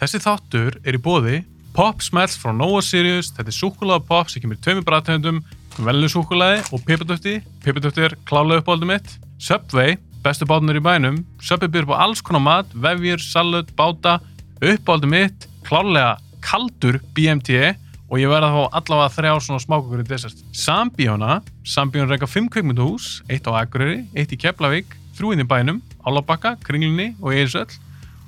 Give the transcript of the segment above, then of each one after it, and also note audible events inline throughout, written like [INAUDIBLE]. Þessi þáttur er í bóði Pop Smells frá Nova Sirius, þetta er súkulega pop sem kemur í tveimur bræðtöndum, velinu súkulaði og pipadöfti, pipadöfti er klálega uppáldum mitt, Subway, bestu bátunar í bænum, Subway byrður på alls konar mat, vefjur, salut, báta, uppáldum mitt, klálega kaldur BMT og ég verða að fá allavega þrjá svona smákukur í desert. Sambíóna, Sambíón reyka fimm kveikmynduhús, eitt á Akureyri, eitt í Keflavík, þrjúinn í bænum, Álabakka, Kringlunni og Eirsöll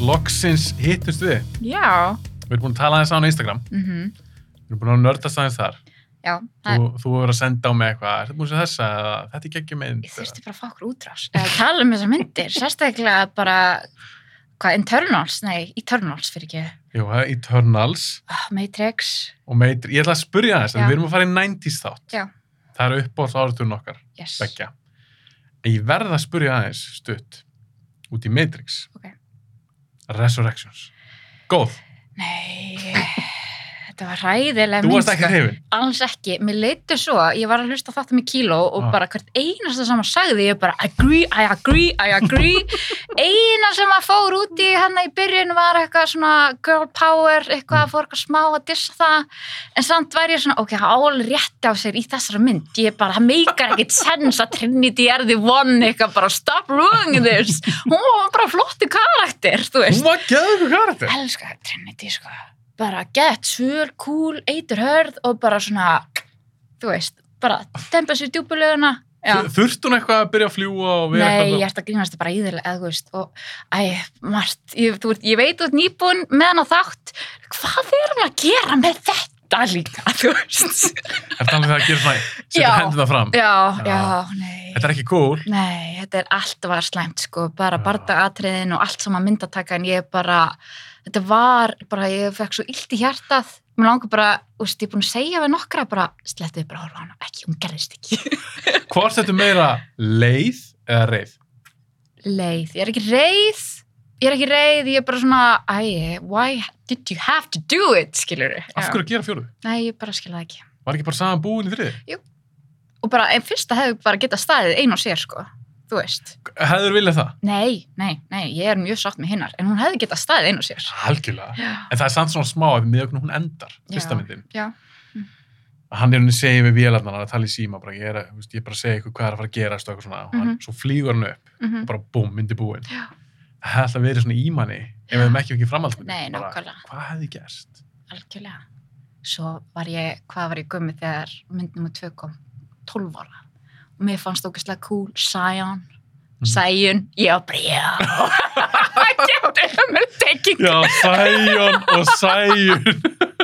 Loksins hittust við. Já. Við erum búin að tala aðeins á Instagram. Mm Við erum búin að nördast aðeins þar. Já. Það, Þú, þú verður að senda á mig eitthvað, er þetta búin að sjá þessa, eða þetta er geggjum mynd. ég þurfti bara að fá okkur útrás. Eða tala um þessar myndir, sérstaklega bara, hvað, Internals? Nei, Eternals fyrir ekki. Jú, það er Eternals Oh, Matrix. og Matrix, ég ætla að spurja þess, Já. en við erum að fara í 90s þátt. Já. Það eru uppbóðs áratun okkar, Yes. begja. En ég verð að spurja aðeins stutt út í Matrix. Ok. Resurrections. Góð, Nei, þetta var sko. ræðilega þú varst ekki hrifin. Alls ekki. Mér leitur svo, ég var að hlusta þáttum í kíló og Ah. bara hvert einasta sem að sagði, ég bara agree, I agree, I agree. Eina sem að fór út í hann í byrjun var eitthvað svona girl power, eitthvað að fór eitthvað smá að dissa það. En samt var ég svona, ok, það ál rétti á sér í þessara mynd. Ég bara, það meikar ekkit sens að Trinity er the one, eitthvað bara stop ruining this. Hún var bara flottu karakter, þú veist Hún var gæður karakter. elska Trinity sko bara gett svöl, cool, eitur hörð og bara svona þú veist, bara dempa sér djúpuleguna já, Þur- Þurfti hún eitthvað að byrja að fljúa og vera nei, ég eitthvað? ert að grínast bara íðurlega, eða þú veist og, æ, margt, ég, þú, veist, ég veit þú ert nýbúin með hann á þátt hvað erum við að gera með þetta líka, þú veist Er það alveg það að gera [LAUGHS] svona, setja Já. hendina fram? já, Já. já, nei Þetta er ekki cool. Nei, þetta er allt var slæmt sko, bara Já. bardagatriðin og allt saman myndatakan, ég bara, þetta var, bara ég fekk svo illt í hjartað, mér langar bara, úst, ég er búin að segja við nokkra, bara slettu við bara að horfa á hana, ekki, hún gerðist ekki. [LAUGHS] Hvort þetta er meira leið eða reið? Leið, ég er ekki reið, ég er ekki reið, ég er bara svona, æ, why did you have to do it, skilur við? Af hverju að gera fjóruðu? Nei, ég bara skiljaði ekki. Var ekki bara saman búin í þriði? Og bara, en fyrst það hefur bara getað staðið einu og sér, sko, þú veist. Hefur viljað það? Nei, nei, nei, ég er mjög sátt með hinnar, en hún hefði getað staðið einu og sér. Algjörlega. Já. En það er samt svona smá ef miðað hvernig hún endar, fyrsta Já. myndin. Já. Mm. Að Hann er henni að segja við vélarnar, hann er að tala í síma, bara, ég, er, að- þú veist, ég er bara að segja ykkur hvað er að fara að gerast og eitthvað svona. Mm hann, Mhm. svo flýgur hann upp Mm og bara búm, myndi búin. Já. Það hefði alltaf verið svona ímanni ef við hefum ekki ekki framhaldsmynd. Nei, nákvæmlega. Hvað hefði gerst? Algjörlega. Svo var ég, hvað var ég gömur þegar myndnum og tvö kom? 12 ára. Og mér fannst ógæslega cool, Sion, Mhm. Sion, ég var bara, já. [LAUGHS] Ég var eitthvað með teking. Já, Sæjón og Sæjón. [LAUGHS]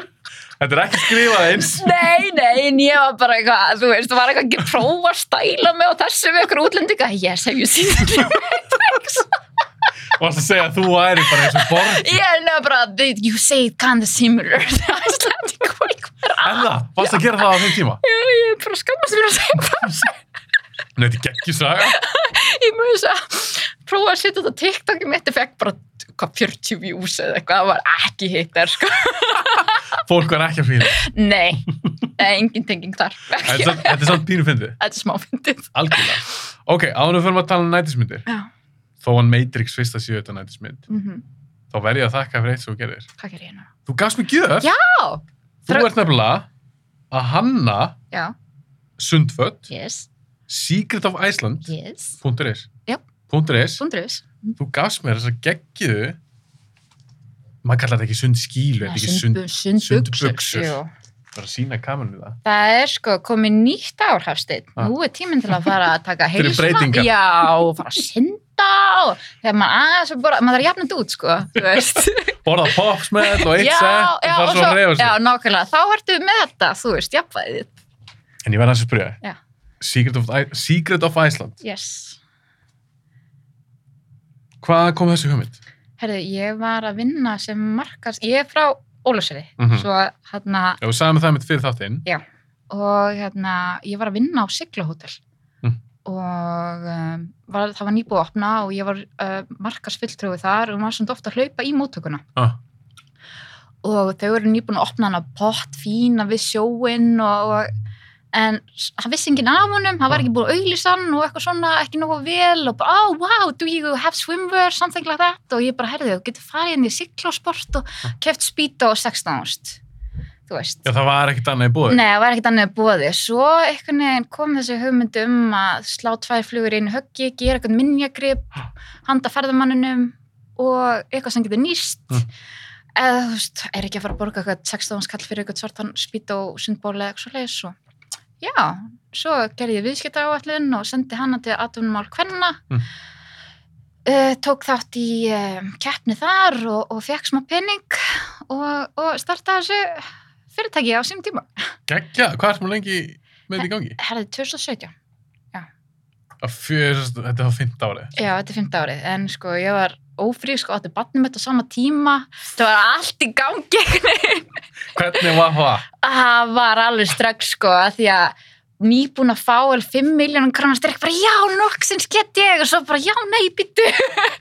Þetta er ekki skrifað eins. Nei, nei, en ég var bara eitthvað, þú veist, það var eitthvað ekki að prófa að stæla mig og þessu við okkur útlendinga. Yes, have you seen it? [LAUGHS] Varst að segja að þú væri bara eins og borg. Ég er nefnilega bara, "They- you say it kind of similar. [LAUGHS] Það er slæmt ekki hvað ég var að. En það, varst að gera það á þeim tíma? Ég er bara að skammast mér að segja það. Nei, þetta er geggjur saga. ég mjög þess að prófa að setja þetta á TikTok í mitt, ég fekk bara hvað, 40 views eða eitthvað, það var ekki hittar sko. Fólk var ekki að fíla. Nei, það er engin tenging þar [LAUGHS] Þetta er ekki. samt- þetta er samt pínu fyndið. Þetta er smáfyndið. Algjörlega. Ok, áður en við förum að tala um nætismyndir. Já. Þó hann Matrix fyrsta séu þetta nætismynd. Mm -hmm. Þá verð ég að þakka fyrir eitt sem þú gerir. Hvað ger ég nú? Þú gafst mér gjöf. Já. Þú Þrjá- ert nefnilega að hanna Já, Sundfött, yes, Secret of Iceland, yes. punktur is. Já. Punktur is. Sundrus. Þú gafst mér þess að geggiðu, maður kallar þetta ekki sund skílu, þetta ekki sund, sundbuxur. Sundbuxur. bara sína kamerunni það. Það er sko komið nýtt ár, Hafsteinn. Ah. Nú er tíminn til að fara að taka Fyrir heilsuna. breytingar. Já, og fara að synda og þegar maður aðeins að bara, maður þarf að jafna þetta út, sko, þú veist. Borða pops með þetta og eitt já, sett og já, fara og svo að reyfa já, sig. nákvæmlega, þá ertu með þetta, þú veist, jafnvæðið En ég verð að spyrja, Já. Secret of, Secret of Iceland, yes. Hvað kom þessi hugmynd? Herðu, ég var að vinna sem markast, ég er frá Ólafsöri, Mhm. svo hérna, Já, við sagðum það mitt fyrir þáttinn. og hérna, ég var að vinna á Siglahótel Mm. og um, var, það var nýbúið að opna og ég var uh, markarsfylltrúið þar og maður sem ofta að hlaupa í móttökuna Ah. og þau eru nýbúin að opna hana pott fína við sjóinn og, og en s- hann vissi enginn af honum, hann var ekki búin að auglýsa hann og eitthvað svona, ekki nógu vel og bara, oh wow, do you have swimwear something like that, og ég bara, herðu, þú getur farið inn í siklasport og keft spýta og 16 ást, þú veist Já, það var ekkit annað í bóði. Nei, það var ekkert annað bóði. Svo einhvern veginn kom þessi hugmynd um að slá tvær flugur inn í einu höggi, gera eitthvað minjagrip, handa ferðamanninum og eitthvað sem getur nýst. Mm. Eða þú veist, er ekki að fara að borga eitthvað 16 skall fyrir eitthvað svartan spýt og sundból eða eitthvað svoleiðis og já, svo gerði ég viðskipta áallin og sendi hana til aðdunumál kvenna. Mm. Uh, tók þátt í um, keppni þar og, og fekk smá pening og, og startaði þessu fyrirtæki á sínum tíma. Gækja, hvað ertum lengi með þetta í gangi? Herði, 2017. Að Fjör, þetta var fint árið. Já, þetta er 15 árið, en sko ég var ófrík, sko átti barnum þetta sama tíma, það var allt í gangi [LAUGHS] einhvern veginn. Hvernig var það? Það var alveg strax sko, að því að nýbúin að fá el 5 miljónum krannar styrk, bara já, nokksins get ég, og svo bara já, nei, byttu.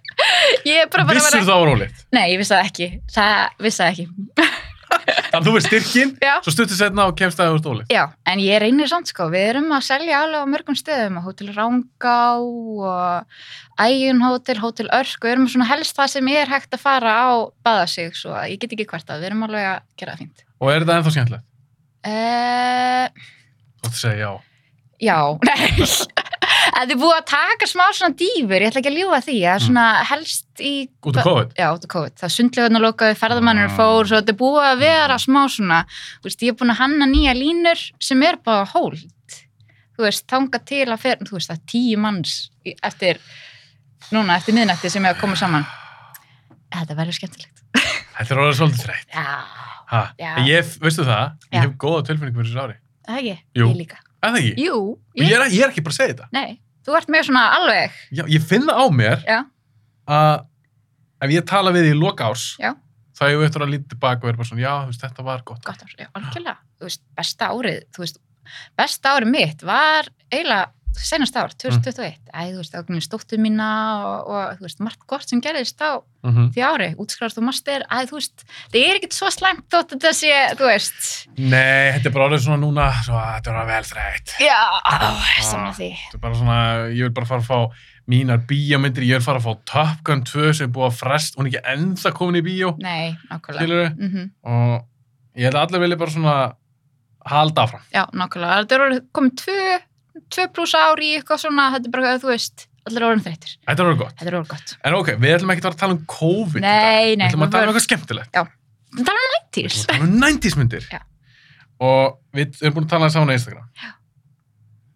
[LAUGHS] ég er bara bara Vissur bara... það var ólíkt? Nei, ég vissi það ekki, það vissi það ekki. Þannig að þú veist styrkin, Já. svo stuttur setna og kemst það úr stólið. Já, en ég reynir samt sko, við erum að selja alveg á mörgum stöðum, á Hótel Rángá og Æjun Hótel, Hótel Örk og við erum svona helst það sem er hægt að fara á baða sig, svo að ég get ekki hvert að við erum alveg að gera það fínt. Og er þetta ennþá skemmtilegt? Uh, Þú ætti að segja já. já, [LAUGHS] nei, að þið er búið að taka smá svona dýfur, ég ætla ekki að ljúfa því, að svona helst í Mm. Út af COVID? já, út af COVID, það sundlegarnar lokaði, ferðamannir Ah. fór, svo þetta er búið að vera smá svona, þú veist, ég er búin að hanna nýja línur sem er bara hóld þú veist, þanga til að fer þú veist, það er tíu manns í- eftir núna, eftir miðnætti sem er að koma saman þetta verður skemmtilegt Þetta er orðið svolítið þreytt. já, Ha, Já. ég, veistu það, ég Já. hef góða tilfinningu fyrir þessu ári. það ekki, Jú. ég líka Er það ekki? jú, Og ég er, ég er ekki bara að segja þetta. nei, þú ert með svona alveg Já, ég finn það á mér já, að ef ég tala við þig í loka árs, Já. þá ég veitur að lítið tilbaka og er bara svona, já, þú veist, þetta var gott. gott ár, já, algjörlega þú veist, besta árið, þú veist besta árið mitt var eiginlega senast Mm. ár, 2021, æ, þú veist, ákveðin stóttu mína og, og þú veist, margt gott sem gerðist á Mm -hmm. því ári, útskráðast og master, æ, þú veist, það er ekkert svo slæmt þótt að þetta sé, þú veist, Nei, þetta er bara orðið svona núna, svo, að þetta er orðið vel þreytt. já, saman því, Þetta er bara svona, ég vil bara fara að fá mínar bíómyndir, ég vil fara að fá Top Gun 2 sem er búið að frest, hún er ekki ennþá komin í bíó, nei, nákvæmlega, skilur mm og ég held að allir vilja bara svona halda áfram. já, nákvæmlega, þetta er orðið komið tvö, tvö pluss ár í eitthvað svona, þetta er bara, þú veist, allir orðin þreytir, Þetta er orðið gott. þetta er orðið gott, En ok, við ætlum ekki að tala um COVID. í dag. nei, nei, Við ætlum að tala um við eitthvað skemmtilegt. tala um Við nættís, ætlum að tala um 90s myndir. Já. Og við erum búin að tala saman á Instagram. Já.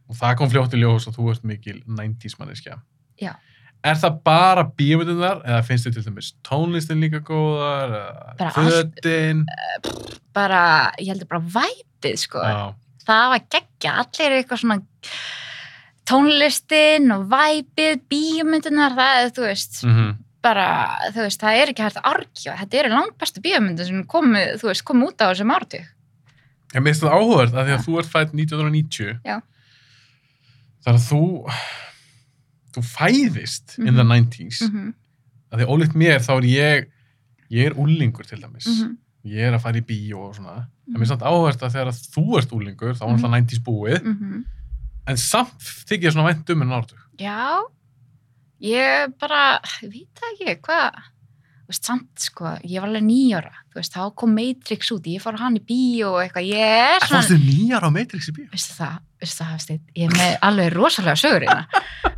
Og það kom fljótt í ljós og þú ert mikil 90s manneskja. Já. Er það bara bíómyndunar eða finnst þið til dæmis tónlistin líka góðar, eða Bara allt. fötin? bara, ég heldur bara væpið, sko, Já. það var geggja, allir eitthvað svona tónlistin og væpið, bíómyndunar, það er, þú veist, Mm bara, þú veist, það er ekki hægt að argja, þetta eru langt bestu bíómyndin sem komu, þú veist, komu út á þessum ártug. Ég minnst það áhugavert að því að þú ert fætt 1990 Já. þar að þú þú fæðist in the Mhm. 90s mm -hmm. að því ólíkt mér þá er ég ég er úlingur til dæmis Mhm. ég er að fara í bíó og svona en mér er samt áhugavert að þegar að þú ert úlingur þá var Mhm. alltaf 90s búið en samt þykir ég svona vænt um en ártug Já, ég bara, ég veit það ekki, hvað, þú veist, samt, sko, ég var alveg nýjóra, þú veist, þá kom Matrix út, ég fór á hann í bíó og eitthvað, ég er Er það svona... stu nýjar á Matrix í bíó? veistu það, veistu það, Hafsteinn, ég er með alveg rosalega sögur hérna.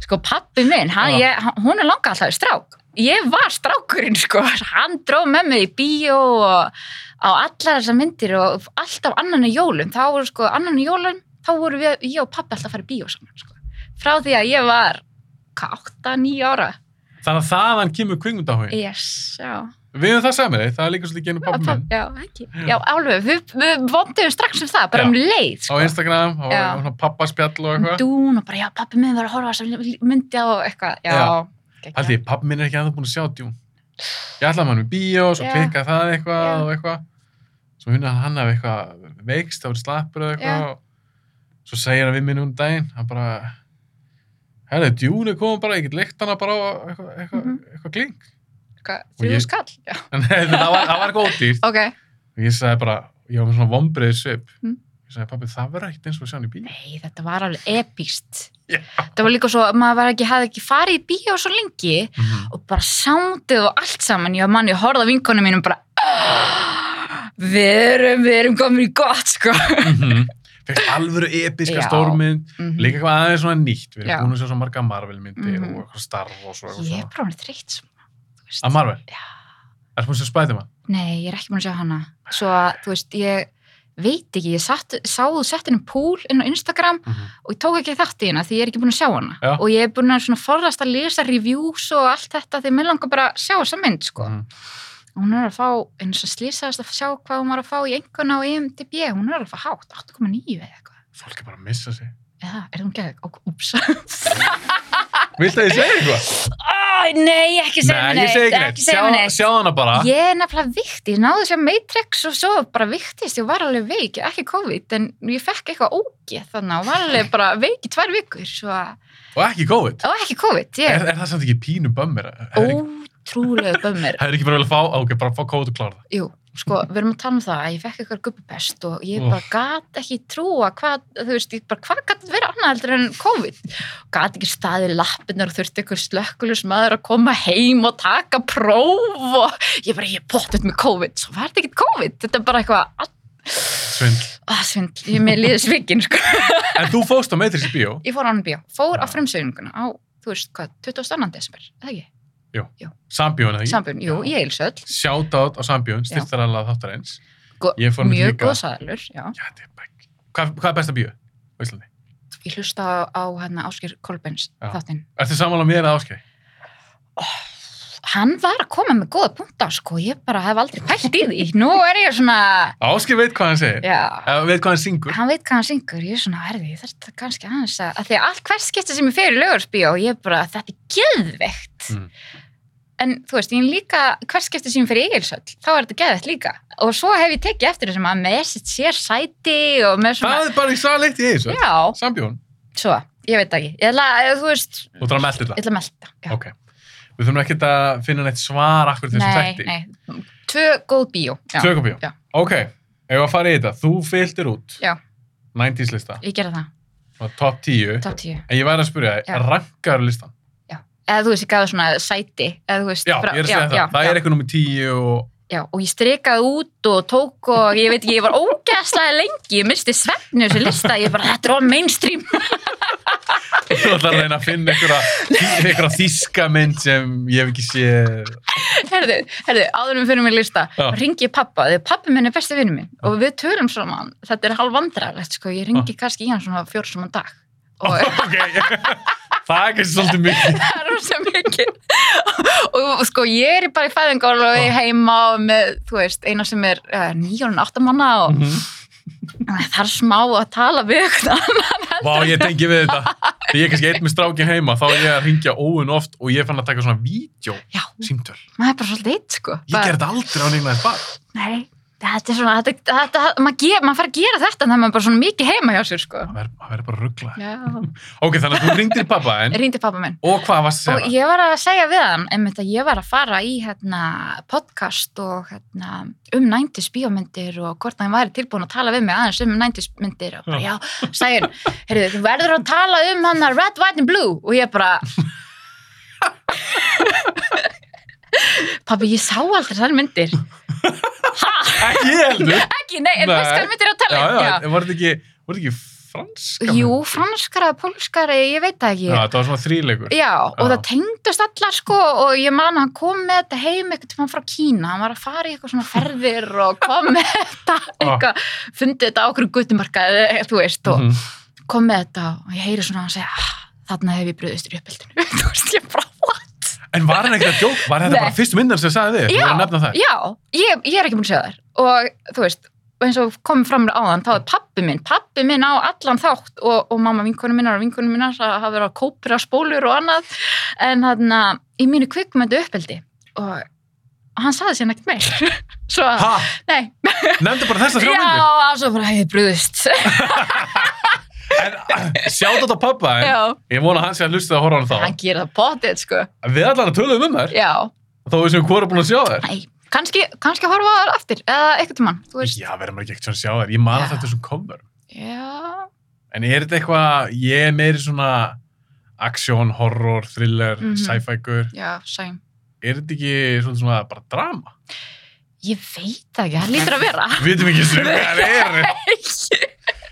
Sko, pappi minn, hann, Já. ég, hann- hún er langa alltaf í strák. Ég var strákurinn, sko. Hann dró með mig í bíó og á allar þessar myndir og alltaf annan í jólum. Þá voru, sko, annan í jólum, þá voru við, ég og pappi alltaf að fara í bíó saman, sko. Frá því að ég var, hvað, 8-9 ára? Þannig að þaðan kemur kvingundaháin Yes, já. Við höfum það samið þig, það er líka svolítið genið pappi minn Já, ekki. Já, alveg, við, við vondum strax um það, bara Já. um leið, á sko. Instagram, á Já. svona pappaspjall og um eitthvað dún og bara, já, pappi minn var að horfa á þessa myndi á eitthvað, já, Já. Haldi, pappi minn er ekki aðeins búin að sjá djúm. Ég ætlaði maður með bíó, svo Já. klikkaði það eitthvað Já. og eitthvað. Svo hún að hann hafi eitthvað veikst, það voru slappur eða eitthvað. Já. Svo segir hann við minn um daginn, hann bara, herri, djúni kom bara, ég get leikt hana bara á eitthvað, eitthvað, Mhm. eitthvað kling. Og ég- Þrjú skall? Já. En [LAUGHS] það var, það var eitthvað ódýrt. Ok. Og ég sagði bara, ég var með svona vombriðið svip. Mm. Ég sagði, pappi, það verður ekkert eins og að sjá hann í bíó. Nei, þetta var alveg epíst. Já. Þetta var líka svo, maður var ekki, hafði ekki farið í bíó svo lengi Mm og bara sándið og allt saman. Ég var manni, ég horfði á vinkonu mínum bara, "Ah, við erum, við erum komin í gott, sko. Fekst Mhm. alvöru episka Já. Mhm. stórmynd, Mhm. líka eitthvað aðeins svona nýtt. Við Já. erum búin að sjá svo marga Marvel-myndir Mhm. og eitthvað Star Wars og eitthvað Ég er svona. bara hann þreytt svona. þú veist. Að Marvel? Já. Ertu búin að sjá Spiderman? Nei, ég er ekki búin að sjá hana. Svo að, þú veist, ég veit ekki, ég satt, sá þú sett henni púl inn á Instagram Mm -hmm. og ég tók ekki þátt í hana því ég er ekki búin að sjá hana Já. og ég er búin að svona forðast að lesa reviews og allt þetta því mér langar bara að sjá þessa mynd sko. Mm. Mhm. og hún er að fá, eins og slýsaðast að sjá hvað hún var að fá í E einhverna og IMDb hún er alveg að fá hátt, 8,9 eða eitthvað Fólk er bara að missa sig. eða, er hún geðið, ok, úps Viltu að ég segja eitthvað? Æ, nei, ekki segja mér ég neitt segi ekki neitt. ekki segja mér neitt Sjá hana bara. ég er nefnilega viktist, ég náði að sjá Matrix og svo bara viktist, ég var alveg veik ekki COVID, en ég fekk eitthvað ógeð þannig og var alveg bara veik í tvær vikur svo að, Og ekki COVID. og ekki COVID ég, Er, er það samt ekki pínu bömmir? ótrúlega [LAUGHS] bömmir Það er ekki bara vel að fá, ok, bara fá COVID og klára það. Jú, sko, við erum að tala um það að ég fekk eitthvað gubbupest og ég bara Úff. gat ekki trúa hvað, þú veist, ég bara hvað gat þetta verið annað heldur en COVID gat ekki staðið lappinar og þurfti eitthvað slökkuljus maður að koma heim og taka próf og ég bara, ég bóttið með COVID, svo var þetta ekki COVID þetta er bara eitthvað, Svindl. að svindl, ég er með liðið svikin sko. En þú fóst á Matrix í bíó. ég fór á hann bíó, fór á Já. fremsögninguna á, þú veist, hvað, 22. desember eða ekki, Sambjón, eða ekki? sambjörn, jú, Já. ég eilsöll Shoutout á Sambjón, styrtar alveg að þáttar eins. Go- Ég fór mér mjög líka. góð sæðalur, já Já, þetta er bara ekki. Hvað, hvað er besta bíó á Íslandi? ég hlusta á, á hérna Ásker Kolbens Já. þáttinn. Ertu sammála mér að áskei? Hann var að koma með góða punta, sko, ég bara hef aldrei pælt í því. Nú er ég svona, Áskei veit hvað hann segir. já, Yeah. Veit hvað hann syngur. hann veit hvað hann syngur, ég er svona, herði, ég þarf þetta kannski aðeins að, að því að allt hvers skipti sem ég fer í lögursbíó, ég bara, þetta er geðveikt. Mm. En þú veist, ég er líka, hvers skipti sem ég fer í Egilsöll, þá er þetta geðveikt líka. Og svo hef ég tekið eftir þessum að með sitt sér sæti og með svona, Það er bara í sæleitt í þessu. já, Sambjón. svo, ég veit ekki, ég ætla, að- þú veist, Þú þarf að melda þetta. ég ætla að melta, já. Ok. Við þurfum ekkert að finna neitt svar akkur þessu Nei, þætti. nei, tvö góð bíó já. Tökabíó. Já. Ok, ef að fara í þetta, þú fylgdir út. Já. 90s lista, Ég gera það, svona top 10. top 10 En ég væri að spyrja Já. þig, rankar listan? Eða þú veist, ég gaf það svona sæti eða, þú veist, Já, ég er að segja það. það er eitthvað nummið 10 og... já, og ég strikaði út og tók og ég veit ekki, ég var ógæðslega lengi ég misti svefni þessu lista, ég bara þetta er all mainstream [LAUGHS] Þú ætlar að reyna að finna einhverja, einhverja þíska mynd sem ég hef ekki séð. herðu, herðu, áðurum fyrir mig lista Já. ringi ég pappa, þegar pappi minn er besti vinnur minn og við tölum svona, þetta er halv vandrarlegt sko, ég ringi kannski í hann svona fjórsum á dag [LAUGHS] og Ok, það er kannski svolítið mikið. það er rosa mikið og sko ég er bara í fæðingál og Ah. ég er heima og með, þú veist, eina sem er uh, nýjón, áttamanna og Mhm. það er smá að tala við ykkur annan Vá, ég tengi við þetta. Þegar ég er kannski einn með strákin heima, þá er ég að ringja óun oft og ég fann að taka svona vídeo já, símtöl. maður er bara svolítið eitt sko Ég ger þetta aldrei á neignaðis barn. nei, þetta er svona þetta, þetta, maður, ger, maður fara að gera þetta en það er maður bara svona mikið heima hjá sér sko Það verður- það verður bara rugglað. já, Ok, þannig að þú ringdir pappa en rýndi pappa minn og hvað varst að og segja? ég var að segja við hann einmitt að ég var að fara í hérna, podcast og hérna, um 90s bíómyndir og hvort hann væri tilbúin að tala við mig aðeins um 90s myndir og bara já, segir hann, heyrðu, þú verður að tala um hann að Red, White and Blue og [LAUGHS] ég bara Pabbi, ég sá aldrei [LAUGHS] þær myndir Ekki ég heldur. ekki, nei, en Nei. veist hvað myndir ég er að Já, tala um? já, en voru þetta ekki, voru þetta ekki franska? Já. menn? Jú, franskara, pólskara, ég veit það ekki Já, það var svona þríleikur. Já, og Já. það tengdust allar sko og ég man að hann kom með þetta heim eitthvað til hann frá Kína, hann var að fara í eitthvað svona ferðir og kom með [LAUGHS] þetta eitthvað, fundið þetta á okkur guttumarka þú veist, og Ah. Mhm. kom með þetta og ég heyri svona að hann segja ah, þarna hef ég bröðist í uppeldinu, [LAUGHS] þú veist, ég bara what? En var hann ekkert að djók? Var þetta Nei. bara fyrstu myndan sem sagði þig? Þú Já, voru að nefna það. já, ég, ég er ekki búin að segja þær og þú veist, og eins og komum fram á þann, þá er pappi minn, pappi minn á allan þátt og, og mamma vinkonu minnar og vinkonu minnar að hafa verið að kópira spólur og annað en þannig að í mínu kvikmyndu uppeldi og hann saði sér neitt meir [LAUGHS] svo að, Ha? nei, Nefndu bara þessa já, þrjá myndir. og svo bara hefði [LAUGHS] brúðist En sjáðu þetta á pappa, en já, ég vona að hann sé að hlusta að horfa á hann hann þá. gera það potið sko, Við allar að töluðum um þær, já þó við séum hvora búin að sjá þær. nei, kannski, kannski horfa það aftur eða eitthvað til mann, þú veist Já, verðum maður ekki ekkert svona að sjá þær. Ég man Já. alltaf þetta sem komur. já, En er þetta eitthvað, ég er meiri svona aksjón, horror, thriller, Mhm. sci-fi-gur. já, sæm Er þetta ekki svona, svona bara drama? ég veit það ekki, það lítur að vera Við [LAUGHS] veitum ekki sem hvað það er. ég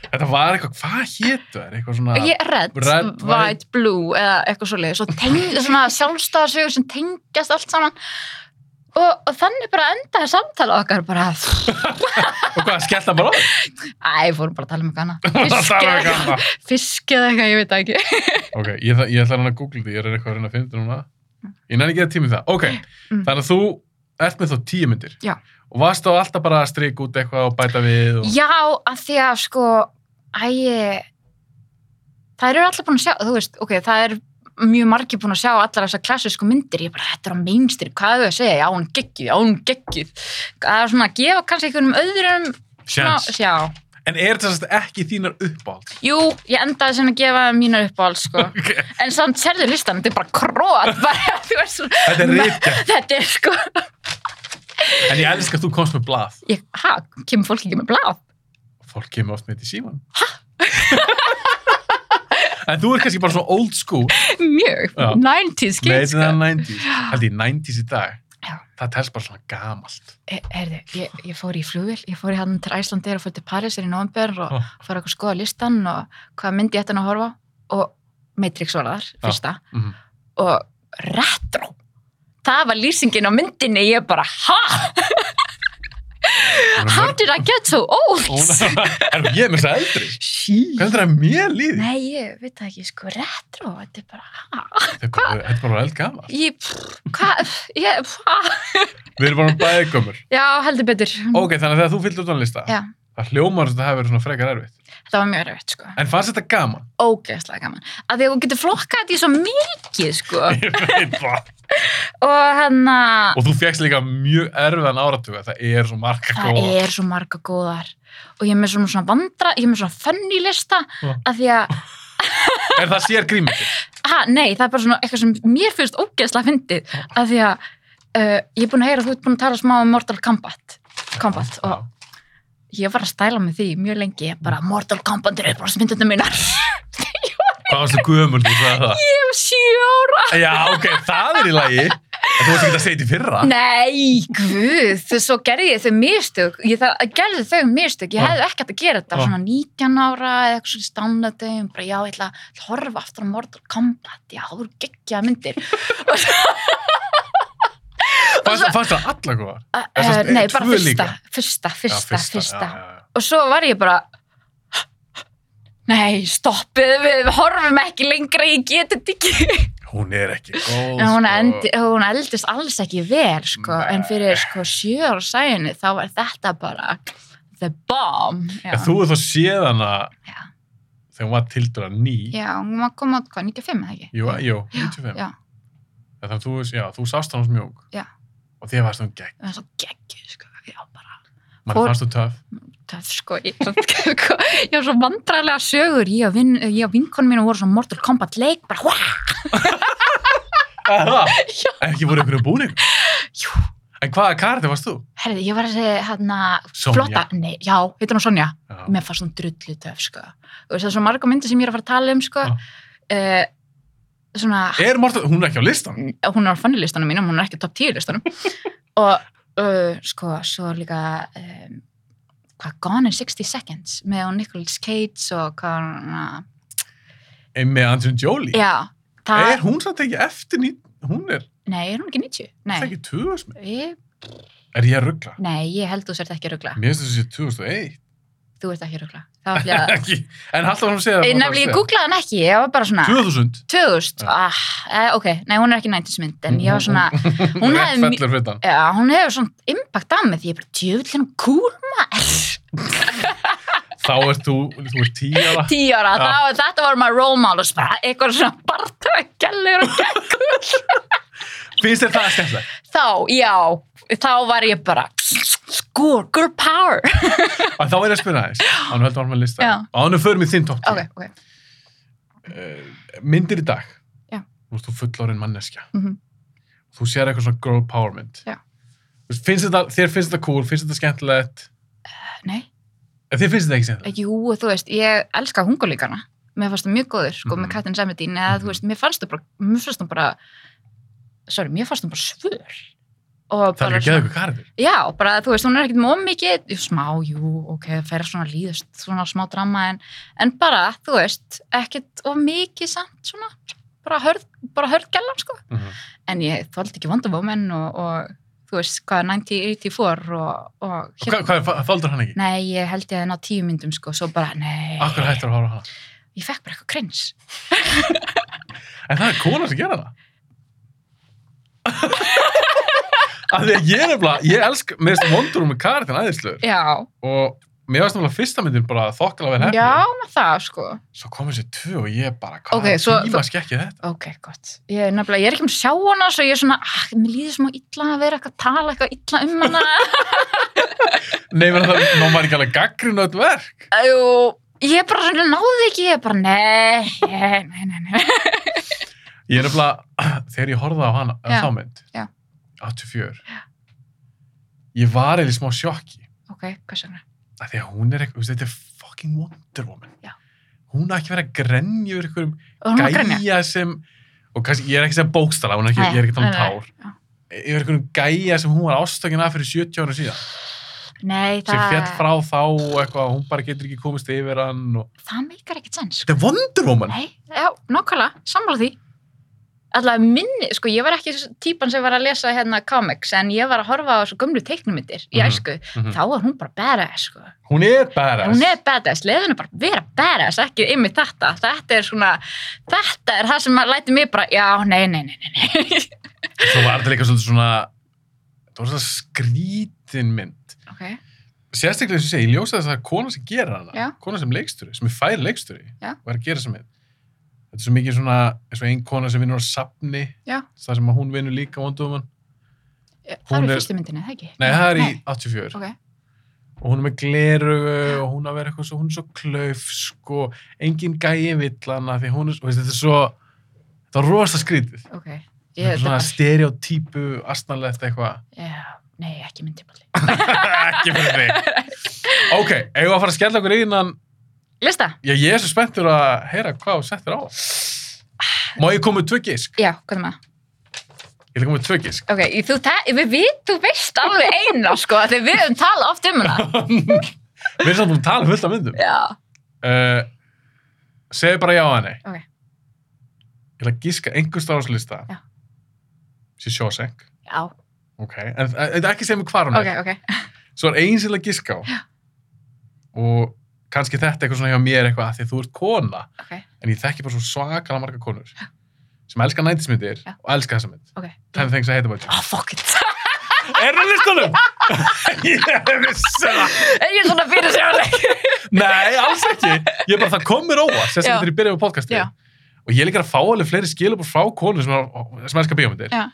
Þetta var eitthvað, hvað hétu þær? Eitthvað svona... er red, Red, white, blue eða eitthvað svoleiðis og teng, svona sjálfstæðarsögur sem tengjast allt saman og, og þannig bara endaði samtala okkar bara Og hvað, skellt það bara á? Æ, fórum bara [LAUGHS] að tala um [LAUGHS] eitthvað Það annað. var Fiskið gaman. Fiskið eitthvað, ég veit það ekki. Ok, ég, ætla- ég ætla hann að googla því, ég er eitthvað að reyna að finna þetta núna. Ég næri ekki að tími það. Ok, Mm. þannig að þú ert með þá tíu myndir. Já. Og varst þá alltaf bara að strika út eitthvað og bæta við og... Já, af því að sko, æ, það eru allir búin að sjá, þú veist, ok, það er mjög margir búin að sjá allar þessar klassísku myndir, ég bara, þetta er á mainstream, hvað er þau að segja, já, hún er geggjuð, já, hún er geggjuð. Það er svona að gefa kannski einhvernum öðrum, Sjans. já, En er þetta ekki þínar uppáld? jú, ég endaði sem að gefa mínu uppáhald, [LAUGHS] sko, Ok, en samt sérðu listan, þetta er bara króat, [LAUGHS] bara, þú veist, svona, þetta er ríkja. [LAUGHS] þetta er sko, En ég elska að þú komst með blað. ég, ha, kemur fólk ekki með blað? Fólk kemur oft með þetta í síman. en þú er kannski bara svona old school, mjög, Já. 90s kids meira sko. en 90s. Haldi, 90s í dag. Já. Það telst bara svona gamalt. E- heyrðu, ég, ég fór í flugvill, ég fór í hann til Æslandir og fór til Parísir í november og Ah. fór eitthvað að skoða listan og hvað myndi ég ætti hann að horfa á. og Matrix var þar, fyrsta Mhm. og retro það var lýsingin á myndinni ég bara, ha, how did I get so old Erum ég er með þess að eldri? sí Hvernig er það að mér líði? nei, ég veit það ekki, sko, retro þetta er bara, ha, Þetta er bara- þetta er bara eld gamalt. ég pff, hvað, ég, hvað Við erum bara bæðið gömur. já, heldur betur, Ok, þannig að þegar þú fyllt út á þann lista, Mm. Já. það hljómar sem það hefur verið svona frekar erfitt. þetta var mjög erfitt, sko En fannst þetta gaman? ógeðslega gaman að því að þú getur flokkað þetta í svo mikið sko. Ég veit það. og hérna, hann Og þú fjækst líka mjög erfiðan áratuga. Það er svo marga það góða. er svo marga góðar og ég er með svona, svona vandra ég er með svona funny lista Já. að því að, Er það sér grímið? ha, nei, það er bara svona eitthvað sem mér finnst ógeðslega fyndið að því að uh, ég er búin að heyra að þú ert búin að tala smá um Mortal Kombat Kombat og ég var að stæla með því mjög lengi ég bara Mortal Kombat er uppáðast myndunum mínar Hvað varst þú gömul þú sagði það? ég hef sjö ára Já, ok, það er í lagi. En þú varst ekki að segja þetta í fyrra. Nei, guð, þau- svo gerði ég þau mistök, ég það, gerði þau mistök, ég Já. hefði ekkert að gera þetta, Já. svona 19 ára eða eitthvað svona stánletum, bara já, ég ætla að horfa aftur á Mortal Kombat, já, það voru geggja myndir. Fannst, fannst það alla góða? Uh, En uh, sem sagt, nei, tvö bara fyrsta, líka? fyrsta, fyrsta, fyrsta. Já, já, já. Og svo var ég bara, nei, stoppið, við, við horfum ekki lengra, ég get þetta ekki. Hún er ekki góð. En hún, sko. endi, hún eldist alls ekki vel, sko, en Nei. fyrir sko, sjö ára sæjunni þá var þetta bara the bomb. Já, En þú er þá séð hana Já. þegar hún var tildur ný. já hún var komið át, hvað, 95 eða ekki? Jú, jú, 95. Já, Já, Þannig að þú, já, þú sást hann sem mjók. Já. Og þér varst hún gegn. það var svo geggið, sko, já, bara Mann Fór- fannst þú töf. töff, sko, ég, ég var svo [LAUGHS] vandræðlega sögur, ég og, vin, ég og vinkonu mínu voru svo Mortal Kombat leik, bara, hva? Það? [LAUGHS] Já. Ekki voru ykkur um búning. Jú, En hvaða karti varst þú? herriði, ég var þessi, hérna, Sonja. flotta, nei, já, heitir hún Sonja? Já. mér fannst hún drullu töf sko. og það er svo marga myndir sem ég er að fara að tala um sko. Já. uh, svona Er Mortal, hún er ekki á listan? hún er á fannilistanum mínum, hún er ekki á top 10 listanum og uh, sko, svo er líka um, hvað, Gone in 60 Seconds með hún Nicolas Cage og hvað hún uh, En með Angelina Jolie? já, það, Er hún samt ekki eftir ný... Hún er, nei, er hún ekki 90? það Nei, ekki 2000? ég, Er ég að ruggla? nei, ég held þú sért ekki að rugla Mér finnst þessi 2001. þú ert ekki að rugla það var [LAUGHS] fyrir að Ekki. En alltaf hann segja... Ég nefnilega, ég googlaði hann ekki, ég var bara svona 2000. 2000, Já. ah, eh, ok, nei, hún er ekki 90s mynd, en ég var svona, [LAUGHS] Hún Rétt hafði mj- fellur fyrir þann. Já, hún hefur svona impact á mig því ég er bara hérna djöfullin kúl maður. [LAUGHS] Þá ert þú, þú ert tíjara. Tíu ára, Já. þá, þetta var maður role models bara, eitthvað svona bartöð, gælur og gegn. Finnst þér það [LAUGHS] skemmtilegt? þá, já, þá var ég bara sko, girl power Og þá er ég að spyrja þess. Ánum heldur áfram að lista. Já. Og ánum förum í þinn tótt. ok, ok Eh, Myndir í dag. Já. Nú ert þú fullorinn manneskja. Mhm. Þú sér eitthvað svona girl power mynd. Já. Þú veist, Finnst þetta, þér finnst þetta cool, finnst þetta skemmtilegt. nei, En þér finnst þetta ekki skemmtilegt. ekki hú, þú veist, ég elska hungulíkana mér fannst það mjög góður, sko, Mhm. með Katrin Samedín eða þú veist, mér fannst það bara, mér fannst það bara sorry, mér fannst það bara svör og Það er bara ekki að geða eitthvað karður. Já, bara þú veist, hún er ekkert mjög mikið, jú, smá, jú, ok, það fer svona líðast, svona smá drama, en, en bara, þú veist, ekkert of mikið samt, svona, bara hörð, bara hörð gælan, sko. Mhm. En ég þóldi ekki vandabómen og, og, þú veist, hvað, 1984 og, og Hvað, hvað, hvað þóldur hann ekki? Hérna- nei, ég held ég að ná tíu myndum, sko, svo bara, nei, Akkur hættur að horfa á hana. ég fekk bara eitthvað krins. En það er kona sem gera [LAUGHS] það. Af því að ég er nefnilega, ég elsk, mér finnst Wonder Woman karatinn æðislegur Já, og mér finnst nefnilega fyrsta myndin bara þokkala vel hefni. já, með það, sko. Svo kom þessi tvö og ég bara, hvað Ok, okay, svo- tíma skekkið þetta? ok, gott. Ég er nefnilega, ég er ekki um að sjá hana, svo ég er svona, ah, mér líður smá illa að vera eitthvað að tala eitthvað illa um [LAUGHS] hana. Nei, menn það, ná maður ekki alveg gaggrinu öll verk. Æjú, ég bara svona náði ekki, ég bara, nei, nei, nei, nei. Ég er nefnilega, [CLEARS THROAT] þegar ég horfði á hana, Já, á þá mynd, já. 84, ég var eða í smá sjokki. Ok, hvað segna? að því að hún er eitthvað, þetta er fucking Wonder Woman Já. hún er ekki verið að grenja yfir einhverjum Og hún var að grenja. gæja sem og kannski, ég er ekki að segja bókstala hún er ekki, Nei, ég er ekki að tala um nei, nei, tár yfir einhverjum gæja sem hún var ástökin af fyrir 70 ára síðan Nei, sem það, fjall frá þá og eitthvað hún bara getur ekki komist yfir hann og... það meikar ekkert sens. sko. þetta er Wonder Woman Nei, já, nákvæmlega, sammála því. Alltaf minni, sko, ég var ekki típan sem var að lesa hérna comics, en ég var að horfa á þessu gömlu teiknumyndir í Mhm. æsku. Mhm. Þá var hún bara badass, sko. hún er badass Hún er badass, leiðinu bara vera badass, ekki ymmið þetta. Þetta er svona, þetta er það sem maður læti mig bara, já, nei, nei, nei, nei, nei. svo var þetta líka svolítið svona það var svona skrítin mynd ok, sérstaklega eins og ég segi, ég ljósa þess að það er kona sem gerir hana, Já. kona sem leiksturi, sem er fær leiksturi Já. og er að gera sem er. Þetta er svo mikið svona, eins og ein kona sem vinnur á sapni, Já. það sem að hún vinnur líka vonduman. það Hún eru er- fyrstu myndinni, það ekki? Nei, það er í 84 Ok. og hún er með gleru og hún að vera eitthvað svo, hún er svo klaufsk og engin gæi vill hana því hún er, svo- veist, þetta er svo, þetta er rosa skrítið. Ok, ég, Þetta er svona bara, stereotípu, astnalegt eitthvað. já, nei, ekki myndi balli. Ekki fyrir þig. Ok, eigum við að fara að skella okkur innan Lista? Já, ég er svo spenntur að heyra hvað þú settir á. Má ég koma með tvö gísk? Já, hvað er maður? Ég ætla að koma með tvö gísk. Ok, þú, te- við, við, þú veist alveg eina, sko, þegar við höfum talað oft um hana. Við erum samt búin að tala fullt af myndum. Já. Uh, segðu bara já að nei. Ok. Ég ætla að gíska einhver starfslista. Já. Sér Sjóseng. Já, Ok. En en ekki segja mér hvar hún ok, er. ok. Svo er eins ég ætla að gíska á. Já. Og kannski þetta eitthvað svona hjá mér eitthvað að því að þú ert kona. Ok, En ég þekki bara svo svakala marga konur. Sem elska næntismyndir Já. og elska þessa mynd. ok. 10 things I hate about you. Oh, fuck it. [LAUGHS] Er það listanum? [LAUGHS] ég er vissi það. [LAUGHS] ég er svona fyrir sér [LAUGHS] Nei, alls ekki. Ég er bara, það kom mér óvart, þess að Já. þegar ég byrjaði með podcastið. Já. Og ég er líka að fá alveg fleiri skilabur frá konur sem, er- sem elskar bíómyndir. Já.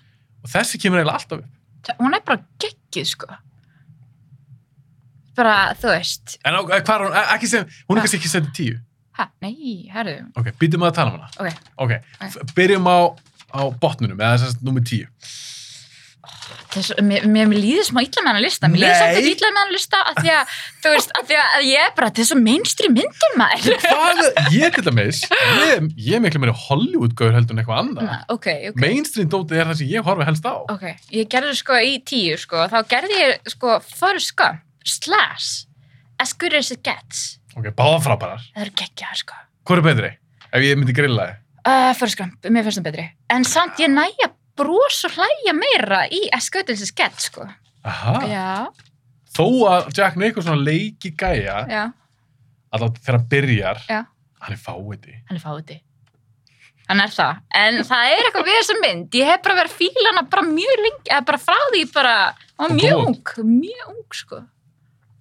Og þessi kemur eiginlega alltaf upp. Hún er bara geggið, sko. Bara, þú veist, En á, eh, hvað er hún, eh, ekki sem, hún Já. er kannski ekki sendið tíu. hæ, nei, herru, Ok, býtum að tala um hana. ok, Ok, f- byrjum á, á botnunum, eða þess að nummer tíu. Þess, mér, mér, mér líður smá illa með hann að lista mér líður Nei. samt ekki illa með hann að lista að því að, þú veist, að því að ég er bara þetta er svo mainstream myndir maður Hvað, ég til dæmis, ég, ég er miklu meiri Hollywood-gaur heldur en eitthvað annað. Na, ok, Ah, ok, Mainstream dótið er það sem ég horfi helst á. ok ég gerði sko í tíu sko þá gerði ég sko Forrest Gump slash As Good As It Gets Ok, báða frábærar. það eru geggjaðar sko Hvor er betri? Ef ég myndi grilla þið? uh, Forrest Gump, mér finnst það betri en samt ég næja brós og hlæja meira í As Good As It Gets sko Aha. já, Þó að Jack Nicholson leiki gæja, já, alltaf þegar hann byrjar, Já. hann er fáiði. hann er fáti hann er það, en það er eitthvað við þessa mynd ég hef bara verið að fíla hana bara mjög lengi eða bara frá því bara, hann var Og mjög góð. ung mjög ung sko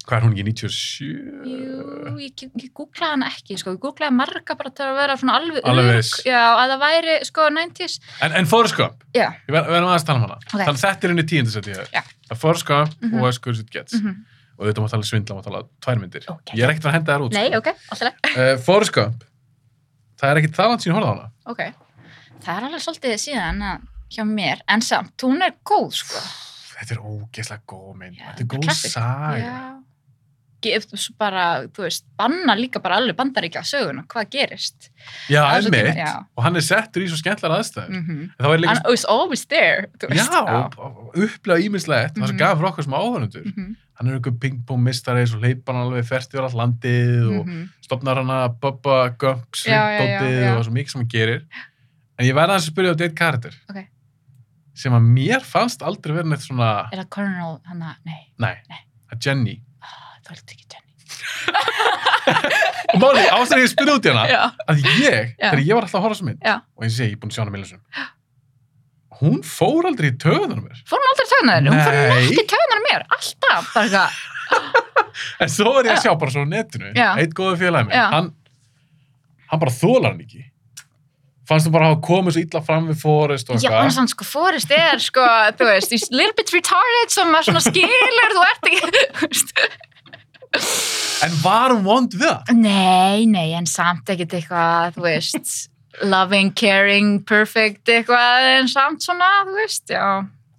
Hvað er hún ekki 97? Jú, ég, ég googlaði hana ekki, sko, ég googlaði marga bara til að vera svona alveg Alveg örugg. viss. Já, að það væri, sko, 90s. En, en Forrest Gump, Já, ég ver- verðum aðeins að tala um hana. Ok. Þannig að þetta er henni tíundasett í Já. þér. Það er Forrest Gump Mhm. og As Good As It Gets. mhm. Og þetta mátt alveg svindla, mátt alveg tvær myndir. Ok. Ég er ekkert að henda þær út. Nei, sko. ok, alltaf leið. Eh, Forrest Gump, það er ekkert það langt síðan ég horfði á hana. Ok. Það er alveg svolítið síðan að hjá mér, en samt, hún er góð, sko. Þetta er ógeðslega góð mynd. Já, Þetta er góð classic. saga. Já. Gef þú svo bara, þú veist, banna líka bara alveg bandaríkja á söguna, hvað gerist. Já, Á þessu einmitt. tíma, já. Og hann er settur í svo skemmtlar aðstæður. Mm. Mm Það var líka Hann is always there, þú Já, veist. og- og upplega ímislegt, það sem Mhm. gaf frá okkur sem áhörnundur. Mhm, Hann er einhver ping-pong-mistari, svo leipar hann alveg ferti á allt landið og mhm. stopnar hann að Bubba Gump, Já, já, já, Svindótið já. og það er svo mikið sem hann gerir. En ég verði aðeins að spyrja á deitt karakter. Ok. Sem að mér fannst aldrei verið neitt svona, Er það Colonel, hann að, nei, nei, Nei. að Jenny. ah, þú heldur ekki Jenny. Og máli, ástæður ég spyrja út í hana, Já, að ég, Já. þegar ég var alltaf að horfa á þessa mynd, Já. og eins og ég, ég er búin að sjá hana millisum, hún fór aldrei í töðunum mér. fór hún aldrei tögnaður, hún fór Nei. ekki tögnaður mér, alltaf, bara eitthvað. En svo er ég að sjá bara svo á netinu, Já. eitt góðu félagi minn, Já. hann, hann bara þólar hann ekki. Fannst þú bara að hafa komið svo illa fram við Forrest og Já, eitthvað? annars hann sko Forrest er sko, þú veist, he's a little bit retarded sem maður svona skilur, þú ert ekki, [LAUGHS] þú veist. En var hún vond við það? Nei, nei, en samt ekkert eitthvað, þú veist, loving, caring, perfect eitthvað, en samt svona, þú veist, já.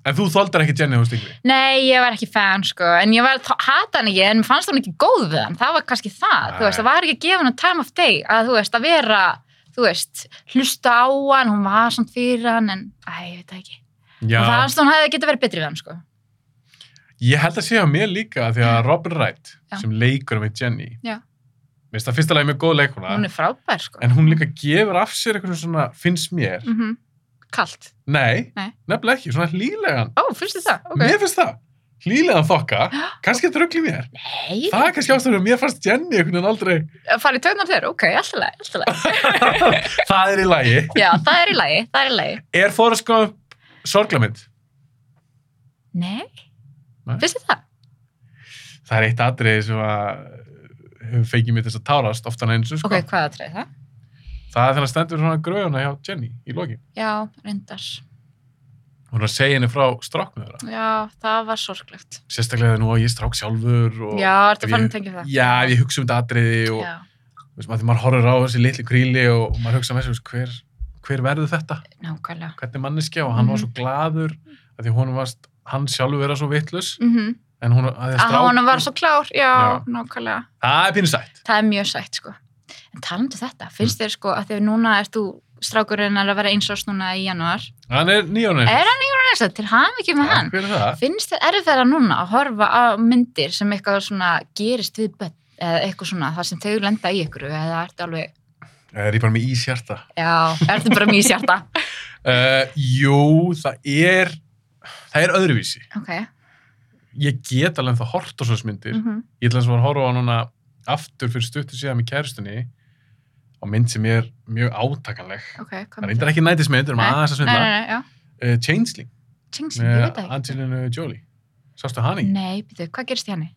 En þú þóldar ekki Jenny, þú stingri. Nei, ég var ekki fan, sko, en ég var, þá- hata hann ekki, en mér fannst hann ekki góð við hann, það var kannski það, þú veist, Nei. það var ekki að gefa hann time of day, að þú veist, að vera, þú veist, hlusta á hann, hún var samt fyrir hann, en, æ, ég veit það ekki. Já. Mér fannst hún hefði getið verið betri við hann, sko. Ég held að sé á mér líka því að Robin Wright, Já. sem leikur með Jenny, Já. mér finnst það fyrsta lagi mjög góð leikuna, Hún er frábær, sko. en hún líka gefur af sér eitthvað svona, finnst mér, Mm Kalt. nei, Nei. nefnilega ekki, svona hlýlegan, Ó, fyrstu það? Ok. mér finnst það, hlýlegan [GASPS] þokka, kannski að druggli mér. Nei, Það er kannski ástæður að mér fannst Jenny einhvern veginn aldrei að fara í taunar þér, ok, alltaf leið, alltaf leið. Það er í lagi Já, það er í lagi, það er í lagi. Er Forrest Gump sorglamynd? Nei, Nei. fyrstu það? Það er eitt atriði sem að eh, hefur feikið mér til þess að tárast oftan eins og sko. Ok, hvað aðtrið það? Það er þegar hann stendur svona gröðuna hjá Jenny í lokin. Já, reyndar. Hún er að segja henni frá stráknu þeirra. Já, það var sorglegt. Sérstaklega þegar nú að ég er strák sjálfur og... Já, ertu ef fann ég- að tengja það? Já, ef ég hugsa um þetta atriði og Já, þú veist, maður, þegar maður horfir á þessi litli kríli og maður hugsa með þessu, þú veist, hver, hver verður þetta? nákvæmlega. Hvernig manneskja? Og hann var svo Mhm. gladur að því hún varst, hann sjálfur vera svo vittlus Mm en hún, að því að Að strák- hann var svo klár, já, Já. nákvæmlega. Það er pínu sætt. Það er mjög sætt, sko. En talandu þetta, Mm. finnst þér sko að þegar núna ert þú strákurinn er að vera eins árs núna í janúar. Hann er nýjónu. Er hann ykkur næsta til hamingjum með hann? Hver er það? Finnst þér erfiðara núna að horfa á myndir sem eitthvað svona gerist við börn eða eitthvað svona þar sem þau lenda í ykkur eða ertu alveg, Eh, Er ég bara með ís hjarta? já, ertu bara mjög sjarta Uh, jú, það er, það er öðruvísi. [LAUGHS] Ok, Ég get alveg þá hort á svona myndir. mm -hmm. Ég ætla eins og að horfa á núna aftur fyrir stuttu síðan með kærustunni og mynd sem er mjög átakanleg. ok, Það hvað er reyndar ekki nætismynd, um Nei, aðeins að Nei, nei, svindla. nei, já, Uh, Changeling Tingsling, ég veit með það ekki Angelina Jolie. Sástu hann ekki? Nei, býtu, hvað gerist í henni?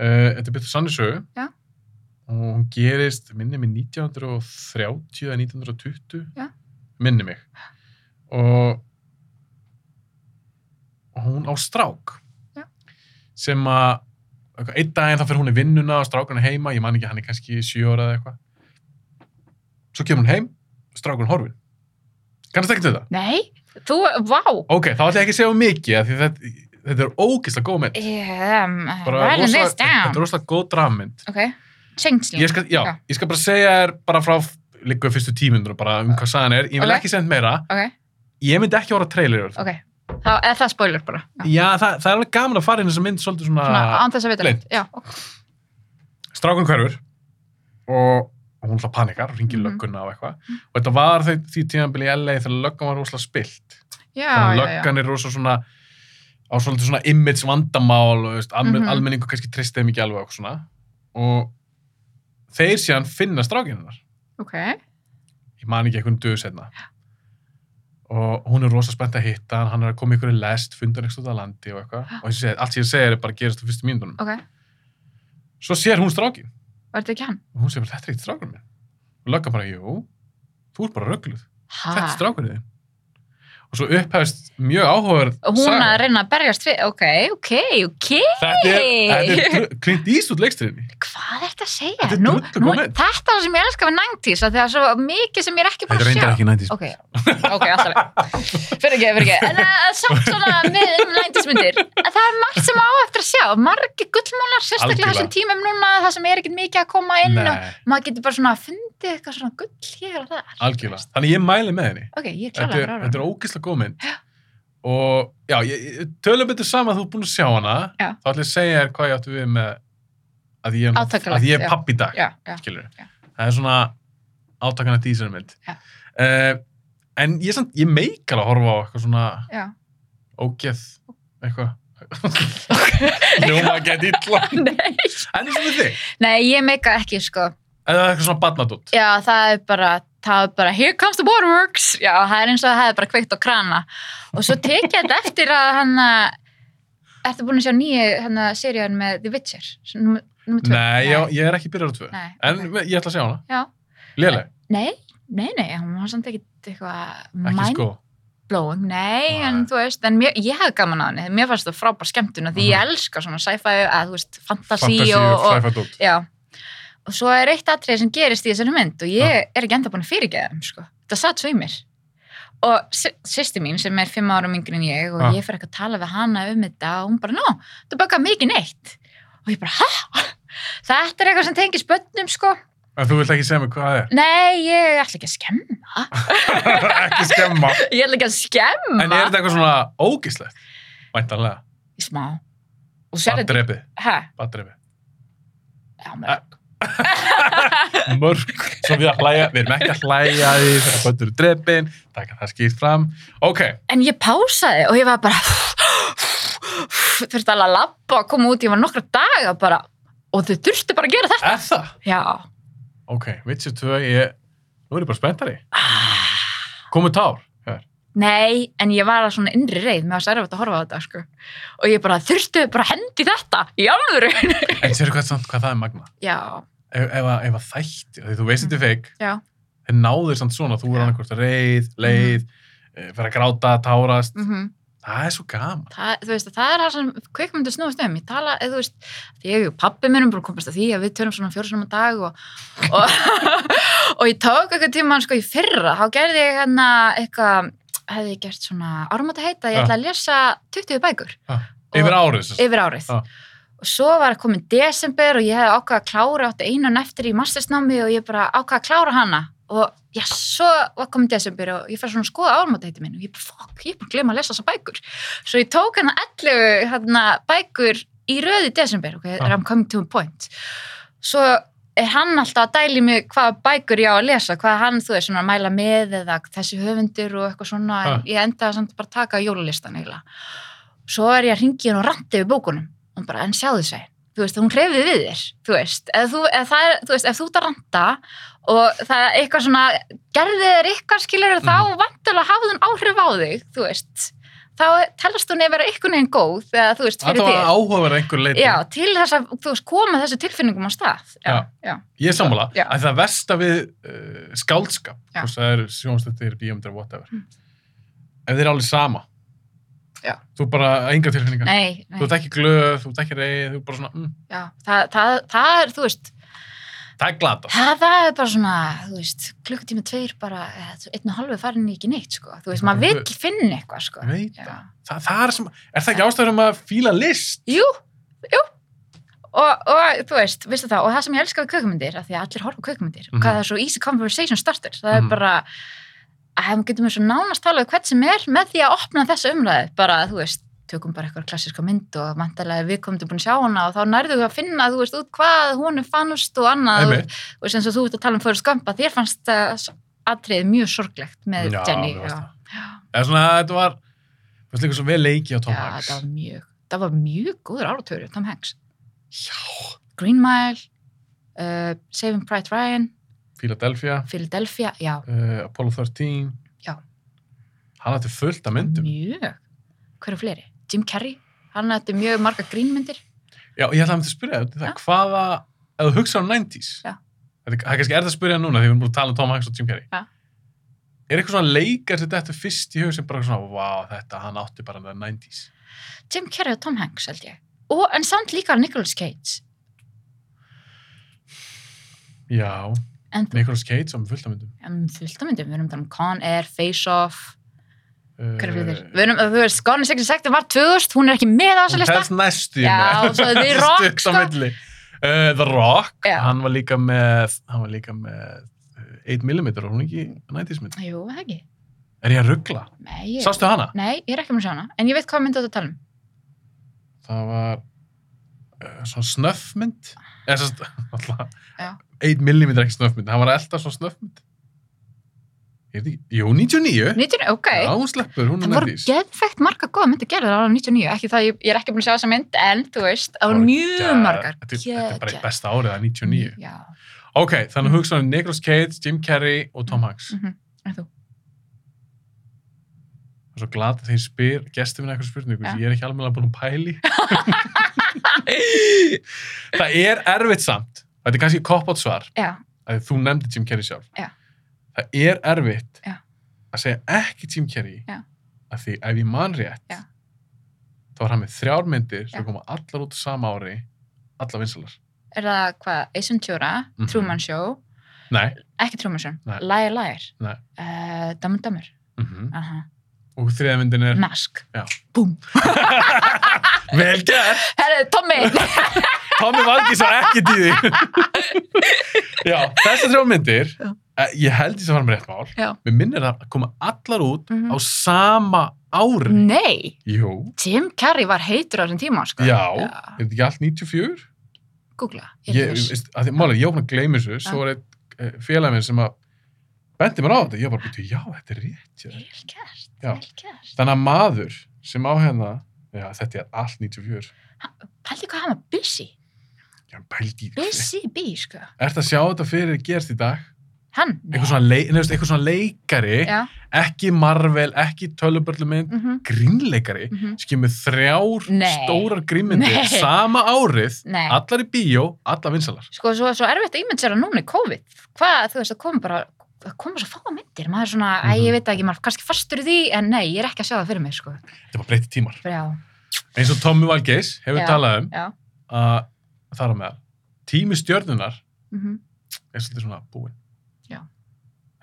Uh, þetta er byrtuð sannisögu. Já. Og hún gerist, minni mig 1930 eða 1920. Já. Minni mig. Og, og hún á strák. Já. Sem að, eitthvað, einn daginn þá fyrir hún í vinnuna og strákan er heima. Ég man ekki, hann er kannski sjö ára eða eitthvað. Svo kemur hún heim, strákan horfin. Kannast ekki þetta? Nei, þú, vá Ok, þá ætla ég ekki að segja of mikið, af því þetta, þetta er ógeðslega góð mynd. um, Bara Writing rosa- this Þetta down er rosalega góð drammynd. Ok, Tingsling ég skal, já, Já. ég skal bara segja þér bara frá líka fyrstu tímyndur bara um hvað sagan er, ég vil Ok. ekki senda meira Ok, ég myndi ekki voru að trailer ok, þá er það spoiler bara Já. já, það, það er alveg gaman að fara inn í þessa mynd svolítið svona, Svona án þess að vita Blint. neitt. Já, ok, strákun hverfur og og hún hlað panikar, ringir Mhm. lögguna og eitthvað og þetta var þau, því tímanbili í LA þegar löggan var rosalega spilt þannig já, að já, já löggan er rosalega svona á svolítið svona image vandamál og, veist, almen, Mhm. almenningu kannski tristið mikið alveg og eitthvað svona og þeir síðan finna strákinunar Ok, ég man ekki einhvern döðu setna og hún er rosa spennt að hitta hann, hann er að koma ykkur í lest, fundan eitthvað út að landi og eitthvað og eins og ég segi, allt sem ég segi er bara að gerast á fyrstu mínúndunum ok, Svo sér hún strákin var þetta ekki hann? og hún segir bara, þetta er ekki strákur minn. Og löggan bara, jú, þú ert bara röggluð. Ha? Þetta er strákurinn þinn. Og svo upphæfst mjög áhugaverð Og hún að reyna að berjast við, ok, ok, ok, Þetta er, Hey! þetta [LAUGHS] er Clint Eastwood leikstyrinn. hvað er þetta að segja? Þetta er Nú- drullu nú- góð mynd. Þetta er það sem ég elska við 90s, að það er svo mikið sem ég er ekki búin að sjá. ekki næntís. Ok, ok, alltaf. Fyrir ekki, fyrir ekki. En uh, samt svona með um 90s myndir, að það er margt sem á eftir að sjá, margir gullmólar, sérstaklega Algjörlega. þessum tímum núna, það sem er ekkit mikið að koma inn og Nei, maður getur bara svona fundið eitthvað svona gull hér og þar. algjörlega. Þannig ég mæli með henni. Ok, ég er Þetta klálega er, fyrir þetta er ógislega góð mynd. Og já, ég, ég- tölum betur saman að þú er búin að sjá hana. Já. Þá ætla ég að segja þér hvað ég áttu við með að ég, er- Átakanlegt, að ég já. er pappi í dag. Já, já. [LAUGHS] skilur Já. það er svona átakana dísinu mynd Já. uh, en ég, samt, ég meikar að horfa á eitthvað svona Já. ógeð eitthvað ljóma að geta illa [LAUGHS] en Nei. eins og við þig Nei, ég meika ekki, sko. eða eitthvað svona badnadótt Já, það er bara, það er bara, here comes the waterworks. Já, það er eins og það hefði bara kveikt á krana. Og svo tek ég þetta eftir að hann, að- ertu búin að sjá nýju hann að serían með The Witcher, nummer nummer tvö? nei, ég, ég er ekki byrjar á tvö Nei, en ok. ég ætla að sjá hana Já. léleg, Nei, nei, nei, hún var samt ekkit eitthvað ekki sko mindblowing, nei, Nei. en þú veist, en mér, ég hef gaman að henni, mér fannst það frábær skemmtun og því ég elska svona sci-fi, að þú veist, fantasy, Mhm. fantasy og, og og, sci-fi dótt já, og svo er eitt atrið sem gerist í þessari mynd og ég er ekki enda búin að fyrirgeða þeim, sko, það satt svo í mér. Og sy- systir mín sem er fimm árum yngri en ég og Já. ég fyrir eitthvað að tala við hana um þetta og hún bara, no, þú baka mikið neitt. Og ég bara, hæ? Þetta er eitthvað sem tengis bönnum, sko. en þú vilt ekki segja mig [LAUGHS] hvað Nei, ég ætla ekki að skemma. það er ekki skemma Ég ætla ekki að en skemma er þetta eitthvað svona ógislegt væntanlega, í smá og sér þetta badrefi hæ, badrefi já, mörg mörg sem við að hlæja, við erum ekki að hlæja að því þegar böndur eru drepin, taka það skýrt fram ok, en ég pásaði og ég var bara þurfti alveg að labba og koma út ég var nokkra daga bara og þau þurfti bara að gera þetta er það? já, ok, Witcher 2, ég nú er ég bara spenntari, ah, komu tár hér. nei en ég var að svona innri reið með að særa að horfa á þetta sko. og ég bara þurfti bara að hendi þetta í alvöru en sér hvað, samt hvað það er magna já, ef, ef, að- ef að þætti, af því þú veist þetta er feik Mm, Já. þeir náður samt svona, þú er annarkvort reið, leið mm. vera að gráta, tárast mhm það er svo gaman það, þú veist, það er það sem kveikmyndu snúast um, ég tala, eða þú veist því ég og pappi minn erum bara komast að því að við tölum svona fjóru svona dag og, og, [LAUGHS] og ég tók eitthvað tíma sko í fyrra, þá gerði ég hérna eitthvað, hefði ég gert svona áramóta heita, ég Ja. ætla að lesa 20 bækur Og- yfir árið, sem sagt. yfir árið Ja. og svo var komin desember og ég hefði ákvað að klára átti einan eftir í mastersnámi og ég bara ákvað að klára hana og já, svo var komin desember og ég fær svona að skoða áramótaheiti minn og ég bara, fuck, ég er bara að glema að lesa þessa bækur svo ég tók hana 11 hana, bækur í röði desember ok, Ah. I'm coming to a point svo er hann alltaf að dæli mig hvaða bækur ég á að lesa, hvað hann þú er svona að mæla með eða þessi höfundur og eitthvað svona, Ah. en ég endaði samt bara að taka jólulistan eiginlega. Svo er ég að ringi hann og randi við bókunum, hún bara, en sjáðu seg, þú veist, hún hreyfið við þér, þú veist, ef þú, ef það er, þú veist, ef þú ert að randa og það er eitthvað svona, gerði þér eitthvað skilur þá Mhm. vantilega hafði hún áhrif á þig, þú veist, þá telast hún eða vera eitthvað neginn góð, eða þú veist, það fyrir var þig. áhugaverð einhver leiti Já, til þess að, þú veist, koma þessu tilfinningum á stað. Já. já. Ég er sammála, Já. að það versta við uh, skáldskap, Já. hvort það eru sjónstættir, bíómyndir, whatever, Mm. ef þeir eru alveg sama, Já. þú bara enga tilfinningar, Nei, nei. þú ert ekki glöð, þú ert ekki reið, þú ert bara svona, mm, Já, það, það, það er, þú veist, það er glata. það, það er bara svona, þú veist, klukkutíma tveir bara, eða þú- einn og halvu farin í ekki neitt, sko. Þú veist, maður vill finna eitthvað, sko. Ég veit Já. það. það, það er, sem, er það ekki ástæður um að fíla list? Jú, jú. Og, og þú veist, veistu það, og það sem ég elska við kökumyndir, af því að allir horfa kökumyndir, mm Mhm. hvað það er svo easy conversation starter, það Mhm. er bara, að ef maður getur mér svo nánast talað við hvern sem er með því að opna þessa umræði, bara, þú veist, tökum bara eitthvað klassíska mynd og vantarlega við komum til búin að sjá hana og þá nærðu þú að finna, þú veist, út hvað hún er fannst og annað og, Einmitt. og sem þú ert að tala um fyrir skampa, þér fannst uh, atriðið mjög sorglegt með Já, Jenny. mér fannst það. Eða svona, þetta var, það var líka svo vel leiki á Tom Já, Hanks. það var mjög, það var mjög góður áratöru, Tom Hanks. Já, Green Mile, uh, Saving Private Ryan, Philadelphia, Philadelphia, já, uh, Apollo 13. Já. Hann hætti fullt af myndum. mjög. Hver er fleiri? Jim Carrey, hann ætti mjög marga grínmyndir. Já, ég ætlaði að mynda að spyrja þig, það, hvaða, ef þú hugsa á 90s, Já. þetta það er kannski erfitt að spyrja núna því við erum búin að tala um Tom Hanks og Jim Carrey, Já. er eitthvað svona leikar sem þetta fyrst í hug sem bara svona, vá, þetta, hann átti bara með 90s. Jim Carrey og Tom Hanks held ég og, en samt líka Nicolas Cage Já, en þú, Nicolas Cage á með fullt af myndum. um, fullt af myndum, við erum að tala um Con Air, Face Off hver er fyrir Eh, við erum, þú veist, Gone in 60 sektum var 2000 hún er ekki með á þessu Hún lista telst næstu í Já, með. og svo The Rock, [LAUGHS] Stutt á sko. milli. Eh, The Rock, Já. hann var líka með, hann var líka með eh, 8mm, var hún ekki 90s mynd? jú, það ekki Er ég að ruggla? nei, ég, Sástu hana? nei, ég er ekki með sjána en ég veit hvað myndi þetta tala um það var uh, svona snöffmynd eða svona alltaf Já. [LAUGHS] 1 mm ekki snöffmynd, hann var að elda svona snöffmynd ég veit ekki, jú 99 99, ok já hún sleppur, hún það er voru nættís geðfægt margar góða myndi gerðið ára 99, ekki það, ég, ég er ekki búin að sjá þessa mynd en, þú veist, það voru mjög margar þetta, er- þetta er bara Geðgæð. eitt besta árið, það er 99 já, ok, þannig Mhm. mm. hugsaðum Nicolas Cage, Jim Carrey og Tom Hanks mhm, en þú og svo glad að þeir spyr, gestum við eitthvað spurningu, Já. ég er ekki alveg búin að pæli [LAUGHS] það er erfitt samt þetta er kannski kopp átt svar já, að þú nefndi Jim Carrey sjálf Já. það er erfitt Já. að segja ekki Jim Carrey Já. að því ef ég man rétt Já. þá var hann með þrjár myndir sem Já. koma allar út á sama ári allar vinsalar er það hvað, Ace Ventura, Mhm. Truman Show Nei, ekki Truman Show, Nei. Liar Liar Nei. uh, Dammur Dammur mm aha, og þriða myndin er Mask Já. Búm. vel gert, Herðu, [LAUGHS] Tommy Tommy Valgis var ekki [LAUGHS] tíði já, þessar þrjár myndir Já. eh, ég held því sem var með rétt mál Já. mér minnir það að koma allar út Mhm. á sama ári Nei, jú, Jim Carrey var heitur á þessum tíma sko. já, er þetta ekki allt 94? Googla, ég ég, er þess veist, að því, máli, ég opna að gleyma þessu svo var eitt félag minn sem að bendi mér á þetta, ég bara byrju, já, þetta er rétt já. Vel gert, Já. vel gert þannig að maður sem á hérna já, þetta er allt 94 Pældi hvað hann var busy, já, pældi, í því. busy bee sko. ert að sjá þetta fyrir gerst í dag Hann, nei eitthvað svona, leik, nefnst, eitthvað svona leikari Já, ekki Marvel, ekki tölubörlumynd mhm, mhm grínleikari, sem kemur þrjár Nei. stórar grínmyndir Nei. sama árið, Nei, allar í bíó allar vinsalar sko, svo, svo erfitt að ímynd sér að núna í COVID Hvað, þú veist, það kom bara það koma svo fáa myndir, maður er svona, æ, Mhm. ég veit það ekki, maður er kannski fastur í því, en nei, ég er ekki að sjá það fyrir mig, sko. þetta var breytti tímar Bara, Já, eins og Tommy Valgeis hefur Já, talað um já. að þar á meðal tími stjörnunar mhm. er svolítið svona búinn Já.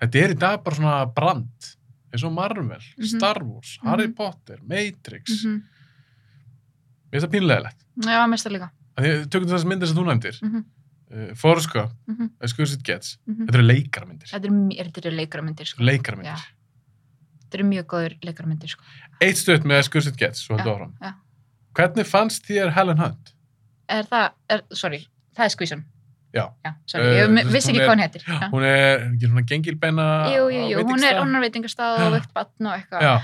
þetta er í dag bara svona brand eins og Marvel, Mhm. Star Wars Harry Mhm. Potter, Matrix mm -hmm. Mhm. mér finnst það pínlegilegt Já, mest það líka. tökum þessar myndir sem þú nefndir mm Mhm. uh, Forrest Gump, mm Mhm. Skursit Gets Mhm. þetta eru leikarmyndir Þetta eru er, þetta eru leikaramindir, sko. leikarmyndir, Þetta eru mjög góður leikaramindir, sko. eitt stutt með Skursit Gets svo heldur áfram já. hvernig fannst þér Helen Hunt? Er það, er, sorry, það er skvísan. Já. Já, sorry, Eh, ég þú mi- veist, vissi hún ekki er- hvað hún heitir. Já. hún er, er ekki svona gengilbeina Jú, jú, jú, hún er, hún er veitingastað og Já. veikt batn og eitthvað. já,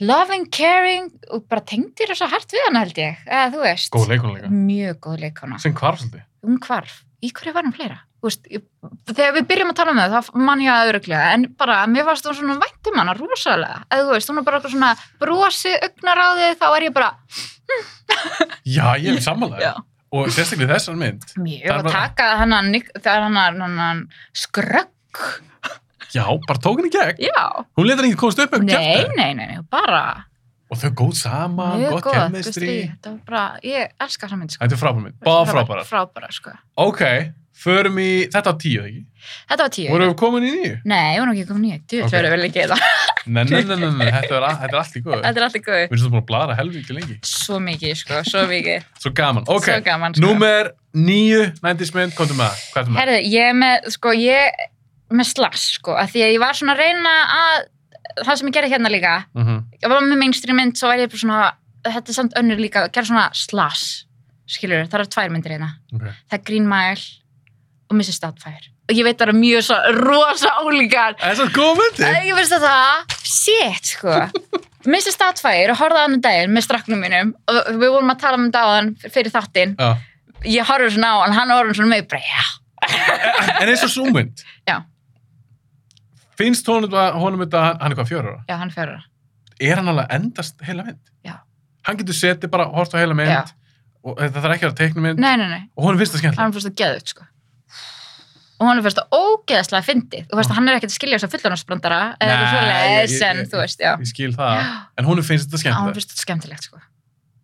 Loving, caring, og bara tengdir þess að hart við hana, held ég. Eða, þú veist. góð leikunleika Mjög góð leikona. sem hvarf svolítið Hún hvarf. Í hverju var hún fleira? Þú veist, ég, þegar við byrjum að tala um það, þá man ég að öruglega, en bara, mér varst hún svona vænt um hana rosalega. Eða, þú veist, hún er bara eitthvað svona brosi, augnaráðið, þá er ég bara, Já, ég er [LAUGHS] sammála Já. þér. Og sérstaklega þessar mynd. Mjög, Þar og var- taka hennan, Nick- það er hennan, hennan skrögg, Já, bara tók henni í gegn. já, Hún letur ekki komast upp með nei, kjæftu. nei, nei, nei, bara, Og þau er góð saman, mjög gott góð, kemmistri. gustri, þetta var bara, ég elska þessa mynd, sko. Þetta er frábær mynd. Bá frábærar. Frábæra, sko. Ok, förum í... Þetta á tíu, eða ekki? Þetta var tíu. Vorum við komin í nýju? Nei, ég var nú ekki komin í, þú Ok. okay. verður vel ekki í það, Nei, nei, nei, nei, nei, þetta er, a- þetta er allt í góðu. þetta er alltaf góð, Við erum svo búin að blara helvíkli lengi. svo mikið, sko, svo mikið, Svo gaman. Ok, svo gaman, sko. númer níu, nændismynd, komdu með það. Hvað er það með? Herðu, ég er með, sko, ég er með slass, sko, að því að ég var svona að reyna að, það sem ég gerði hérna líka, Mm ég var með mainstream mynd svo væri ég bara svona, þetta er samt önnur líka gera svona slash, skilur það eru tvær myndir hérna, Ok, það er Green Mile og Mrs. Doubtfire og ég veit það eru mjög svo rosa ólíkar þessar góð myndir. ég veist að það, shit sko Mrs. Doubtfire og horfði á hann um daginn með straknum mínum og við vorum að tala um dáðan fyrir þáttinn, Já. ég horfði svona á hann hann orðin svona með bara, já, En eins og svo mynd. Já. Finnst honum þetta, honum þetta, hann er hvað, fjörur? já hann fjörur er hann alveg að endast heila mynd Já. hann getur setið bara, hort á heila mynd Já. og þetta er ekki að teikna mynd Nei, nei, nei, og honum finnst það skemmtilega hann fyrst að geða sko. og hann fyrst að ógeðslega fyndið, þú veist að hann er ekkert að skilja þess að fullornarsbrandara eða Ah. Nei, eitthvað ég- svoleiðis ég- en þú veist, já, ég skil það, en honum finnst þetta hann skemmtilega fyrst að skemmtilegt sko.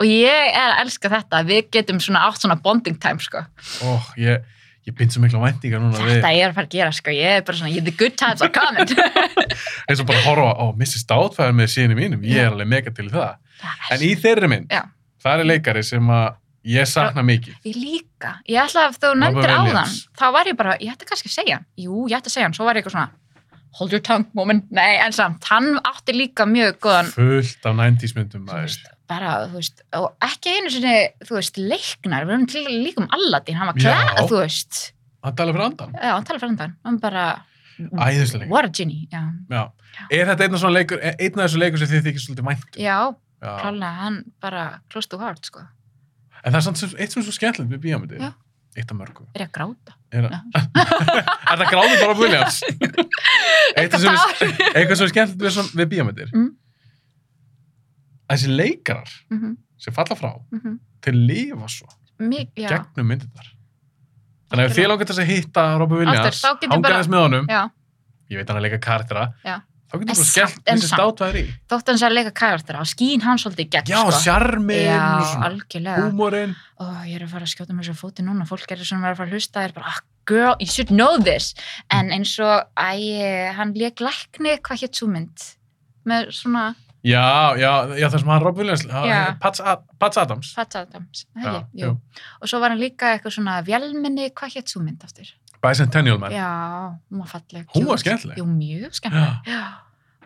og ég er að elska þetta við getum svona átt svona bonding time sko. og ég, ég bind svo mikla væntingar núna við, þetta ég er að fara að gera, sko. ég er bara svona the good times are [LAUGHS] coming eins og bara horfa á Mrs. Doubtfire með síðinu mínum, ég er alveg mega til í það Það en er- í þeirri mynd, Já. það er leikari sem að ég sakna mikið Ég líka, ég ætla að ef þú nefndir Williams. áðan, þá var ég bara, ég ætti kannski að segja hann. Jú, ég ætti að segja hann, svo var ég eitthvað svona, hold your tongue moment, nei, en samt, hann átti líka mjög góðan, fullt af 90s myndum þú maður. veist, bara, þú veist, og ekki einu sinni, þú veist, leiknar, við erum til líka um Aladdin, hann var Já. klæð, þú veist, hann talar fyrir andan, já, hann talar fyrir andan, hann bara, æðislega leikari Mm. what a genie, já, Já. er þetta einn af svona leikur e, einn af þessu leikur sem þið þykir svolítið mæntum já, Já. klálega, hann bara close to heart, sko, en það er samt sem- eitt sem er svo skemmtilegt með bíómyndi Já. eitt af mörgum er ég að gráta? er, [LAUGHS] er það gráður bara [LAUGHS] Williams eitt af sem er [LAUGHS] eitthvað sem er skemmtilegt við, svona- við bíómyndir Mm. þessi leikarar Mm -hmm, sem falla frá mm -hmm. til lifa svo Mik, já, gegnum myndirnar þannig að ef Algjörlega. þið langar til þess að hitta Robert Williams, Aftur, þá get ég bara- hangar þess með honum já. ég veit hann að leika kartera Já. þá getur En bara samt- skellt en þessi samt. státvæðir í þótt hann sé að leika karakter á skín hann svolítið í gegn já, sko. já, sjarmin, algjörlega húmórin Ó, ég er að fara að skjóta mér svo fóti núna fólk er svona að vera að fara að hlusta er bara, ah, girl, you should know this en eins og, æ, hann leik lækni, hvað hétt svo mynd með svona já, já, já, það sem hann Robert Williams Já. hann- Pats Ad- Pats Adams Fatsadams, Já, hegi, jú jú. og svo var hann líka eitthvað svona vélminni hvað hétt svo mynd aftur? Bicentennial Man Já, hún var falleg Hún var cute. skemmtileg. Jú, mjög Já. skemmtileg Já.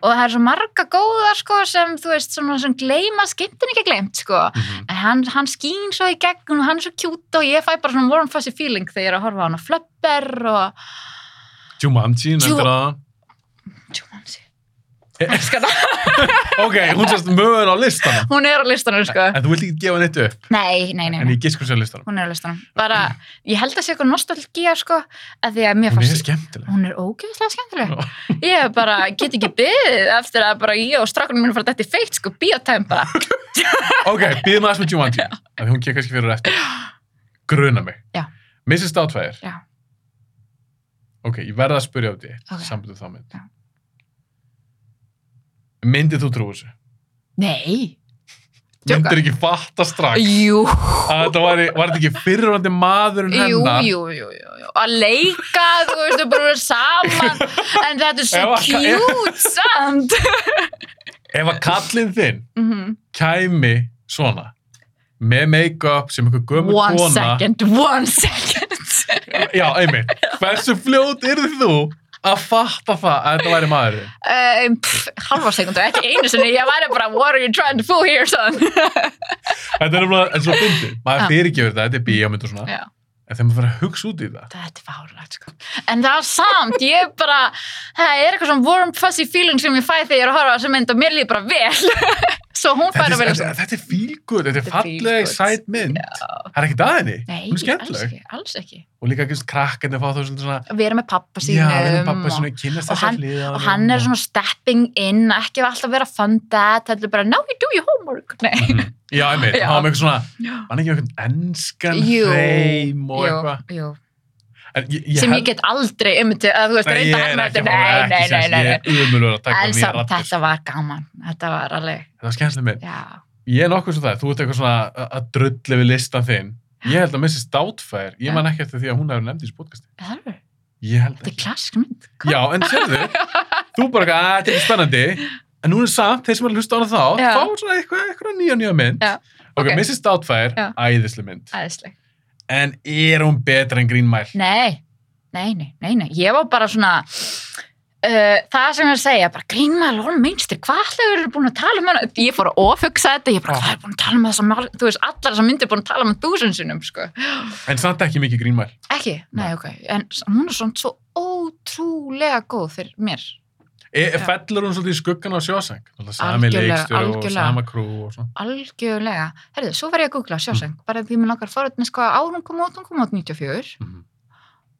og það er svo marga góða sko sem, þú veist, svona sem gleyma skemmtin ekki gleymt, sko [GASPS] Mhm. en hann, hann skín svo í gegn og hann er svo kjút og ég fæ bara svona warm fuzzy feeling þegar ég er að horfa á hann og flöpper og Jumanji, Ju- nefndir að Jumanji Eh. Elskar það. ok, hún sérst mögur á listanum hún er á listanum sko en þú vilt ekki gefa neitt upp nei, nei, nei, en nei. ég giskur sér listanum hún er á listanum bara, ég held að sé eitthvað nostalgía sko að því að hún mér er fannst skemmtileg hún er ógeðslega skemmtileg ég bara get ekki byðið eftir að bara ég og strákunum minn fara að detta í feitt sko biotime bara Ok, býðum aðeins með Jumanji af því hún kemur kannski fyrir og eftir Gruna mig Já. Mrs. Doubtfire Já. Ok, ég verða að spyrja á því Ok. okay. sambandum þá mynd Já. Myndið þú trú þessu? nei Djóka. Myndir ekki fatta strax jú, að þetta var, var þetta ekki fyrirvandi maðurinn jú, hennar jú, jú, jú, jú. að leika, þú veist, þú bara verið saman en þetta er Ef svo að- cute samt Ef að kallinn þinn Mhm. kæmi svona með make-up sem einhver gömur One kona second, one second Já, einmitt Hversu fljót yrði þú að fatta það að þetta væri maðurinn? um, pff, Halva sekundu, ekki einu sinni Ég væri bara, what are you trying to fool here, son? Þetta er nefnilega, en svo fyndið. Já. Maður fyrirgefur þetta, þetta er bíómynd og svona. Já. En þegar maður fyrir að hugsa út í það. Þetta er fárlegt, sko En það er samt, ég bara Það er eitthvað svona warm fuzzy feeling sem ég fæ þegar ég er að horfa á þessa mynd og mér líður bara vel [LAUGHS] Svo hún Þetta fær að er, velja þetta, þetta er feel good, þetta er Þetta er feel falleg, good. sæt mynd. Það er ekkert að henni. Nei, hún er alls skemmtileg. ekki, alls ekki Og líka ekki krakkarnir fá þá svolítið svona, Vera með pappa sínum já, við erum pappa og- svona, kynast og þess hann- að hliða. og hann er svona stepping in ekki alltaf vera fun dad heldur bara, now you do your homework [LAUGHS] Nei, Mhm. Já, einmitt, hann Já. var með eitthvað svona, Já. hann ekki með eitthvað enskan Jú, hreim og jú, eitthvað. jú En ég- ég sem held- ég get aldrei umtið að þú veist, Nei, reynda ég hann er með ekki þetta, að fara, nei, nei, ekki nei, séns, nei, ég nei. er umulur að taka En nýja samt, rattir. þetta var gaman, þetta var alveg, Þetta var skemmtileg mynd. já, Ég er nokkuð svo það, þú ert eitthvað svona að- að drulli við listan þinn. Ég held að Mrs. Doubtfire, ég Já. man ekki eftir því að hún hefur nefnd í þessu podcasti. það er, Ég held þetta er ekki. klassisk mynd, Já, en sérðu, þú bara eitthvað, "Ah, þetta er ekki spennandi, en núna samt, þeir sem er að hlusta á hana þá, Já. fá svona eitthvað, eitthvað nýja, nýja mynd. Já, Ok, ok. Mrs. Doubtfire, Já. æðislega mynd. aðeinsleg. En er hún betra en Green Mile? Nei, nei, nei, nei, nei, ég var bara svona, uh, það sem ég er að segja, bara grínmaður, lón, meinstir, hvað allir eru búin að tala um hana? Ég fór að ofugsa þetta, ég bara, Já. hvað er búin að tala um þessa, mál- þú veist, allar þessar myndir búin að tala um þúsundsinnum, sko. En samt ekki mikið Green Mile. Ekki, nei, ok, en s- hún er svona svo ótrúlega góð fyrir mér. E, Já. fellur hún svolítið í skuggan á sjóseng? Sami Algjörlega, leikstjóri og algjörlega. sama krú og svona. Algjörlega. Herðu, svo var ég að Mm. googla Sjóseng, bara því mér langar forutnins hvað ár hún kom út, hún kom út 94. Mhm.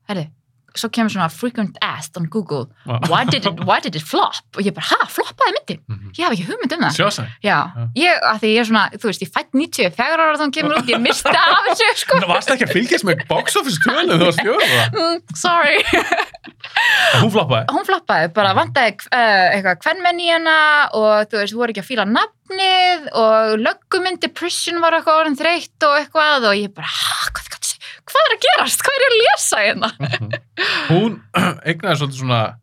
Herðu, svo kemur svona frequent asked on Google Vá. why did it, why did it flop? Og ég bara, ha, floppaði myndin? Mhm. Ég haf ekki hugmynd um það. Sjósæ. Já, Já. ég, að því ég er svona, þú veist, ég fætt 94 ára þegar hún kemur út, ég misti af þessu, sko. Það varst ekki að fylgjast með box office tölum þú varst fjóra það. Mm, Sorry. En Hún floppaði. Hún floppaði, bara vantaði uh, eitthvað kvennmenn í hana og þú veist, þú voru ekki að fíla nafnið og lögguminn depression var eitthvað orðin þreytt og eitthvað og ég bara, "Ha, hvað, hvað, hvað er að gerast? Hvað er ég að lesa hérna? Mhm. [LAUGHS] Hún [CLEARS THROAT] eignaði svolítið svona,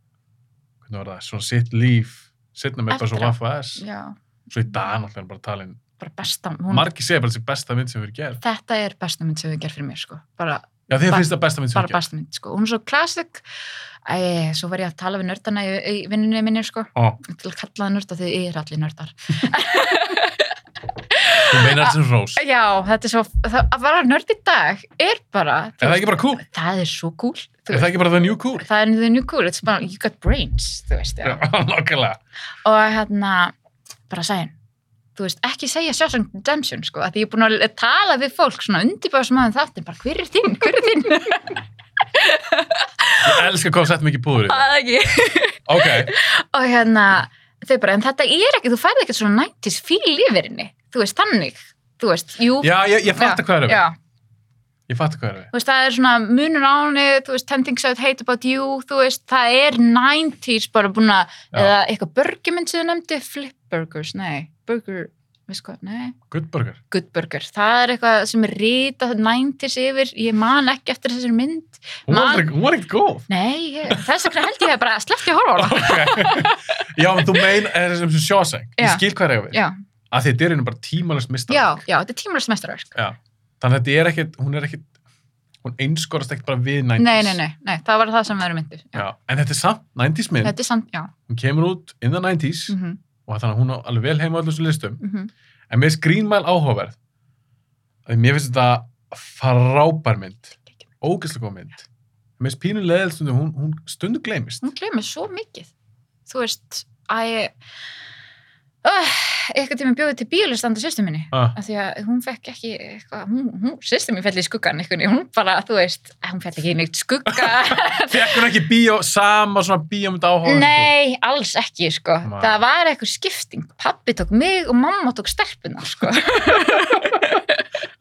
hvernig var það, svona sitt líf, sittna með bara svo Eftir á. Wafa S. Já, Svo í dag náttúrulega er hann bara talin. bara besta, hún, Margi segir bara þessi besta mynd sem við erum gerð. þetta er besta mynd sem við gerð fyrir mér, sko. Bara, Já, þið Bara- finnst það besta mynd sem bara við gerð. besta mynd, sko. Hún er svo klassik, Æ, svo var ég að tala við nördana í, í vinnunni minni, sko. Ó, til að kalla það nörda því ég er allir nördar. þú meinar þetta sem rós. Já, þetta er svo, það, að vera nörd í dag er bara, Er það ekki bara cool? það er svo cool. þú Er það veist. ekki bara the new cool? Það er nýðið njú cool, it's bara, you got brains, þú veist, já. Já, [LAUGHS] nokkulega. Og hérna, bara sæðin, þú veist, ekki segja Shawshank Redemption, sko, að því ég er búin að tala við fólk svona undirbáðsmaðum þáttin, bara hver er þinn, hver er [LAUGHS] þinn? Ég elska hvað sett mikið púður í það. Það er ekki. Ok, Og hérna, þau bara, en þetta er ekki, þú færði ekkert svona 90s fíl yfir henni, þú veist, þannig, þú veist, jú. já, ég, ég fatta hvað er við. Já, Ég fatta hvað er við. þú veist, það er svona munur á henni, þú veist, 10 things I would hate about you, þú veist, það er 90s bara búin að, Já. eða eitthvað burgermynd sem þú nefndi, flip burgers, nei, burger, veist hvað, nei, Good burger. good burger, það er eitthvað sem er rítað 90s yfir, ég man ekki eftir þessari mynd, Hún var Man- aldrei- hún var ekkert góð. nei, ég, þess vegna held ég að bara sleppti að horfa á það, Ok. [LAUGHS] Já, en þú mein, er þessum sem sjóseng. Ég Já. skil hvað er við. [LAUGHS] já, Að þetta er einu bara tímalist mistar. já, já, þetta er tímulegst mestarverk, Þannig að þetta er ekkert, hún er ekkert, hún einskorast ekkert bara við 90s. nei, nei, nei, nei, það var það sem verður myndir, já, Já, en þetta er samt 90s mynd. þetta er samt, já, Hún kemur út in the 90s mhm, mhm, og þannig að hún á alveg vel heima á öllum þessum listum. En mér finnst Green Mile áhugaverð. Því mér finnst þetta frábær mynd. Ógæslega góð mynd. Mér finnst pínu leðil stundu, hún, hún stundu gleymist. hún glemir svo mikið þú veist að ég uh, eitthvað tíma bjóði til bílistanda sýstu minni [LAUGHS] Ah, af því að hún fekk ekki eitthvað, hún, hún sýstu mín fell í skuggan einhvernig, hún bara, þú veist, hún fell ekki í neitt skugga, Fekk hún ekki bíó, sama svona bíómynd áhuga? nei, alls ekki sko, Vá. það var eitthvað skipting pappi tók mig og mamma tók stelpuna sko,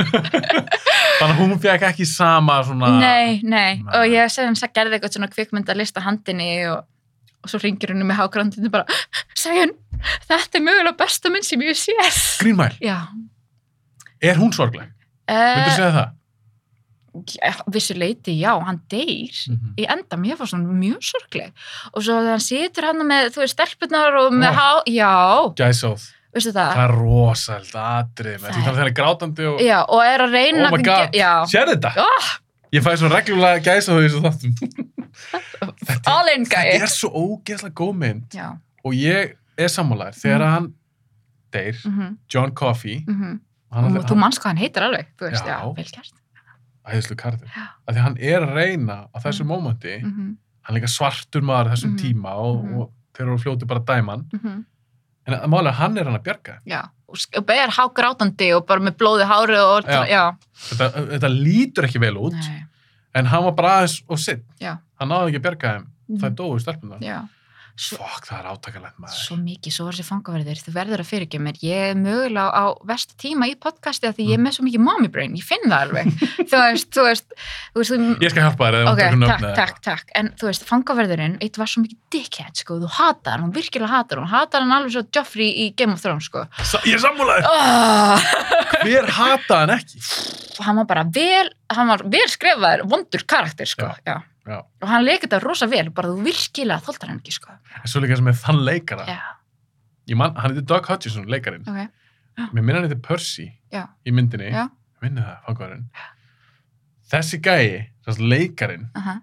Þannig að hún fekk ekki sama svona... nei, nei Nei. og ég sem sagt gerði eitthvað svona kvikmyndalista handinni og, og svo ringir hún um í hágrandinu bara, segjum þetta er mögulega besta minn sem ég sé Green Mile, já er hún sorgleg? Vildu Uh, segja það? Eh, vissu leiti, já, hann deyr Mhm. í enda, mér fannst hann mjög sorgleg og svo þegar hann situr hann með, þú veist, stelpunar og með Ó. há, já, Gæsóð, veistu það það er rosald atrið með. Það Þannig er- að það er grátandi og... já, og er að reyna Oh my god, já, sér þetta? Ah. Ég fæ svo reglulega gæsóð í þessu [LAUGHS] þáttum. all in Þetta guy er svo ógæslega góð mynd já, og ég er sammálaður þegar Mhm. hann deyr, mhm, John Coffey mhm hann og þú manns hvað hann heitir alveg, þú veist, Já. já, vel gert æðislu karður, Já. af því hann er að reyna á þessu mómenti, mhm, hann er líka svartur maður á þessum Mhm. tíma og, Mhm. og þeir eru fljóti bara að dæma hann mhm, en að málega hann er hann að bjarga þeim. já og sk- og er hágrátandi og bara með blóði hári og, Já. já, þetta, þetta lítur ekki vel út nei, en hann var bara aðeins og sitt Já. hann náði ekki að bjarga þeim, það mhm, er dóu stelpunar já Svo- fokk, það er átakalegt maður Svo mikið, svo var þessi fangaverðir, þú verður að fyrirgefa mér. Ég er mögulega á versta tíma í podcasti af því Mm. ég er með svo mikið mommy brain, ég finn það alveg. [LAUGHS] þú veist, þú veist, þú veist, þú... ég skal hjálpa þér eða Ok, hún takk, eða takk, eitthvað. takk. En þú veist, fangaverðurinn, eitt var svo mikið dickhead, sko, þú hatar hann, hún virkilega hatar hann, hún hatar hann alveg svo Joffrey í Game of Thrones, sko. Sa- ég er sammálaður, Ah! Oh, hver hata hann ekki hann var bara vel, hann var vel skrifaður, vondur karakter, sko. Já. Já. Og hann leikir þetta rosa vel, bara þú virkilega þoltar hann ekki, sko. en svo líka sem er þann leikara Já, ég man, hann heitir Doug Hutchison, leikarinn ok. mér minna hann heitir Percy Já. í myndinni, Já. ég minna það, fangvarinn þessi gæi, þessi leikarin Uh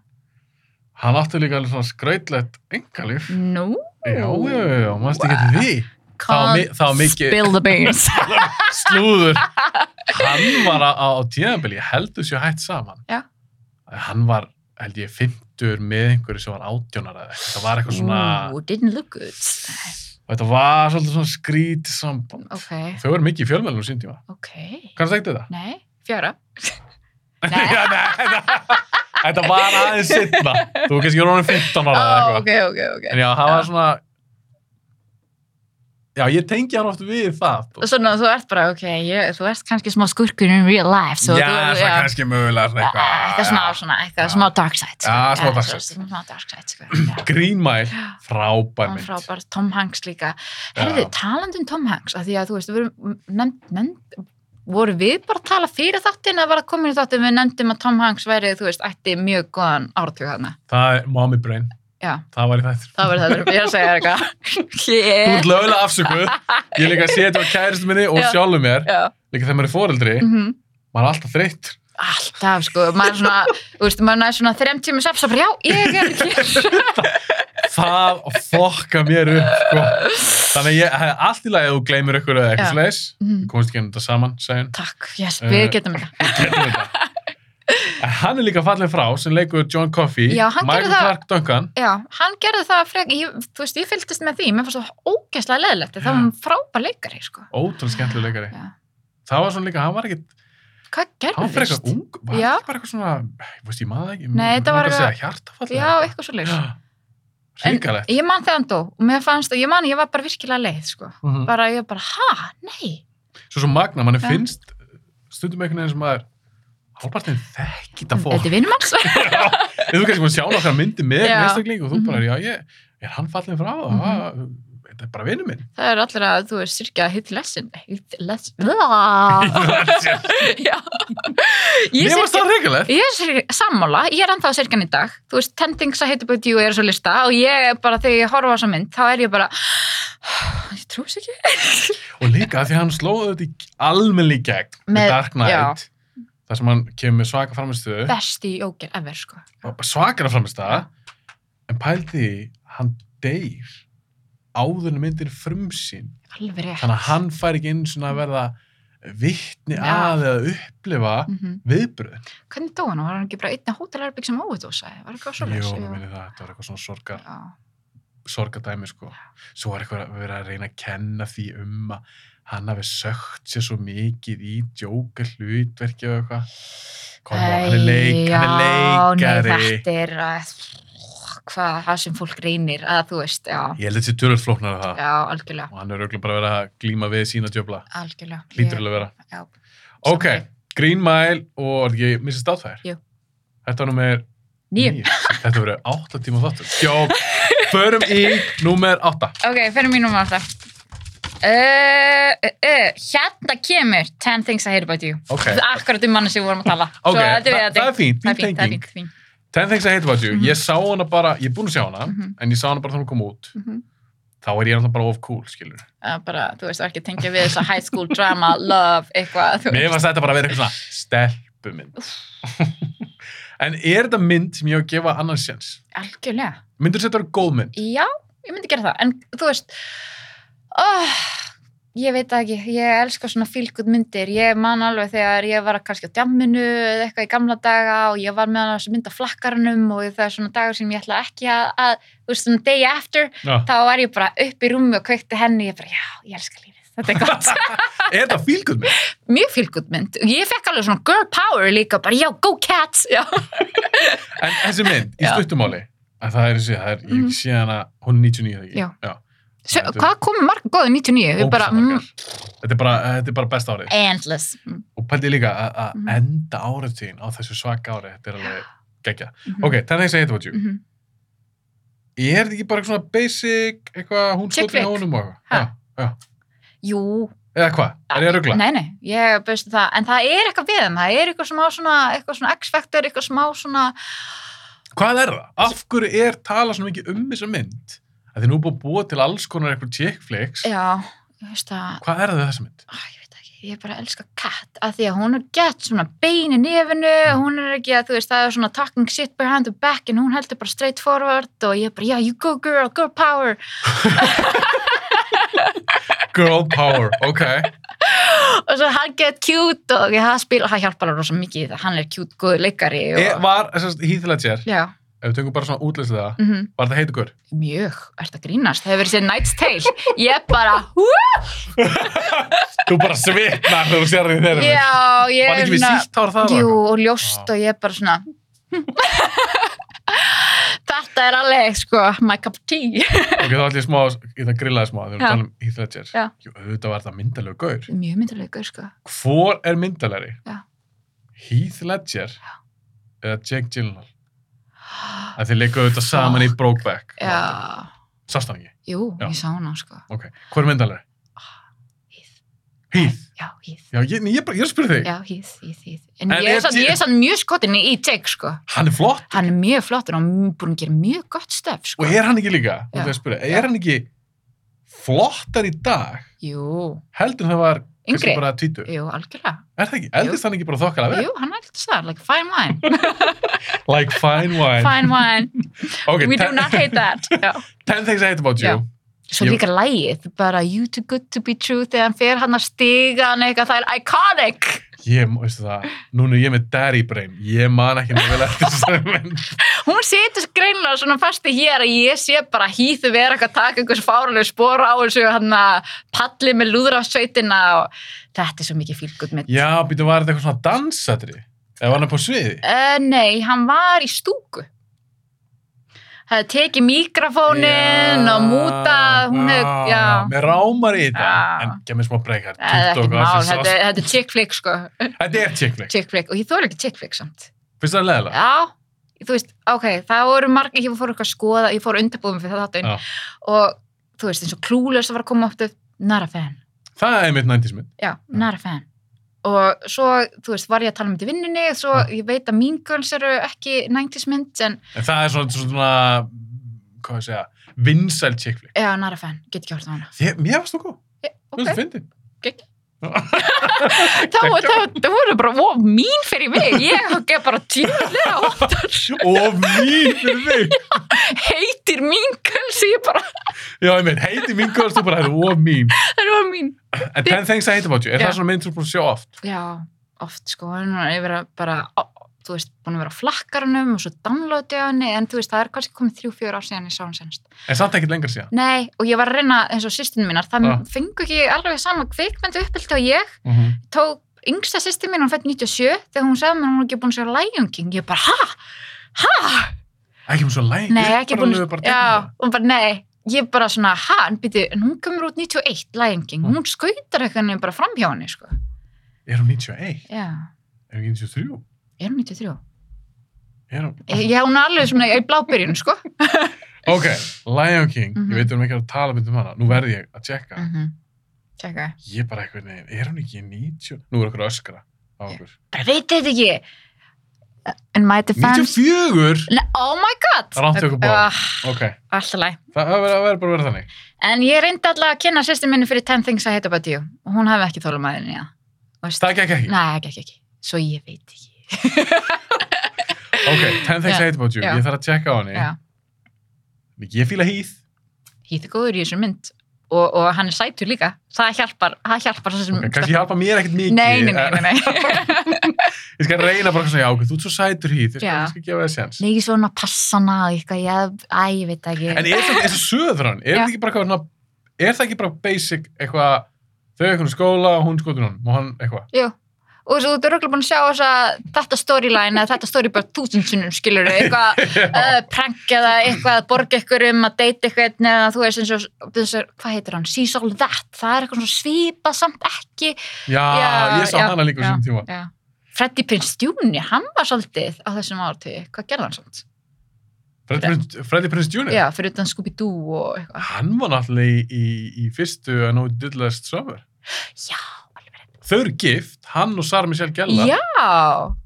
hann átti líka alveg svona skrautlegt engalíf, Nú? já, já, já, já mannst ekki eftir því, Það var mi- það var mikið- Spill the beans. slúður hann var á, á tíðanbili heldur sér hætt saman Já. hann var, held ég, 50 með einhverju sem var átjónar eða eitthvað, það var eitthvað [LAUGHS] svona Ooh, didn't look good. og þetta var svolítið svona skrítið samband Ok, þau voru mikið í fjölmælunum sín tíma ok. kannski ekki þetta? [LAUGHS] Nei, fjöra. Já, nei, nei. Þetta var aðeins sitna. Þú var kannski rónum 15 ára eða Ó, eitthvað. Ah, ok, ok, ok. En já, það Já. var svona... Já, ég tengi hann oft við það. Og Svona, þú ert bara, ok, ég, þú ert kannski smá skurkur in real life. Svo já, þú, það er kannski mögulega svona Eitthvað, eitthvað. eitthvað smá, svona, eitthvað Já. smá dark side. sko. Já, smá dark svo- side. Smá dark side, sko. Já. [GASPS] Grínmæl, frábær Hann mynd. frábær, Tom Hanks líka. Herðu, Já. talandi um Tom Hanks, að því að þú veist, við vorum, nefnd, nefnd, voru við bara að tala fyrir þáttin að var að koma í þáttin við nefndum að Tom Hanks væri, þú veist, ætti mjög góðan ártug hana. Það er Mommy Brain. Já, Það var í þættir. það var það þegar ég er að segja [LAUGHS] þér eitthvað. Þú Yeah. ert lögulega afsökuð. Ég líka að sé þetta á kæristu minni og Já. sjálfu mér. Já, Líka þegar maður er foreldri, mhm. maður er alltaf þreytt. Alltaf, sko, maður er svona, þú veist, maður er svona þrem tími sveps og bara, já, ég er hér. Það fokka mér upp, sko. Þannig að ég, það er allt í lagi að þú gleymir ykkur eða Já. eitthvað slags. Mhm. Við komumst ekki um þetta saman, segjum. Takk, yes, Eh, við getum þetta. Getum [LAUGHS] þetta. En hann er líka fallið frá sem leikur John Coffey, Já, hann Michael gerði það- Clark Duncan. Já, hann gerði það frek, ég, þú veist, ég fylgdist með því, mér fannst það ógeðslega leðilegt, það Já. var hann frábær leikari, sko. Ótrúlega skemmtileg leikari. Já. Það var svona líka, hann var ekkit, Hvað gerðist? hann var eitthvað ung, var Já. ekki bara eitthvað svona, ég veist, ég maður það ekki. Nei, þetta var eitthvað. eitthvað- Segja, hjartafall. Já, eitthvað svo leys. [GASPS] Ríkalegt. Ég man þegar hann dó og mér fannst, ég man, ég var bara virkilega leið, sko. Bara, ég var bara, ha, nei. Svo svo magna, manni Já. finnst stundum einhvern veginn sem maður, hálpartin þekki þetta fólk. Mm, Þetta er vinnum hans. Ef Þú kannski búin að sjá nokkar myndi með Já. einstakling og þú Mhm. bara, já, ég, er hann fallin frá það? Mhm. Þetta er bara vinnu [LAUGHS] minn. [LAUGHS] það er allir að, þú er sirkja hitt lessin. Hitt [LAUGHS] lessin. Já. Mér Ég varst sirkja, það regalegt. ég er sirkja, sammála, ég er ennþá sirkjan í dag. Þú veist, tendings að heita búið djú er svo lista og ég er bara, þegar ég horfa á þessa mynd, þá er ég bara, ég trúst ekki. Og líka því að hann slóði þetta í almenni gegn með Með- Dark Knight, þar sem hann kemur með svaka framistuð, Besti jókir ever, sko. svakara framistuð, en pældi því, hann deyr áður en myndir frumsýn. Alveg rétt. Þannig að hann fær ekki einu svona að verða vittni Já. að eða upplifa Mhm. viðbröð. Hvernig dó hann? Var hann ekki bara einna hótelarbygg sem óvudósaði? Var ekki á Jó, svo mér minni það, þetta var eitthvað svona sorgar. Já. sorgadæmi sko. svo var eitthvað að vera að reyna að kenna því um að hann hafi sögt sér svo mikið í djóka hlutverki og eitthvað Kom, Æ, hann er leik, hann er já, leikari Nei, þetta er að, hvað það sem fólk reynir að þú veist, já, ég held þetta sé tölvöld flóknar af það já, algjörlega, og hann er auðvitað bara að vera að glíma við sína djöfla algjörlega. hlýtur alveg að vera Já, ok, Sammála. Green Mile og er ekki Mrs. Doubtfire Jú. þetta var nummer nýjum. 9 þetta verður 8 tíma þáttur Jó, förum í nummer 8 Ok, fyrir mínum var það. Uh, uh, uh, hérna kemur 10 things I hate about you. ok, Það er akkurat um manni sem við vorum að tala. ok, Svo þetta Þa, er við það er fínt, það er fín fínt, það er tenging fínt, fínt. Ten Things I Hate About You, Mhm. ég sá hana bara, ég er búinn að sjá hana, Mhm. en ég sá hana bara þannig að koma út. Mhm. Þá er ég alltaf bara of cool, skilur. Það er bara, þú veist, það er ekki að tengja við þess að high school drama, love, eitthvað, Mér þú veist. fannst þetta bara að vera eitthvað svona stelpumynd. [LAUGHS] en er þetta mynd sem ég á að gefa annars sjans? Algjörlega. Myndur þetta vera góð mynd? Já, ég myndi gera það, en þú veist, oh, ég veit það ekki, ég elska svona fylgut myndir, ég man alveg þegar ég var kannski á djamminu eða eitthvað í gamla daga og ég var með hann á þessu mynd af flakkarnum og það er svona dagur sem ég ætla ekki að, að þú veist, svona day after, Já. þá var ég bara upp í rúmi og kveikti henni, ég bara, já, ég elska lífið, þetta er gott. [LAUGHS] [LAUGHS] er þetta fílgöð mynd? Mjög fylgut mynd, ég fekk alveg svona girl power líka, bara, já, go cats, já. En þessi mynd, í Já. stuttumáli, að það er eins og það er, ég Mhm. sé hana, hún er 99 þegar ekki. Já. Já. Sjö, Þetta er hvað komið marg góðu 99? Við bara, ógeðslega mm, margar. Þetta er bara, þetta er bara besta árið. endless. Mm, Og pældi líka að- að Mhm. enda áratíðin á þessu svaka ári, þetta er alveg geggja. mhm, Ok, Ten Things I Hate About You. mhm. Ég er þetta ekki bara eitthvað svona basic, eitthvað hún Chick skotin á flick. honum og Ha? eitthvað. Já, já. Jú, Eða hvað? Er ég að ruggla? Nei, nei, ég bauðst það, en það er eitthvað við þeim, það er eitthvað smá svona, eitthvað svona X-faktor, eitthvað smá svona, Hvað er það? Af hverju er tala svona mikið um þessa mynd? Það er nú búið að búa til alls konar eitthvað chick flicks. já, ég veist það, Hvað er það við þessa mynd? á, ég veit ekki, ég bara elska Kat, af því að hún er gett svona bein í nefinu, Mm. hún er ekki að, þú veist, það er svona talking shit behind the back, en hún heldur bara straight forward og ég bara, já, you go girl, girl power, Girl power, ok. og svo hann get cute og ég, það spila, það hjálpar alveg rosa mikið í það, hann er cute, góð leikari og, E, var þessast Heath Ledger, já, ef við tökum bara svona útlýslega það, mhm. var þetta heitur hver? Mjög, ert að grínast, það hefur verið sér Night's Tale, ég bara, hú, [LAUGHS] Þú bara svitnar þegar þú sér því þeirra. já, ég Var ekki við svona- sítt hár það? Jú, Jú. og ljóst Já. og ég bara svona [LAUGHS] Þetta er alveg, sko, my cup of tea. [LAUGHS] Ok, þá ætlum ég smá, ég ætla að grilla það smá, þegar við Já. tala um Heath Ledger. Já. Jú, auðvitað var það myndalegu gaur. Mjög myndalegur, sko. Hvor er myndalegri? Já. Heath Ledger eða Jake Gyllenhaal? Það þið leikaðu auðvitað saman í Brokeback. [GASPS] Já, Sást hann ekki? jú, Já. ég sá hana, sko. [GASPS] Ok. Hvor er myndalegri? Hýð. Heath. Já, hýð. Já, ég, ég, bara- ég er að spyrja þig. Já, hýð, hýð, hýð. En, En ég er er sann- Jake- ég er sann mjög skotin í í Jake, sko. Hann er flott. Hann er mjög flottur og m- búinn að gera mjög gott stöf, sko. Og er hann ekki líka? Þú Já. ætlaði að spyrja. Er hann ekki flottar í dag? Jú, Heldur en það var kannski yngri. bara tvítur. Jú, algjörlega. Er það ekki? Eldist hann ekki bara þokkala vel? Jú, hann er alltaf það, like fine wine. Like fine wine. Fine [LAUGHS] wine. Okay, We do ten- not hate [LAUGHS] that. Já. Ten things I hate about you. Já. Svo Ég- líka lægið, bara you too good to be true þegar hann fer hann að stiga hann eitthvað, það er iconic. Ég, veistu það, núna er ég með daddy brain. Ég man ekki mjög vel eftir þessari mynd. Hún situr greinlega svona fasti hér að ég sé bara hýðu vera eitthvað að taka einhvers fáralegu spora á þessu hann að palli með lúðrafsveitina og þetta er svo mikið fílgut mitt. Já, býtu, var þetta eitthvað svona dansatri? Eða var hann på sviði? Uh, nei, hann var í stúku. Það hefði tekið mikrofónin Já, og mútað, hún hefði, já. Með rámar í þetta. Já. En gef mér smá breyk Það er her. ekkert mál, þetta er- þetta er chick flick sko, Þetta er tjekkflik. chick flick og ég þóla ekki chick flick samt. Finnst það leðilega? Já, þú veist, ok, það voru margir, ég fór eitthvað að skoða, ég fór undirbúðum fyrir Já. þetta einn og þú veist, eins og klúlös var að koma upp, not a fan. Það er mitt nændismynd. Já, not a fan. Og svo, þú veist, var ég að tala um þetta í vinnunni, svo Já. ég veit að mín girls eru ekki 90s mynd, en En það er svona, svona hvað ég segja, vinsæl tjekkflik. já, not a fan, get ekki hort á hana. Mér varst þú góð. Ég- Þú veist Ok, það fyndið. Gegg. þá, Geggjað. þá, þá voru bara, ó, mín fyrir mig, ég hef [LAUGHS] bara tjóðlega oftar, Og mýr fyrir þig. heitir mín girls, ég bara, [LAUGHS] Já, ég meint, heiti mín góðast þú bara, og mín. það var mín. En Ten Things I Hate About You, er Já. það svona mynd sem þú er búin að sjá oft? Já, oft sko, núna ég vera bara, ó, þú veist, búin að vera á flakkaranum og svo downloadið henni, en þú veist, það er kannski komið þrjú, fjör ár síðan ég sá hann senst. En samt ekkert lengra síðan. Nei, og ég var að reyna, eins og sýstin mínar, það Ah. fengu ekki alveg sama kvikmyndu uppbyldi og ég, Mm -hmm. tók yngsta sýstin mín, hún fætt 97, þegar hún sagði mér að hún er ekki búin að segja Lion King, ég bara, ha? Ekki um svo læg. Nei, ekki búin að... að, já, hún bara, nei, ég bara svona, ha, en býti, en hún kemur út 91, Lion King, Mm. hún skautar eitthvað nefnir bara fram hjá henni, sko. Er hún 91? Já, Er hún 93? er hún 93? Er hún... Já, hún er alveg svona í blábyrjun, sko. Ok, Lion King, Mhm. ég veit um ekki að tala mynd um hana. Nú verð ég að tjekka. Mhm. Tjekka. Ég bara eitthvað neginn, er hún ekki 90? Nú er okkur að öskra á okkur. Bara veit þetta ekki. In my defense. 94? Ne- Oh my god. Rangt okkur báðar. Ah, Ok, Alltaf læg. það það verður það verður bara að vera þannig. En ég reyndi alltaf að kynna sýstir minni fyrir 10 things I hate about you. Og hún hafði ekki þólum aðeins í það. Það gekk ekki. Nei, ekki, ekki, ekki. Svo ég veit ekki. Ok, Ten Things I Já. Hate About You, Já. ég þarf að tjekka á henni. Já. Ég fíla hýð. Hýtti góður í þessu mynd. Og, og hann er sætur líka. Það hjálpar, það hjálpar þessum Okay, kannski hjálpa mér ekkert mikið. Mm. Nei, nei, nei, en- nei, nei. [LAUGHS] Ég skal reyna bara eitthvað svona, já, ok, þú ert svo sætur hýð, ég skal, Já. ég skal gefa það sens. Nei, svona passana og eitthvað, ég, æ, ég veit það ekki. En er þetta eins og söður hann? Er Já. þetta ekki bara eitthvað svona, er það ekki bara basic eitthvað, þau eitthvað í skóla og hún skotur hann, og hann eitthvað. Jú, og svo þú eru örugglega búin að sjá þessa, þetta storyline eða þetta story bara þúsund sinnum skilur eitthvað Já. [LAUGHS] uh, prank eða eitthvað að borga ykkur um að deyta eitthvað eða þú veist eins og þessar, hvað heitir hann, she's all that það er eitthvað svona svipað samt ekki já, já, ég sá já, hana líka já. sem tíma. Já. Freddy Prinze Jr. hann var svolítið á þessum áratugi, hvað gerði hann samt? Freddy Prinze- Freddy Prinze Jr. Já, fyrir utan Scooby-Doo og eitthvað Hann var náttúrulega í, í, í fyrstu að nóg dillast sömur. Já, alveg rétt. Þau eru gift, hann og Sara Michelle Gellar. Já,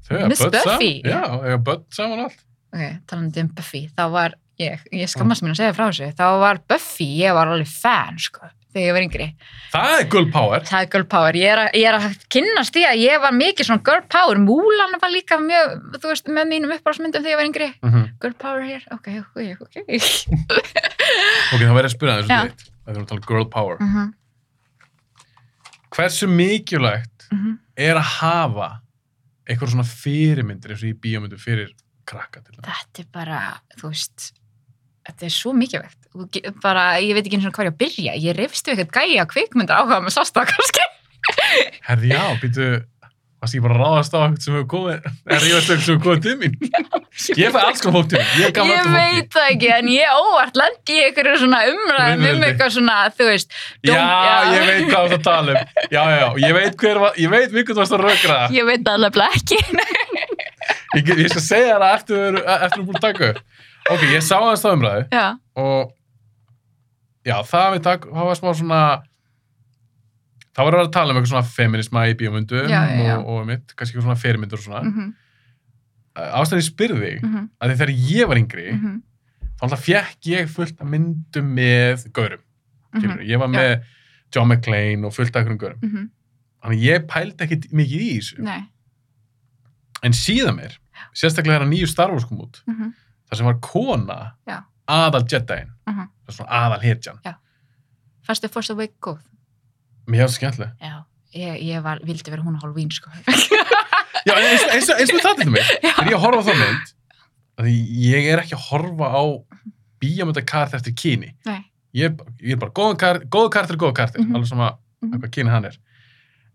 Þau eiga Miss börn saman. Buffy. Já, eiga börn saman og allt. ok, talandi um Buffy þá var ég, ég skammast mér að segja frá þessu þá var Buffy, ég var alveg fan sko, þegar ég var yngri Það er girl power. Það er girl power. Ég er, að, ég er að kynnast því að ég var mikið svona girl power. Múlan var líka mjög, þú veist, með mínum uppáhaldsmyndum þegar ég var yngri. Mhm. Girl power hér, ok, ok, ok. Ok, þá verður ég að spyrja þessu Já. deitt. Það er að tala um girl power. Mm -hmm. Hversu mikilvægt Mhm. er að hafa eitthvað svona fyrirmyndir eins og í bíómyndu fyrir krakka til það? Þetta er bara, þú veist, þetta er svo mikilvægt. Þú ge- Bara, ég veit ekki eins og hvað ég á að byrja. Ég rifst við eitthvað gæja kvikmyndar áhuga með sásta kannski. Herði, já, býtu, varst ég bara að ráðast á eitthvað sem hefur komið, er ég veist eitthvað sem hefur komið til mín? [LAUGHS] Ég fæ alls konar fólk til mig. Ég gaf Ég öllu fólki. veit það ekki, en ég óvart lendi í einhverju svona umræðum um Umræðum. eitthvað svona, þú veist, Já, dóm- ég veit hvað það tala um. Já, já, já. Ég veit hver var, ég veit mikið þú varst að rökra. Ég, Ég veit það alveg ekki. ég, get- ég skal segja það eftir, við erum- eftir við erum búin að taka upp. Ok, ég sá aðeins það umræðu Já, og já, það við takk, það var smá svona það var að vera að tala um eitthvað svona feminisma í bíómyndum Já, já, já. og, og mitt, kannski eitthvað svona fyrirmyndur og svona. Mm. mhm, Ástæðan ég spyrði þig, mhm, að því þegar ég var yngri, mhm, þá alltaf fekk ég fullt af myndum með gaurum, mm. mhm, ég var Já. með John McClane og fullt af einhverjum gaurum mhm, þannig að ég pældi ekkit mikið í þessu nei, en síðan mér, sérstaklega þegar nýju Star Wars kom út mhm, þar sem var kona Já. aðal Jediin mhm. svona aðal hetjan, Fannst þið Force Awake góð? mér hefði skemmtilega Já, ég, ég var, vildi vera hún á Halloween, sko. Já, en eins, eins, eins og það til mig þegar ég horfa á það mynd að ég er ekki að horfa á bíamöndakart eftir kyni [LAUGHS] Nei. ég er, bara- ég er bara góðan kar, góðu kartir, góðu kartir Mhm. alveg sama Mhm. hvað kyni hann er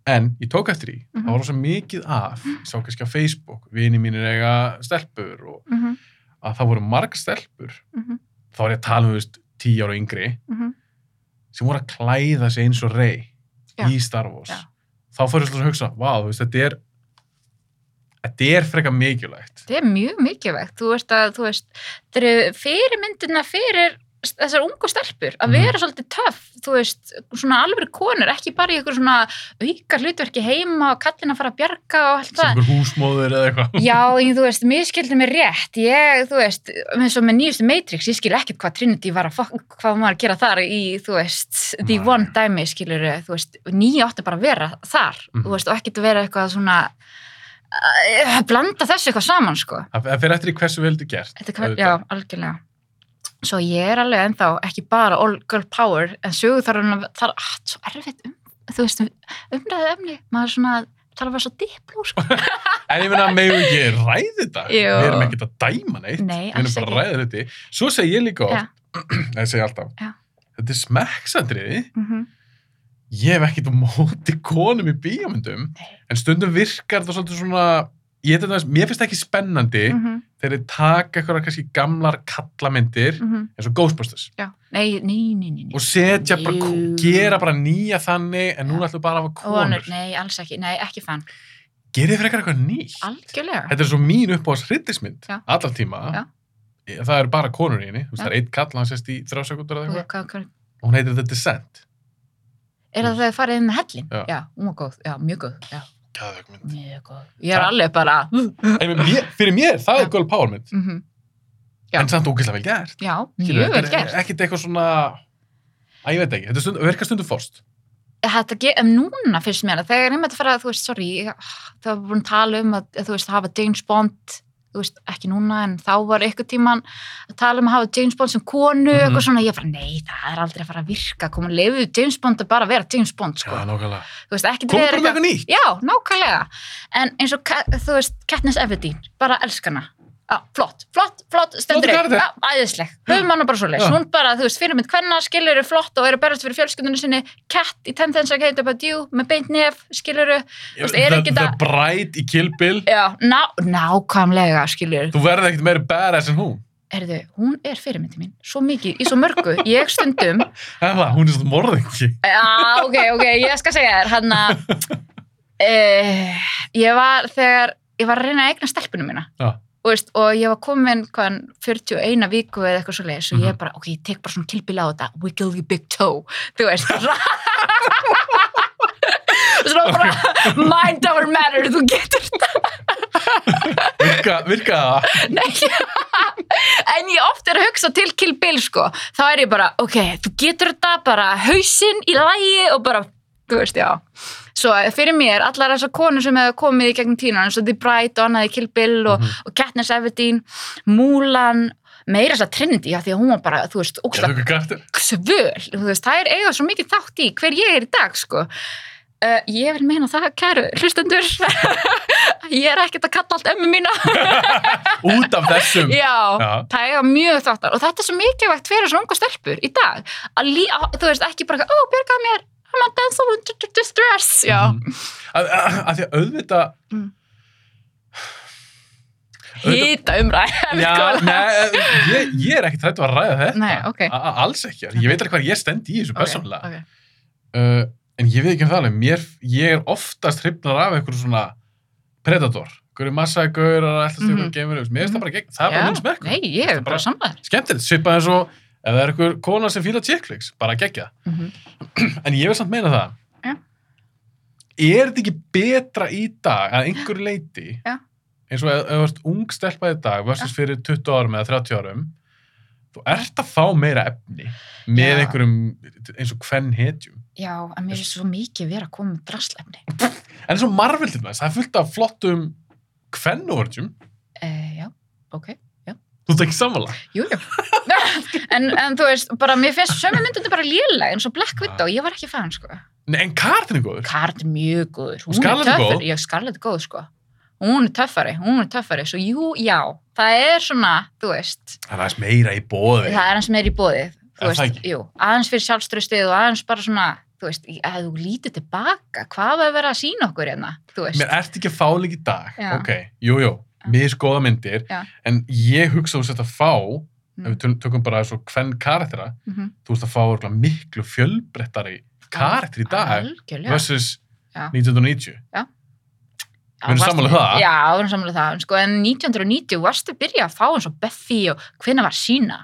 en ég tók eftir í Mhm. það var rosa mikið af ég sá kannski á Facebook, vini mínir eiga stelpur og Mhm, að það voru marg stelpur mhm, þá var ég að tala um þú veist, 10 ára yngri mhm, sem voru að klæða sig eins og rey Já. í Star Wars Já. þá fór ég svona að hugsa, vá, þú veist, þetta er þetta er frekar mikilvægt Það er mjög mikilvægt. Þú veist að, þú veist, það eru fyrirmyndina fyrir þessar ungu stelpur að Mhm. vera svolítið töff, þú veist, svona alveg konur, ekki bara í ykkur svona auka hlutverki heima og kallin að fara að bjarga og allt það. sem er húsmóður eða [LAUGHS] eitthvað Já, ég, þú veist, miskildi mig rétt ég, þú veist, eins og með nýjustu Matrix ég skil ekkert hvað Trinity var að fokk, hvað hún var að gera þar í, þú veist The Nei. One dæmi, skilur, þú veist nýja átti bara að vera þar, Mhm. þú veist og ekkert vera eitthvað svona eh, að blanda þessu eitthvað saman, sko Það- það fyrir eftir í hversu vel þetta er gert Þetta hver, auðvitað. já, algjörlega Svo ég er alveg ennþá ekki bara all girl power, en sögu þarf hann að það er ah, svo erfitt um, þú veist umræðu efni, maður er svona tala bara svo dipló, sko En ég meina, megum við ekki ræði þetta? Jú. Við erum ekkert að dæma neitt. Nei, Við alls erum bara að ekki. ræða þetta. Svo segi ég líka oft, [CLEARS THROAT] nei, segi alltaf, Já. þetta er smekksatriði. mm -hmm. Ég hef ekkert á móti konum í bíómyndum, Nei. en stundum virkar það svolítið svona, ég þetta veist, mér finnst það ekki spennandi Mm. mhm, þegar þið taka eitthvað kannski gamlar Mm. kallamyndir, mhm. eins og Ghostbusters, Já, nei, nei, nei, nei, nei. og setja bara, Jú. gera bara nýja þannig, en núna Já. ætlum við bara að hafa Konur, konur. nei, alls ekki, nei, ekki fann Gerið frekar eitthvað nýtt. Algjörlega Þetta er svo mín uppáðs hryllismynd Já. allar tíma. Já. Ég- Það eru bara konur í henni. Þú veist, Já. það er eitt kall, hann sést í þrjá sekundur eða Og eitthvað. hvað- hvað- Og Hún heitir The Descent. Er það þegar farið inn með hellin? Já. já hún var góð, já, mjög góð já, Gæðvögg mynd. Mjög góð Ég er Það- alveg bara En mér, fyrir mér, það Já. er Girl Power mynd. mhm, Já. En samt ógeðslega vel gert. Já, Skilurðu, mjög vel þetta er gert Ekkert eitthvað svona... Æ, ég veit ekki. Þetta stund, verkar stundu fórst. Þetta ge- um núna fyrst mér að þegar einmitt að fara, þú veist, sorry ég- það var búin að tala um að, að þú veist, hafa James Bond þú veist, ekki núna en þá var eitthvað tíman að tala um að hafa James Bond sem konu Mhm. eitthvað svona, ég bara, nei, það er aldrei að fara að virka koma, lefu James Bond að bara vera James Bond sko. Já, nákvæmlega. þú veist, ekki Komum bara með eitthvað nýtt. Já, nákvæmlega. En eins og, Ka- þú veist, Katniss Everdeen, bara elskana. Já, flott, flott, flott, stendur Flott karakter. Já, æðisleg. Höfum hana bara svo leys. Já. Hún bara, þú veist, fyrirmynd hvenna, skilur flott og eru að berast fyrir fjölskyldunum sinni. Cat í 10 Things I Hate About You, með beint nef, skilur veist, er The, ekki the það- Bride í Kill Bill. Já, ná, nákvæmlega, skilur Þú verður ekkert meiri badass en hún. Herðu, hún er fyrirmyndi mín, svo mikið, í svo mörgu. Ég stundum, Það er það, hún er svona morðingi. Já, ok, ok, ég skal segja þér hann að uh, ég var þegar ég var að reyna að eigna stelpunum mína Já. og, veist, og ég var komin hvaðan 41 viku eða eitthvað svo leiðis og ég bara, ok, ég tek bara svona tilbíla á þetta wiggle your big toe, þú veist [LAUGHS] og svona- og svona bara mind our matter, þú getur Virka, virka [LAUGHS] það. Nei, en ég oft er að hugsa til Kill Bill sko, þá er ég bara, ok, þú getur þetta bara hausinn í lægi og bara, þú veist, já. Svo fyrir mér, allar þessar konur sem hefur komið í gegnum tína, eins og The Bride og annaði Kill Bill og, Mhm. og Katniss Everdeen, Mulan, meira þess að Trinity, já, því að hún var bara, þú veist, ógst Gæðvögg kartir. svöl, þú veist, það er eiga svo mikið þátt í hver ég er í dag, sko. Uh, ég vil meina það, kæru hlustendur, [LAUGHS] ég er ekkert að kalla allt ömmu mína. Út af þessum. Já, Já. það er mjög þáttar og þetta er svo mikilvægt fyrir svona unga stelpur í dag að lí, að, þú veist ekki bara ó, björgaði mér, I'm a dancer with d- d- distress já, Mhm. að, að, að því að auðvita Mm. hýta umræðan Já, nei, ég, ég er ekkert hægt að ræða þetta. Nei, ok. A- a- Alls ekki. Ég veit alveg hvað ég stend í þessu persónulega. okay. Uh, en ég veit ekki um það alveg. Mér, ég er oftast hrifnar af einhverju svona predator. Hverju massa gaurar, alltaf stjórn mm Mhm. -hmm. geimur. Mér finnst það bara gegn. Það er bara Já, minn smekk. Nei, ég Það er er bara bara- samlæður Skemmtilegt. Svipað eins og ef það er einhver kona sem fýla chickflix. Bara gegja. Mhm. En ég vil samt meina það. Já. Er þetta ekki betra í dag að einhverju leiti? Já. Eins og ef ef þú ert ung stelpa í dag versus fyrir 20 árum eða 30 árum. Þú ert að fá meira efni með Já. einhverjum eins og hvern hetjum. Já, en mér er svo mikið verið að koma með drastlefni En eins og Marvel til þess, það er fullt af flottum hvern orðjum. uh, Já, ok Þú ert ekki sammála. Jú, jú. [LAUGHS] en, en þú veist, bara mér finnst sömu myndunni bara lélega eins og Black Widow, ég var ekki fan, sko. Nei, en Karin er góður. Kart er mjög góður. Og Scarlett er töffari. góð. Já, Scarlett er góð, sko. Hún er töffari, hún er töffari. Svo jú, já, það er svona, þú veist, Það er aðeins meira í bóði. það er hans meir í bóðið. Þú Er það veist, ekki? jú, aðeins fyrir sjálfströstið og aðeins bara svona, þú veist, í- að þú lítið tilbaka, hvað var að vera að sína okkur hérna, þú veist. Mér ert ekki að fá líka í dag. Já. Ok, jú, jú, misgóða myndir. Já. En ég hugsa að þú sett að fá, ef Mm. við tölum- tökum bara svo hvern karaktera, Mhm. þú veist að fá örugglega miklu fjölbrettari karakter í dag Algjörlega. versus Já. 1990. Já, Við erum varstu- sammála um það? Já, við erum sammála um það. En, sko, en 1990 varstu að byrja að fá eins og Buffy og hvenna var sína?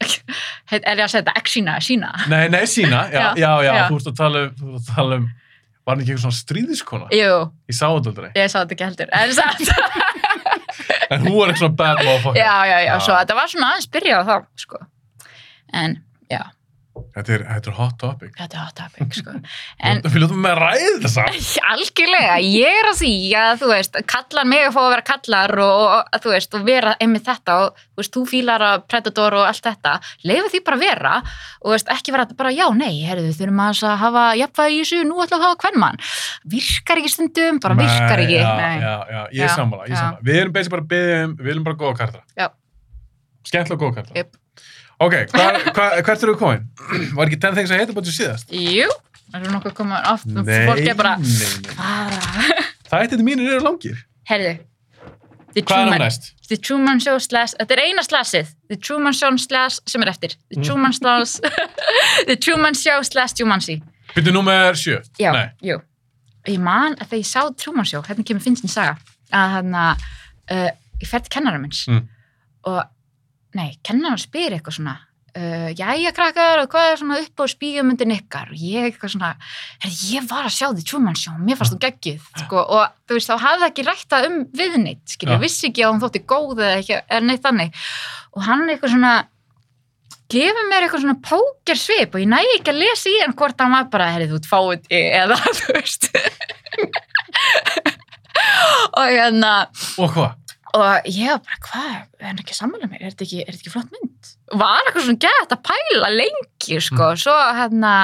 [LAUGHS] er ég að segja þetta? Ekki sína, sína. Nei, nei, sína, já, Já, já, já, já. þú ert að tala um, þú ert að tala um, var hann ekki eitthvað svona stríðiskona? Jú, Ég sá þetta aldrei. ég sá þetta ekki heldur. En samt, En hún var eitthvað svona bad motherfucker. já, já, já, Já. svo þetta var svona aðeins byrja á þá, sko. En Þetta er, þetta er hot topic. þetta er hot topic, sko. En [LAUGHS] En, við ljóðum með að ræða þetta samt. algjörlega, ég er að því að, þú veist, kallar mig að fá að vera kallar og, og að, þú veist, og vera einmitt þetta og, þú veist, þú fílar að predator og allt þetta, leifu því bara að vera og, þú veist, ekki vera þetta bara, já, nei, herðu, þurfum aðeins að hafa jafnvægi í þessu, nú ætlum við að hafa hvern mann. Virkar ekki stundum, bara virkar ekki. Já, nei. já, já, ég er Já, sammála, ég já. er sammála. Við erum basic bara að byggja um, við erum bara góða kartra. Já. Skemmtilega góða kartra. Jep. Ok, hva, hva, hvert eru við komin? Var ekki 10 things að heita búin síðast? Jú, erum nokkuð komin oft, fólk er bara, nei, nei. bara, [LAUGHS] Þættinni mínir eru langir. herðu, Hvað The er Truman- nú næst? The Truman Show slash, þetta er eina slashið The Truman Show slash sem er eftir The Mm. Truman slash [LAUGHS] The Truman Show slash Jumanji Byrju nummer 7. Já, Nei. jú Ég man að þegar ég sá Truman Show, hérna kemur finnst þín saga að hann að uh, ég fer til kennara minns Mm. og nei, kennara spyr eitthvað svona uh, jæja krakkar og hvað er svona upp á spígjumundin ykkar og ég eitthvað svona er, ég var að sjá því Truman Show, mér fannst þú geggjuð sko, og þú veist, þá hafði það ekki ræktað um viðneitt, skilja, Já. vissi ekki að hún þótti góð eða ekki, er neitt þannig og hann eitthvað svona gefur mér eitthvað svona pókersvip og ég næ ekki að lesa í hann hvort hann var bara herrið út fáið eða [LAUGHS] þú veist og hérna Og hvað? og ég var bara, hvað, er hann ekki að sammála mér er þetta ekki, er þetta ekki flott mynd? Var eitthvað svona gett að pæla lengi sko, Mm. svo hérna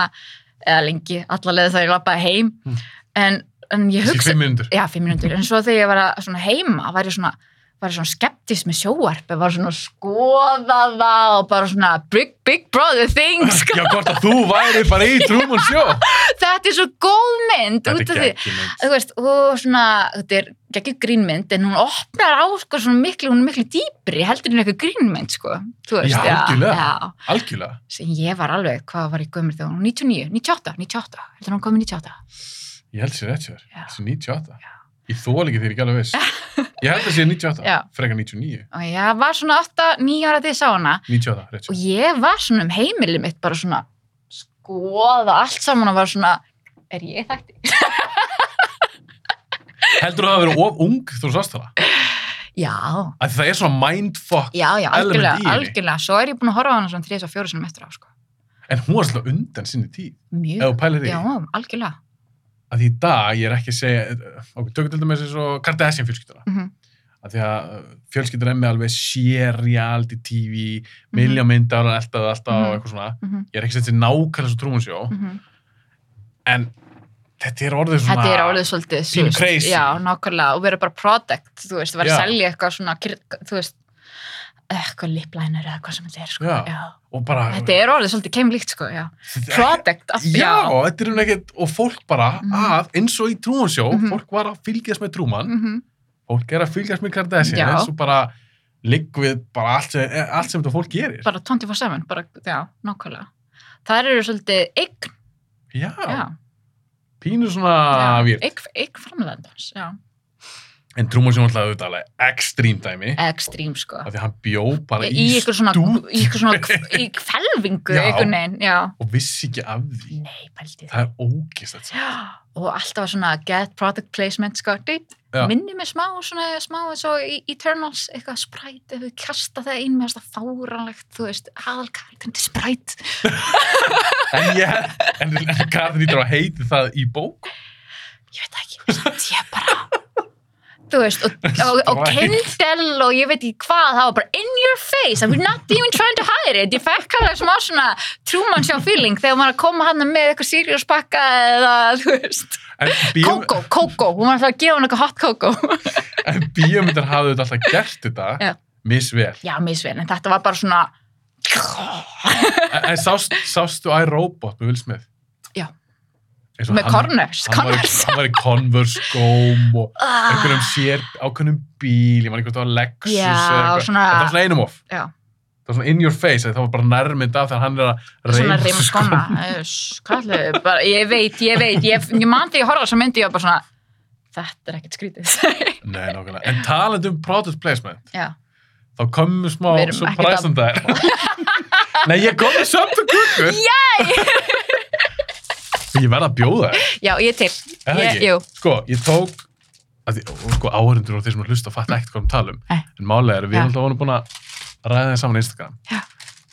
eða lengi, allalega þegar ég lappaði heim Mm. en, en ég Þessi hugsa 5 minnundur. já, fimm mínútur, en svo þegar ég var að, svona heima var ég svona, var ég svona skeptisk með sjóarp, var svona að skoða það og bara svona big, big brother things, Já, hvort að þú væri bara í Truman Show. [LAUGHS] þetta er svo góð mynd út af því, mynd. þú veist, og svona þetta er ekki grínmynd, en hún opnar á sko svona miklu, hún er miklu dýpri heldur en eitthvað grínmynd, sko þú veist, Já, algjörlega. já, Algjörlega. sem ég var alveg, hvað var ég gömur þegar hún 99, 98, 98, heldur hún komið 98 Ég held sér rétt sér. Já. Þessi 98. Ég þól ekki þegar ég er ekki alveg viss. [LAUGHS] Ég held að sé 98. Já. Frekar 99. og ég var svona 8, 9 ára þegar ég sá hana 98, rétt og sér. ég var svona um heimilið mitt bara svona skoða allt saman og var svona er ég þætti? Heldur þú að það verið of ung þú sást það? Já, Að það er svona mindfuck. já, já, Element algjörlega, í henni. algjörlega svo er ég búin að horfa á hana svona 3 og 4 sinum eftir á sko. En hún var svolítið undan sinni tíð. Ef mjög, þú pælir í. já, algjörlega Að því í dag ég er ekki að segja, eh, ok, tökum til dæmis eins og Kardashian fjölskylduna. mm Að því að fjölskyldur er með alveg sér reality TV, milja myndar og eldaði alltaf Mhm. og eitthvað svona. -hmm. Ég er ekki að setja nákvæmlega svo Truman Show, en þetta er orðið svona... Þetta er orðið svolítið þú pínu veist, crazy. Já, nákvæmlega, og vera bara product, þú veist, vera að Já. selja eitthvað svona, kir- þú veist, eitthvað liplænur eða hvað sem þetta er, sko. Já. Og bara... Þetta er orðið svolítið keimlíkt, sko, já. Product, af, Já, þetta er um ekkert, og fólk bara Mhm. að, eins og í Trúansjó, Mhm. fólk var að fylgjast með Trúman, Mhm. fólk er að fylgjast með Kardashian, Já. eins og bara, ligg við bara allt sem, allt sem þetta fólk gerir. bara 24-7, bara, já, nákvæmlega það eru svolítið eign, já, Ah, já, pínu svona já, výrt. eign, eign framlegandans, já En Truman Show er alltaf auðvitað alveg ekstrím dæmi, ekstrím, sko af því að hann bjó bara í, í, ykkur svona, stúdíói í ykkur svona [LAUGHS] kv- í kvelvingu, Já. einhvern veginn, já og vissi ekki af því. nei, pældi Það er ógist þetta. Já, og alltaf svona get product placement sko, dýt, Já. minni mig smá svona smá eins og í Eternals eitthvað spræt, ef við kasta það inn með það fáranlegt, þú veist, aðalkartin til spræt, En ég, en, en Katrin Ítur á heiti það í bók. ég veit það ekki samt ég bara þú veist, [LAUGHS] og, og, og Sprite. Kindle og ég veit ekki hvað, það var bara in your face I'm not even trying to hide it ég fekk alveg smá svona trúmann sjá feeling þegar maður er að koma hann með eitthvað serious pakka eða, þú veist, En bíó- kókó, kókó hún var alltaf að gefa hann eitthvað hot kókó en bíómyndar hafðu þetta alltaf gert þetta Já. misvel. Já, misvel, en þetta var bara svona En, en sást, sástu iRobot með Will Smith? Já. Eins og með Corners, Hann var, Corners í- hann var í Converse skóm og einhvernum Ah, sér ákveðnum bíl, ég man ekki hvort það var Lexus Já, eða eitthvað. svona- En það var svona einum of. Já. Það var svona in your face, það var bara nærmynd af þegar hann er að sko. Svona reif reyma skona Uss, Hvað ætlaðu, þau? bara, ég veit, ég veit Ég, ég man því að horfa þess að myndi ég var bara svona Þetta er ekkert skrítið [LAUGHS] Nei, nákvæmlega. En talandi um product placement, Já, þá komum smá Við erum surprise ekkert um [LAUGHS] það. Nei, ég kom með sömt og kukkur. Jæj! Ég verð að bjóða þér. já ég er til Er það ég, ekki? Jú, Sko, ég tók að því, og sko, áhörindur og þeir sem er hlusta fatta ekkert hvað við talum, Nei. en málega er að við Eh. Já. erum alltaf vonum búin að ræða þeim saman á Instagram Já.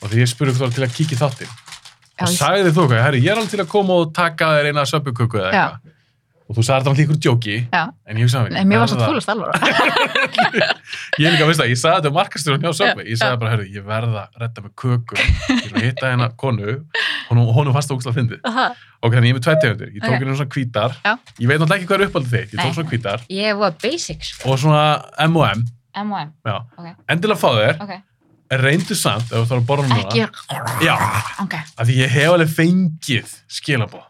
og því ég spurði hvort þú var til að kíkja í þáttinn já, og ég- sagði þú hvað, herri, ég er alveg til að koma og taka þér eina söpuköku eða Já. eitthvað og þú sagði þetta allir ykkur djóki já. en ég hugsaði Nei, mér var verð svo að- fúlast alvara ég líka veist það, ég sagði þetta um markasturinn hjá Söpvi Já, ég sagði bara, herri, ég verða að redda með köku ég vil hitta hérna konu honum, honum fannst það ógustlega fyndið ok, þannig ég er með tvær tegundir, ég tók Ok. hérna svona hvítar Já. ég veit náttúrulega ekki hvað er uppaldið þitt, ég Nei. tók svona hvítar Ég var basic, sko og svona M&M M&M, já. ok, endilega fá þér, ok reyndu samt ef þú þarf að borða núna Ekki, já, ok, af því ég hef alveg fengið skilabóð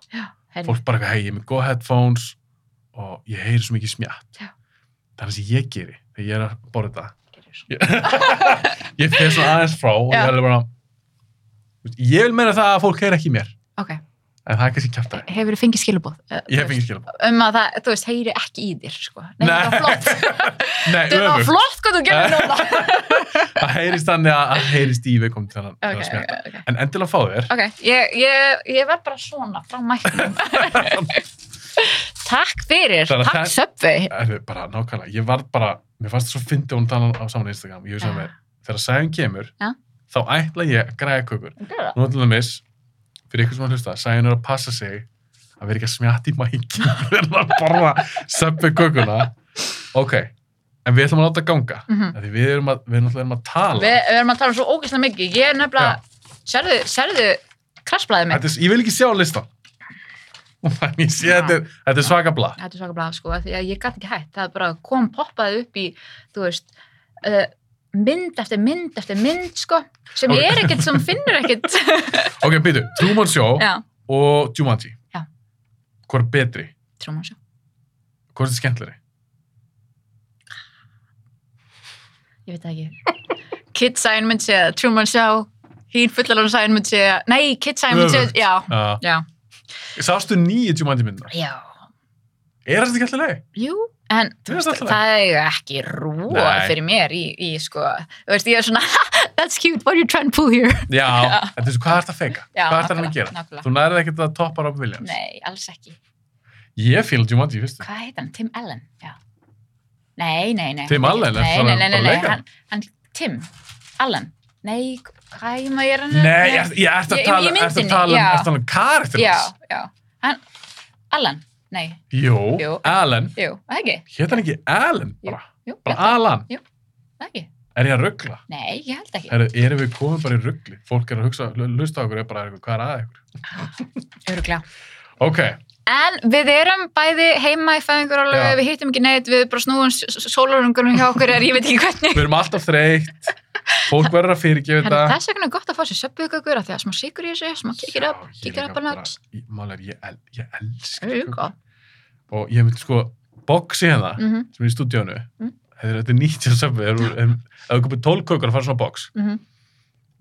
herri fólk bara eitthvað, hei, ég er með góð headphones og ég heyri svo mikið smjátt Já. það er það sem ég geri þegar ég er að borða þetta gerðu svo. ég fer svona aðeins frá og ég Já. er alveg bara Þú veist, ég vil meina það að fólk heyri ekki í mér Ok, en það er kannski kjæft að hefur þið fengið skilabóð? ég hef ekki skilabóð um að það, þú veist, heyri ekki í þér, sko. Nei, Nei. það var [LAUGHS] flott. Nei, það var öfugt. flott hvað þú [LAUGHS] gerir núna. það heyrist þannig að að heyrist í viðkom til að ok, ok, smjata ok. en endilega fá [LAUGHS] þér Ok, ég, ég, ég verð bara svona frá mæknum. Takk fyrir, Þannig að takk það- Söpvi. Erfi, bara nákvæmlega, ég var bara mér fannst það svo fyndi hún tala á saman á Instagram ég hugsaði Já. með, þegar sæðan kemur Já. þá ætla ég að græða kökur nú til dæmis, fyrir ykkur sem að hlusta sæðan er að passa sig að vera ekki að smjata í mækin [LAUGHS] þegar að borða söppi kökuna ok, en við ætlum að láta ganga Mm Af Því við erum að, við náttúrulega erum að tala. Við við erum að tala um svo ógeðslega mikið. Ég er nefnilega, sérðu, sérðu, krassblæði mig. Þetta er, ég vil ekki sjá listan. [LAUGHS] Þannig ég sé að þetta, er- þetta er svaka blað. Þetta er svaka blað, sko, af því að ég gæti ekki hætt. Það bara kom poppaði upp í, þú veist, uh, mynd eftir mynd eftir mynd, sko, sem ég er ekkert, sem finnur ekkert. [LAUGHS] Ok, býtu, Truman Show Já, og Jumanji. Já. Hvor er betri? trúum hans. Hvor er þetta skemmtleri? ég veit það ekki Kid Sign myndi segja, Truman Show hín fullalun Sign myndi segja, nei Kid Sign myndi segja, Öfugt. já, Uh, já sástu nýju Jumanji myndina? já, Er þetta skemmtilega? [LAUGHS] jú en Mér þú finnst veist, alltaf það er ekki rúa Nei. fyrir mér í, í sko, þú veist, ég er svona [LAUGHS] that's cute, what are you trying to pull here Já. Þetta er svo, hvað er þetta að feika? já, hvað er þetta að nákvæmlega, gera? nákvæmlega. Þú nærið ekkert að toppa Rob Williams. nei, alls ekki, Ég fíla Jumanji, í fyrstu. hvað heit hann, Tim Allen já, nei, nei, nei Tim hann- Allen, nei, er nei, það nei, nei, bara nei, leikari? hann, hann Tim Allen, nei, hvað maður er hann Nei, ég, ég ert að tala, Ég- í ert að myndinni, tala um, já. ert að tala um karakterins. já, já, hann Allen, nei, Jú, Jú. Alan. jú, það ekki Hétt hann ekki Alan Jú. bara? Jú, Bara ég held Alan? það ekki. Er ég að ruggla? Nei, ég held ekki. Herru, erum við komin bara í ruggli? Fólk er að hugsa, hlusta á okkur, er bara eitthvað, hvað er að ykkur? Öruglega. Ok, En við erum bæði heima í fæðingur Já. við hittum ekki neitt, við bara snúum sólurungunum hjá okkur er ég veit ekki hvernig. við erum alltaf þreytt, fólk verður að fyrirgefa Þannig þetta. þess vegna er gott að fá sér söpbuðgökur að því að smá sigur í þessu, smá kikir upp, Já, ég kikir líka upp að bara- nöts. ég- Mál er, ég, el, ég elska Það er kökur. gott. Og ég myndi sko, boxi hérna, Mhm. sem er í stúdíónu, Mm. þetta hefur þetta er nýtt hjá Subway ef þú- en- ef þú kupir 12 kökur að fara svona box Mm -hmm.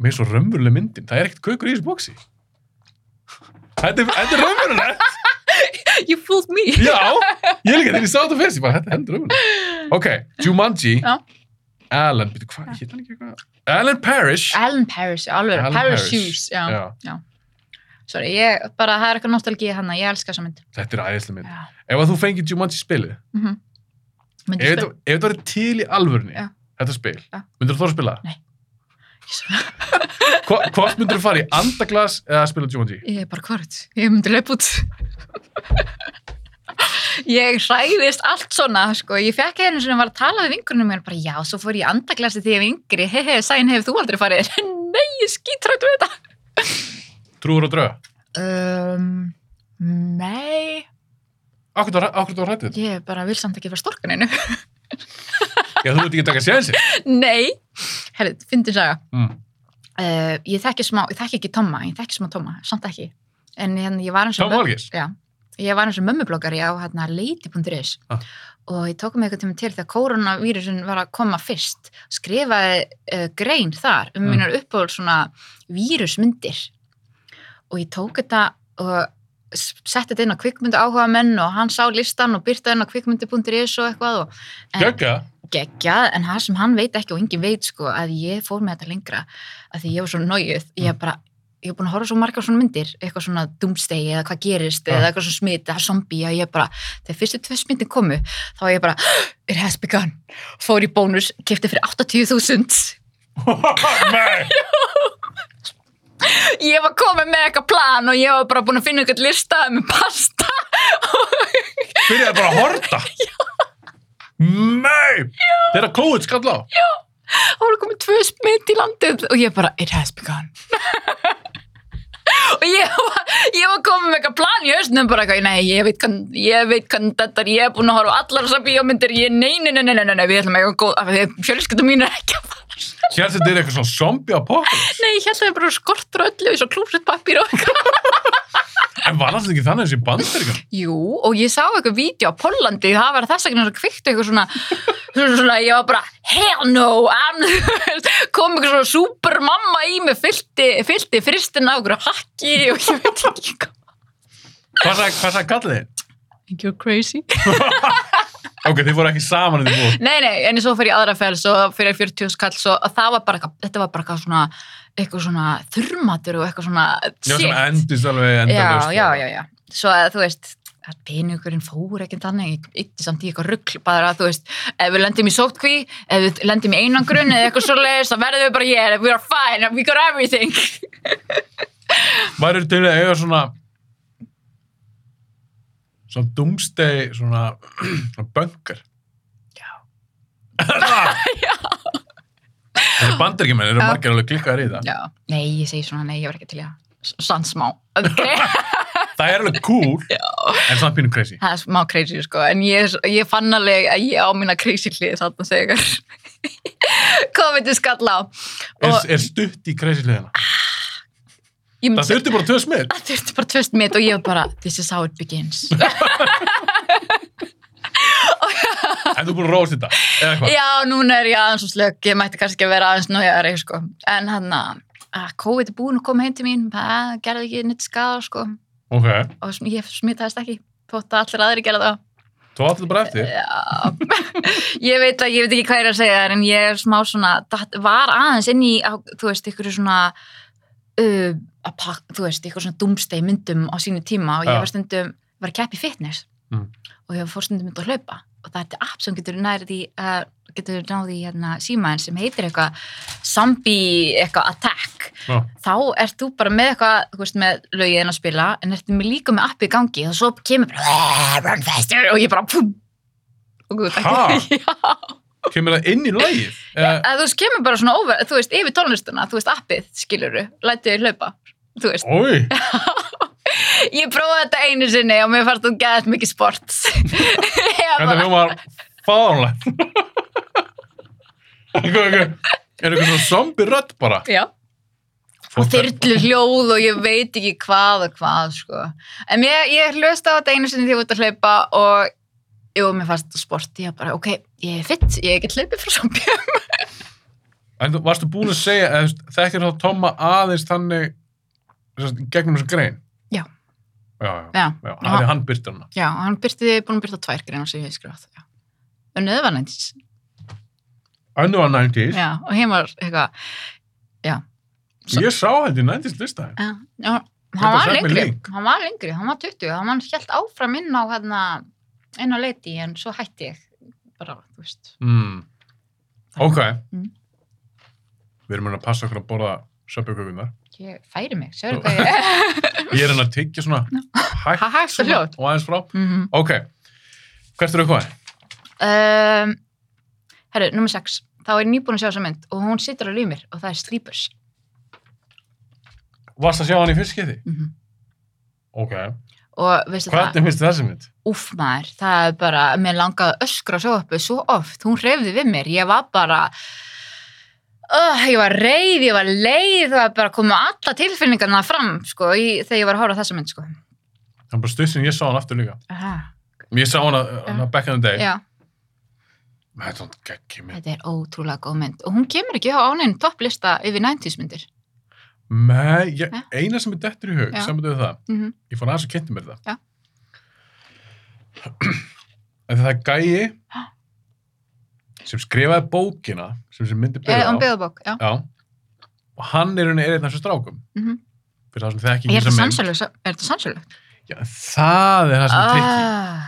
mér er svo raunveruleg myndin, það er ekkert kökur í þessu boxi þetta er, þetta er raunverulegt You fooled me. já, ég líka þegar ég sá þetta fyrst ég bara, þetta er hendur raunverulegt ok, Jumanji Já. Alan, býttu hvað, ég hann ekki eitthvað Alan Parrish Alan Parrish, já, alveg, Alan Parrish. Parrish Shoes, já. já, Sorry, ég, bara, það er eitthvað nostalgíð hann ég elska þessa mynd. þetta er æðislega mynd Já. ef að þú fengir Jumanji spilið Mm -hmm. Myndi ef ég þetta spila? ef þetta væri til í alvörni Já. þetta spil, Já. myndur þú þóra að spila það? Nei. Ég svo- Hva- Hvort myndur þú fara í andaglas eða að spila Jumanji? Ég er bara hvort, ég myndi löp út. ég hræðist allt svona, sko. Ég fekk einu sinni var að tala við vingunum mér, bara já, svo fór ég í andaglassi því ég var yngri, hehe, sæn hefur þú aldrei farið. [LAUGHS] Nei, ég skítrætt við þetta. Trúður og dröða? Um, nei, Akkur þú var rættið? ég bara vil samt ekki fara storkaninu. Já, þú veit ekki að taka séðansi. [LAUGHS] nei, herrið, fyndin saga. Mm. Uh, ég þekki smá, ég þekki ekki Tomma, ég þekki smá Tomma, samt ekki. En hérna, ég var eins og... Tom Holgers? Já, ég var eins og mömmubloggari á hérna leiti.is Ah. og ég tók mig eitthvað tíma til þegar koronavírusin var að koma fyrst, skrifaði uh, grein þar um Mm. mínar uppáhald svona vírusmyndir og ég tók þetta og s- setti þetta inn á kvikmyndu áhuga menn og hann sá listan og byrtaði inn á kvikmyndu.is og eitthvað og en- Gjögga? geggjað, en það sem hann veit ekki og enginn veit sko að ég fór með þetta lengra að því ég var svo nájuð, ég bara ég hef búin að horfa svo margar svona myndir, eitthvað svona doomsday eða hvað gerist Ja. eða eitthvað svona smita, zombie að ég bara, þegar fyrstu tvö smitin komu þá var ég bara, [GASPS] it has begun fór í bónus, kefti fyrir 80.000 [LAUGHS] Nei! [LAUGHS] ég var komin með eitthvað plan og ég var bara búin að finna eitthvað lista með pasta Byrjaði bara að horta. Nei! Þeirra COVID skall á. það voru komið tvö smitt í landið og ég bara, it has begun [LAUGHS] og ég var, ég var komið með eitthvað plan í hausnum bara eitthvað, nei, ég veit kann, ég veit kann þetta er, ég er búin að horfa á allar þessar bíómyndir, ég, nei, nei, nei, nei, nei, nei, nei, við ætlum að eiga góð, af því að fjölskyldum mín er ekki að fara Hér þetta er eitthvað svona zombie apocalypse. nei, ég held að það er bara skortur á öllu eins og klúfsitt pappir og eitthvað En var alltaf ekki þannig eins í bandaríkan? Jú, og ég sá eitthvað vídeo á Pollandi, það var þess vegna svo kvikt eitthvað svona, svona, svona ég var bara, hell no, I'm, [LAUGHS] kom eitthvað svona supermamma í mig, fyllti, fyllti fristin á okkur hakki og ég veit ekki hvað. Hvað sagði hvað sagði kallið þið? Think you're crazy? Ok, þið voru ekki saman en þið búið. Nei, nei, en svo fyrir aðra fels og fyrir 40 skall og það var bara, eitthvað- þetta var bara eitthvað svona, eitthvað svona þurrmatur og eitthvað svona, Já, sem endist alveg sko. já, endalust. já, já, já. Svo að þú veist, að peningurinn fór ekki þannig, ég ytti samt í eitthvað rugl, bara að þú veist, ef við lendum í sótkví, ef við lendum í einangrun eða eitthvað svo leiðist, þá verðum við bara hér, we are fine, we got everything. Væri til að eiga svona svona doomsday svona, [CLEARS THROAT] svona böngar Já Þetta er bandaríkjumenn, [LAUGHS] eru Já. margir alveg klikkaðir í það Já, nei, ég segi svona, nei, ég var ekki til í að sannsmá. Okay. Það er alveg cool, en samt pínu crazy [LAUGHS] það er smá crazy, sko, en ég, ég fann alveg að ég á mína crazy hlið þarna þegar [LAUGHS] komið til skall á. er, Og er stutt í crazy liðina ég myndi Það þurfti bara tvö smið það þurfti bara tvöst mitt og ég var bara, this is how it begins. En þú er búin að róast þetta, eða hvað? Já, núna er ég aðeins og slögg, ég mætti kannski að vera aðeins nájaðari, sko. En hann að COVID er búin að koma heim til mín, það gerði ekki neitt skada, sko. Ok, Og sm- ég smitaðist ekki, þótt að allir aðri gera það. þú átti þetta bara eftir Já, ég veit að, ég veit ekki hvað ég er að segja þér, en ég er smá svona, datt- var aðeins inn í, á, þú veist, ykkur svona, uh, að pak, þú veist, ykkur svona dumsteg myndum á sínu tíma og ég Já. var stundum, var að keppa í fitness Mm. og ég fór stundum mynd að hlaupa og það er þetta app sem getur nærið í, uh, getur náði í hérna símaðin sem heitir eitthvað zombie eitthvað attack Já. þá ert þú bara með eitthvað, þú veist, með lögin að spila, en ertu með líka með appi í gangi og svo kemur Ah, bara run faster og ég bara pum, og þú Ha? [LAUGHS] ekki, já, Kemur það inn í lagið? Eh, að þú veist, kemur bara svona over, þú veist, yfir tónlistuna, þú veist, appið, skiluru, lætið þau hlaupa, þú veist, Ói, ég prófaði þetta einu sinni og mér fannst þú gæðast mikið sport. [LAUGHS] Ég þetta bara- hljómar [LAUGHS] fáanlegt Er eitthvað svona zombie rödd bara? Já. og þyrlu hljóð og ég veit ekki hvað og hvað sko. en ég, ég hlust á þetta einu sinni því ég var út að hlaupa og Jú, mér fannst þetta sport, ég bara, ok, ég er fitt, ég get hlaupið frá sambjörn. En þú- varstu búin að segja, eða, þú veist, þekkir þá Tomma aðeins þannig sem sagt, í gegnum þessu grein? Já. Já, já. Já, já. og Hann, hann- hann byrti hana. já, og hann byrti, búin að byrta tvær greina sem ég hef skrifað, já. Unnið var næntís, Önnu var 90s. já, og hér var eitthvað, Ég sá þetta í 90s listaði. já, já, Þetta hann var sagði mér lengri, link. hann var lengri, hann var 20, hann held áfram inn á hérna, inn á leiti, en svo hætti ég, bara, þú veist. Mm. Ok. Mm. Við erum að passa okkur að borða söpjökökunar. Ég færi mig, sérðu hvað ég Ég er hann að tyggja svona hægt, Hægt og svona, hljótt. og aðeins frá. Mhm. Ok. Hvert eru eitthvað? um, Herru, nummer 6 Þá er ég nýbúin að sjá þessa mynd og hún situr á límir og það er Sleepers Varst að sjá hann í fyrst skipti? mm Ok. Og veistu það, Hvernig finnst þið þessi mynd? úff maður það er bara, mér langaði að öskra svo uppu svo oft, hún reyfði við mér ég var bara Uh, ég var reyð, ég var leið það var bara komið alla tilfinningarna fram sko, í, þegar ég var að horfa á þessa mynd sko. Það er bara stuð sem ég sá hann aftur líka. Aha, Ég sá hann að, Já. að back in the day. já, Þetta er geggjum mynd. þetta er ótrúlega góð mynd og hún kemur ekki á áneginn topplista yfir 90s myndir Nei, ég, Já. eina sem er dettur í hug, Já. samanlega það, mm ég fór aðeins og kynnti mér það. Já. En það er gæi Ha? sem skrifaði bókina sem sem myndi eh, byrja um á. byggðabók, já Já. Og hann er henni er einn af þessu strákum. mm -hmm. Fyrir það sem þekki er ekki þetta sannsælug, er þetta sannsælug? Já, það er það sem er trikki. Ah,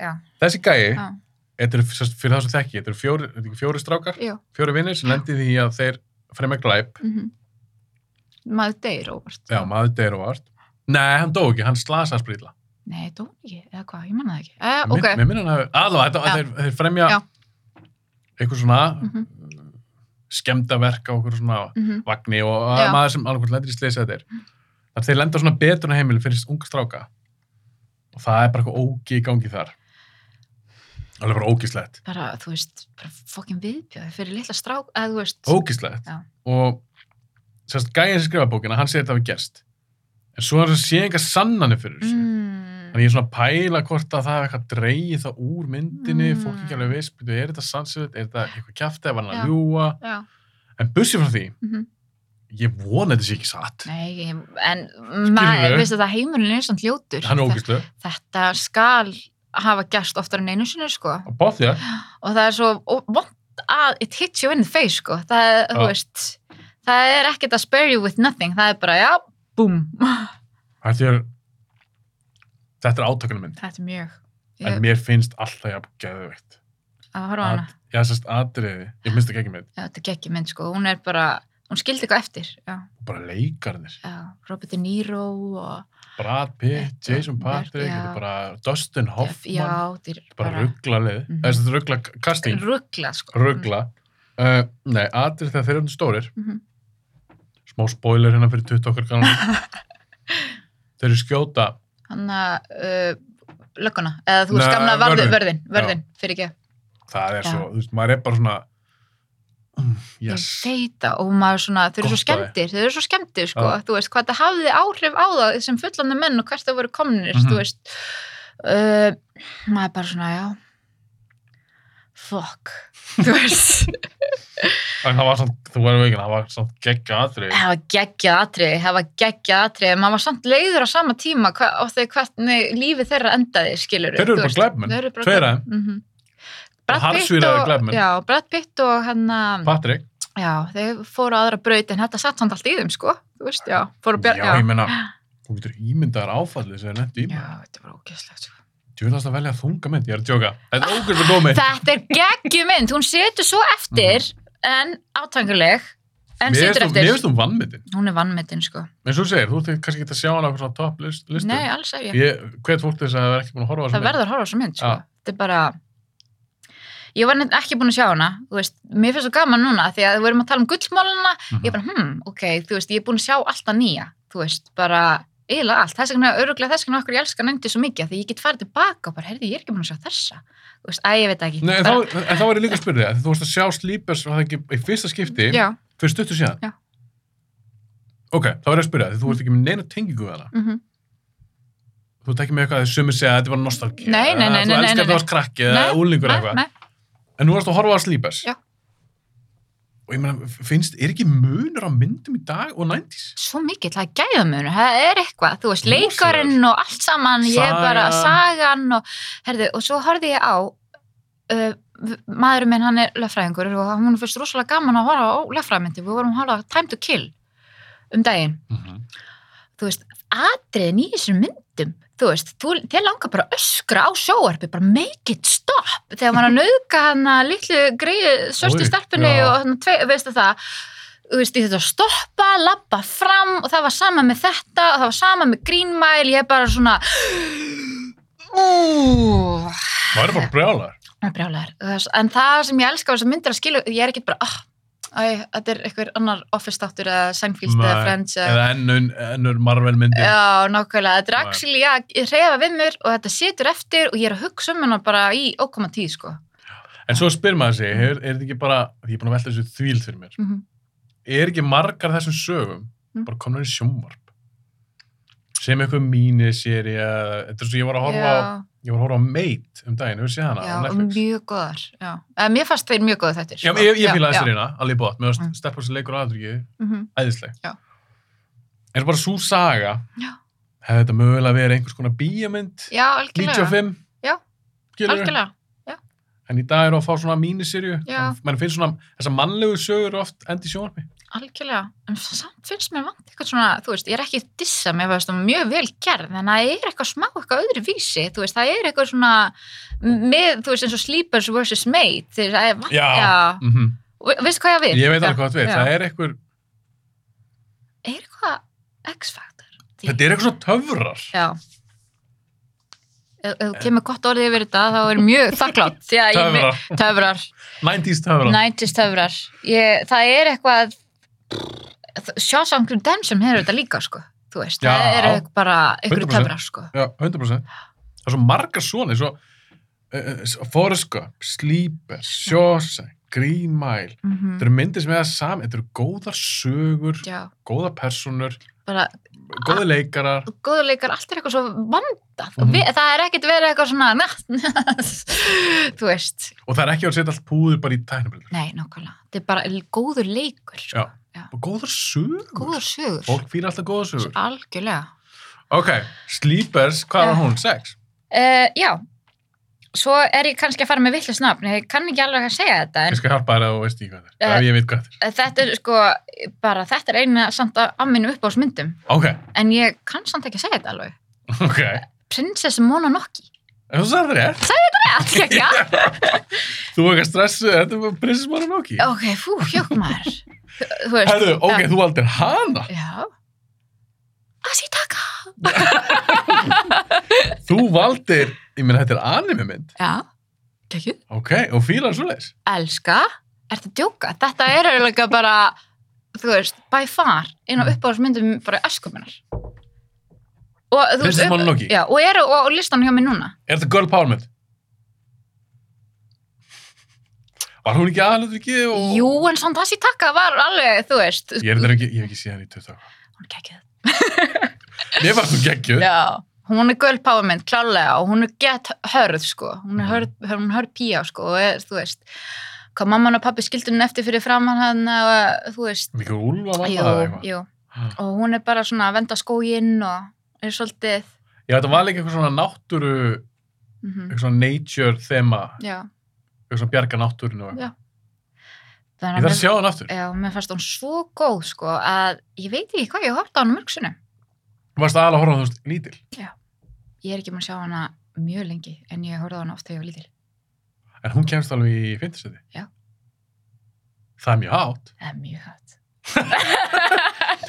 já, Þessi gæi, Já. þetta eru sem sagt, fyrir það sem þekki, þetta eru fjóri, þetta eru ekki fjóri strákar, já, fjóri vinnir sem Já. lendi því að þeir fremja glæp. mhm. Maður deyr óvart. Já, maður deyr og vart. Nei, hann dó ekki, hann slasaði sprýla. Nei, dó hún ekki, eða hvað, ég manna það ekki. Eh, Mér- ok, Mér minnir hann að alveg, þetta, Já. þeir, þeir fremja Já. eitthvað svona mm Mhm. skemdaverk á okkur svona mhm, vagni og Já. að maður sem alveg hvort lendir í sleysa þetta er. Þannig að þeir lenda á svona betruna heimili fyrir unga stráka og það er bara eitthvað ógi í gangi þar. Alveg bara ógislegt. bara, þú veist, bara fokkin viðbjöð fyrir litla strák, eða þú veist. Mm, Ógislegt. Já. Og sérst, gæðin sem skrifa bókina, hann segir þetta hafi gerst. En svo er það sé enga sannanir fyrir þessu. Mm, Þannig ég er svona að pæla hvort að það er eitthvað dreigið það úr myndinni, Mm. fólk ekki alveg viss, byrju, er þetta sannsöðt, er þetta eitthvað kjæftið, var hann Já. að ljúa? já, En busið frá því, mhm. ég vona þetta sé ekki satt. Nei, ég- en maður, veistu það, heimurinn er svona hljótur. Hann er ógæslu. Þe- Þetta skal hafa gerst oftar en einu sinni, sko. Á bóð því að, og það er svo ó- vont að it hits you in the face sko. það, er, þú Já. veist, það er ekkert að spare you with nothing það er bara, já, búm [LAUGHS] þetta er, þetta er átökunum minn. þetta er mjög En ég, mér finnst alltaf jafn geðveikt. að horfa á hana, Að- Já, sérst, atriði, ég minnst ekki ekki með, já, þetta er ekki mynd sko. hún er bara, hún skildi eitthvað eftir já, bara leikarnir. já, Robert De Niro og, Brad Pitt, Já. Jason Patrick, Já. þetta er bara Dustin já, Hoffman, þetta er bara ruggla leið. Mhm. Þessi ruggla casting, ruggla sko. ruggla. Uh, Nei, atrið þegar þeir eru stórir, Mhm. smá spoiler hérna fyrir 20 okkar kannan [LAUGHS] þeir eru skjóta Mm. hann að uh, lögguna, eða þú veist Nei, gamla varðu, vörðinn. vörðin, vörðin, fyrir ekki það er Já. svo, þú veist, maður er bara svona mm, yes, ég veit það og maður svona, þau eru svo Gott af skemmtir þau eru svo skemmtir sko, Já. þú veist, hvað það hafði áhrif á það sem fullandi menn og hvert þau voru komnir Mhm. þú veist uh, maður er bara svona, já fuck [LAUGHS] þú veist, en það var samt, þú verður veginn það var samt geggja aðri það var geggjað atrið það var geggjað atrið, maður var samt leiður á sama tíma hva, á því hvernig lífið þeirra endaði, skilur Þeir eru bara glæpmenn, tveir af þeim. mm Og harðsvíraðir glæpmenn. já, Brad Pitt og hennar Patrik, Já, þau fóru á aðra braut en þetta satt samt allt í þeim, sko. Þú veist, já, fóru já, að bjarga. ég meina þú getur ímyndaðar áfallið sem er nefnt í já, þetta var ógeðslegt, sko. djúðast að velja þunga mynd, ég er að djóka þetta er ógæst að gómi Þetta er geggjumynd, hún setur svo eftir, en átvanguleg, en setur Mhm. mér eftir. finnst þú vannmyndin, Hún er vannmyndin, sko. eins og þú segir, þú ert kannski ekki að sjá hana á eitthvað svona topp list, listu Nei, alls ekki. ég, hvet fólk til þess að það er ekki búin að horfa á þessa það mynd. verður að horfa á þessu mynd, sko. Já. Þetta er bara... Ég var nefnilega ekki búin að sjá hana, þú veist, mér finnst svo gaman núna, því að við erum að tala um gullmálana, Mhm. ég er bara, hmm, ok, þú veist, ég er búin að sjá alltaf nýja, þú veist, bara eiginlega allt, þess vegna, öruglega þess vegna okkur ég elska nefndi svo mikið, af því ég get farið tilbaka og bara, heyrði, ég er ekki búin að sjá þessa, þú veist, æ, ég veit það ekki. Nei, en, bara, þá, en þá var ég líka að spyrja þig, að þú varst að sjá Sleepers var það ekki, í fyrsta skipti Já, fyrir stuttu síðan? Já. Ok, þá er ég að spyrja, því þú ert ekki með neina tengingu við hana. mhm, Þú þú ert ekki með eitthvað að sumir segja að þetta var nostalgía Nei, nei, nei, þú nei, nei, elskar nei. þú varst krakki eða úlingur nei, eitthvað nei. En nú varst að horfa á Sleepers. Já. Og ég meina, finnst, er ekki munur á myndum í dag og 90s? svo mikill að gæða munur, það er eitthvað þú veist, Rosalegt. leikarinn og allt saman ég Sagan. bara, sagan og, herðu, og svo horfði ég á uh, maðurinn minn, hann er löffræðingur og hún fyrst rosalega gaman að horfa á löffræðmyndi, við vorum að horfa á Time to Kill um daginn, Mm -hmm. þú veist atriðin í þessum myndum þú veist, þú, þér langar bara að öskra á sjóarpi bara make it stop þegar maður er að nauðka hana litlu greið Oj, sörstu stelpunni já. og hann tvei, veistu það þú veist, ég þetta að stoppa, labba fram og það var sama með þetta og það var sama með Green Mile, ég er bara svona úúúú Það eru bara brjálar. brjálæður, en það sem ég elska á þessar myndir að skilja, ég er ekki bara oh, æ, þetta er einhver annar office þáttur eða Seinfeld eða Nei, Friends eða Eða ennur, ennur Marvel myndi. Já, nákvæmlega, þetta er Nei. actually að reyfa við mér og þetta situr eftir og ég er að hugsa um hana bara í ókoma tíð, sko. En svo spyr maður sig, er, er þetta ekki bara, því ég er búin að velta þessu þvíl fyrir mér, Mm er ekki margar þessum sögum Mm. bara komnar í sjónvarp? Sem eitthvað míniseri, þetta er svo ég var að horfa á, ég var að horfa á Mate um daginn, hefur séð hana á já, já, Netflix? mjög góðar, já. Eh, Mér fannst þeir mjög sko. góða þetta. Já, ég, ég fílaði þessar eina, alveg bótt, með Mm. að stelpa sem leikur aðdrykið, -hmm. æðisleg Já. er bara svo saga Já. hefði þetta mögulega verið einhvers konar bíjamynd Já, algjörlega. 95 Já. Skilurðu? Algjörlega. en í dag eru að fá svona mínisirju Já. mann finnst svona, þessar mannlegu sögur eru oft endi sjónarmi Algjörlega, en samt finnst mér vant eitthvað svona, þú veist, ég er ekki að dissa mér veist, hún er mjög vel gerð, en það er eitthvað smá eitthvað öðru vísi, þú veist, það er eitthvað svona með, þú veist, eins og Sleepers vs. Mate, þeir- það er vant, Já. já. mm -hmm. Ve- Veistu hvað ég á við? ég veit alveg hvað þetta við, Já. það er einhver er eitthvað X-faktor þetta er eitthvað svona töfrar já ef ef þú kemur gott orðið yfir þetta þá er ég [LAUGHS] mjög þakklátt Já, ég- töfrar, töfrar 90s töfrar nættist töfrar ég, það er eitthvað Shawshank Redemption hefur þetta líka sko þú veist, Já. það er eitthvað bara eitthvað 100%. töfrar sko Já, 100% það er svo margar svona svo, uh, Forrest Gump, Sleeper Shawshank, Green Mile Mhm. þetta eru myndir sem er það sami þetta eru góðar sögur, já, góðar persónur bara góði leikarar góðuleikar, allt er eitthvað svo vandað Mhm. Vi, það er ekkert verið eitthvað svona [LAUGHS] þú veist og það er ekki að setja allt púður bara í tæknabrillur nei, nákvæmlega, þetta er bara góður leikur sko. Já. og góðar sögur góður sögur fólk fyrir alltaf góða sögur Algjörlega. ok, Sleepers, hvað var hún? sex? Uh, já, svo er ég kannski að fara með villis nafn, ég kann ekki alveg að segja þetta, en ég skal hjálpa þér að þú veist ekki hvað það er Eh. ef ég veit hvað það er þetta er sko, bara þetta er eina samt af af mínum uppáðsmyndum, ok, [LAUGHS] en ég kann samt ekki að segja þetta alveg. ok, Prinsess Mononoke, en þú sagði það rétt ekki ekki að? [LAUGHS] þú var ekki að stressu, þetta var prinsess maður nokki Ok, fú, hjók maður. Þú veist, herðu, ok, þú valdir hana Já. já. Asitaka. þú valdir, ég meina þetta er anime mynd Já, ekki, ok, og fílar svo leis elska, ertu að djóka, þetta er eiginlega bara, þú veist, by far, eina Mm. uppáðsmyndum bara öskuminnar. Og, þú veist, Prinsess upp- Mononoke. Já, og eru á á listanum hjá mér núna. er þetta girl power mynd? var hún ekki aðalutur ekki og... Jú, en samt Asi Taka var alveg, þú veist. ég er þetta ekki, ég hef ekki séð hann í 20 ára. Hún er geggjöð. mér var þú geggjuð Já. Hún er girl power mynd, klálega, og hún er gett hörð, sko. Hún er Mm. hörð, hún er hörð pía, sko, og er, þú veist, hvað mamman og pappi skildi hún eftir fyrir framann hann, og, þú veist, mikið úlfa mamma jú, eða eitthvað jú. Ha. Og hún er bara svona að venda skóginn og er svolítið, Já, þetta var líka eitthvað svona náttúru, mm eitthvað svona nature þema, já. eitthvað svona bjarga náttúrinu og eitthvað. Já. Ég þarf að sjá hann aftur. Já, mér fannst hún svo góð, sko, að ég veit ekki hvað ég horfði á hann um öksunum. Þú varst aðalega að horfa á þú veist lítil. Ég er ekki mann að sjá hana mjög lengi, en ég horfði á hana oft þegar ég var lítil. En hún kemst alveg í fintisöði. Já. Það er mjög hátt. Það er mjög hægt.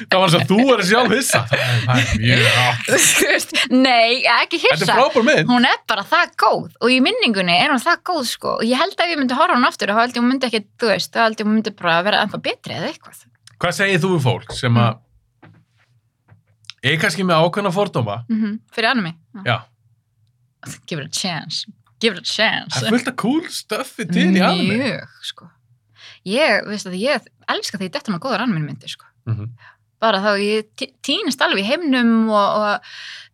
Það var eins og þú er sjálf hissa. Það er mjög hátt. [LAUGHS] Þú veist, Nei, ég er ekki Þetta er hissa. frábær mynd. Hún er bara það góð og í minningunni er hún það góð, sko. Og ég held að ef ég myndi horfa á hana aftur, þá held ég hún myndi ekki, þú veist, þá held ég hún myndi bara vera ennþá betri eða eitthvað. Hvað segir þú við fólk sem að er kannski með ákveðna fordóma? Mm Fyrir anime. Já. Já. [LAUGHS] Give it a chance. Give it a chance. Það er fullt af cool stöffi til í anime. Mjög, sko. Ég, veist að ég elska því þetta er góðar anime myndir, sko. Mhm. bara þá ég tí- týnist alveg í heimnum og, og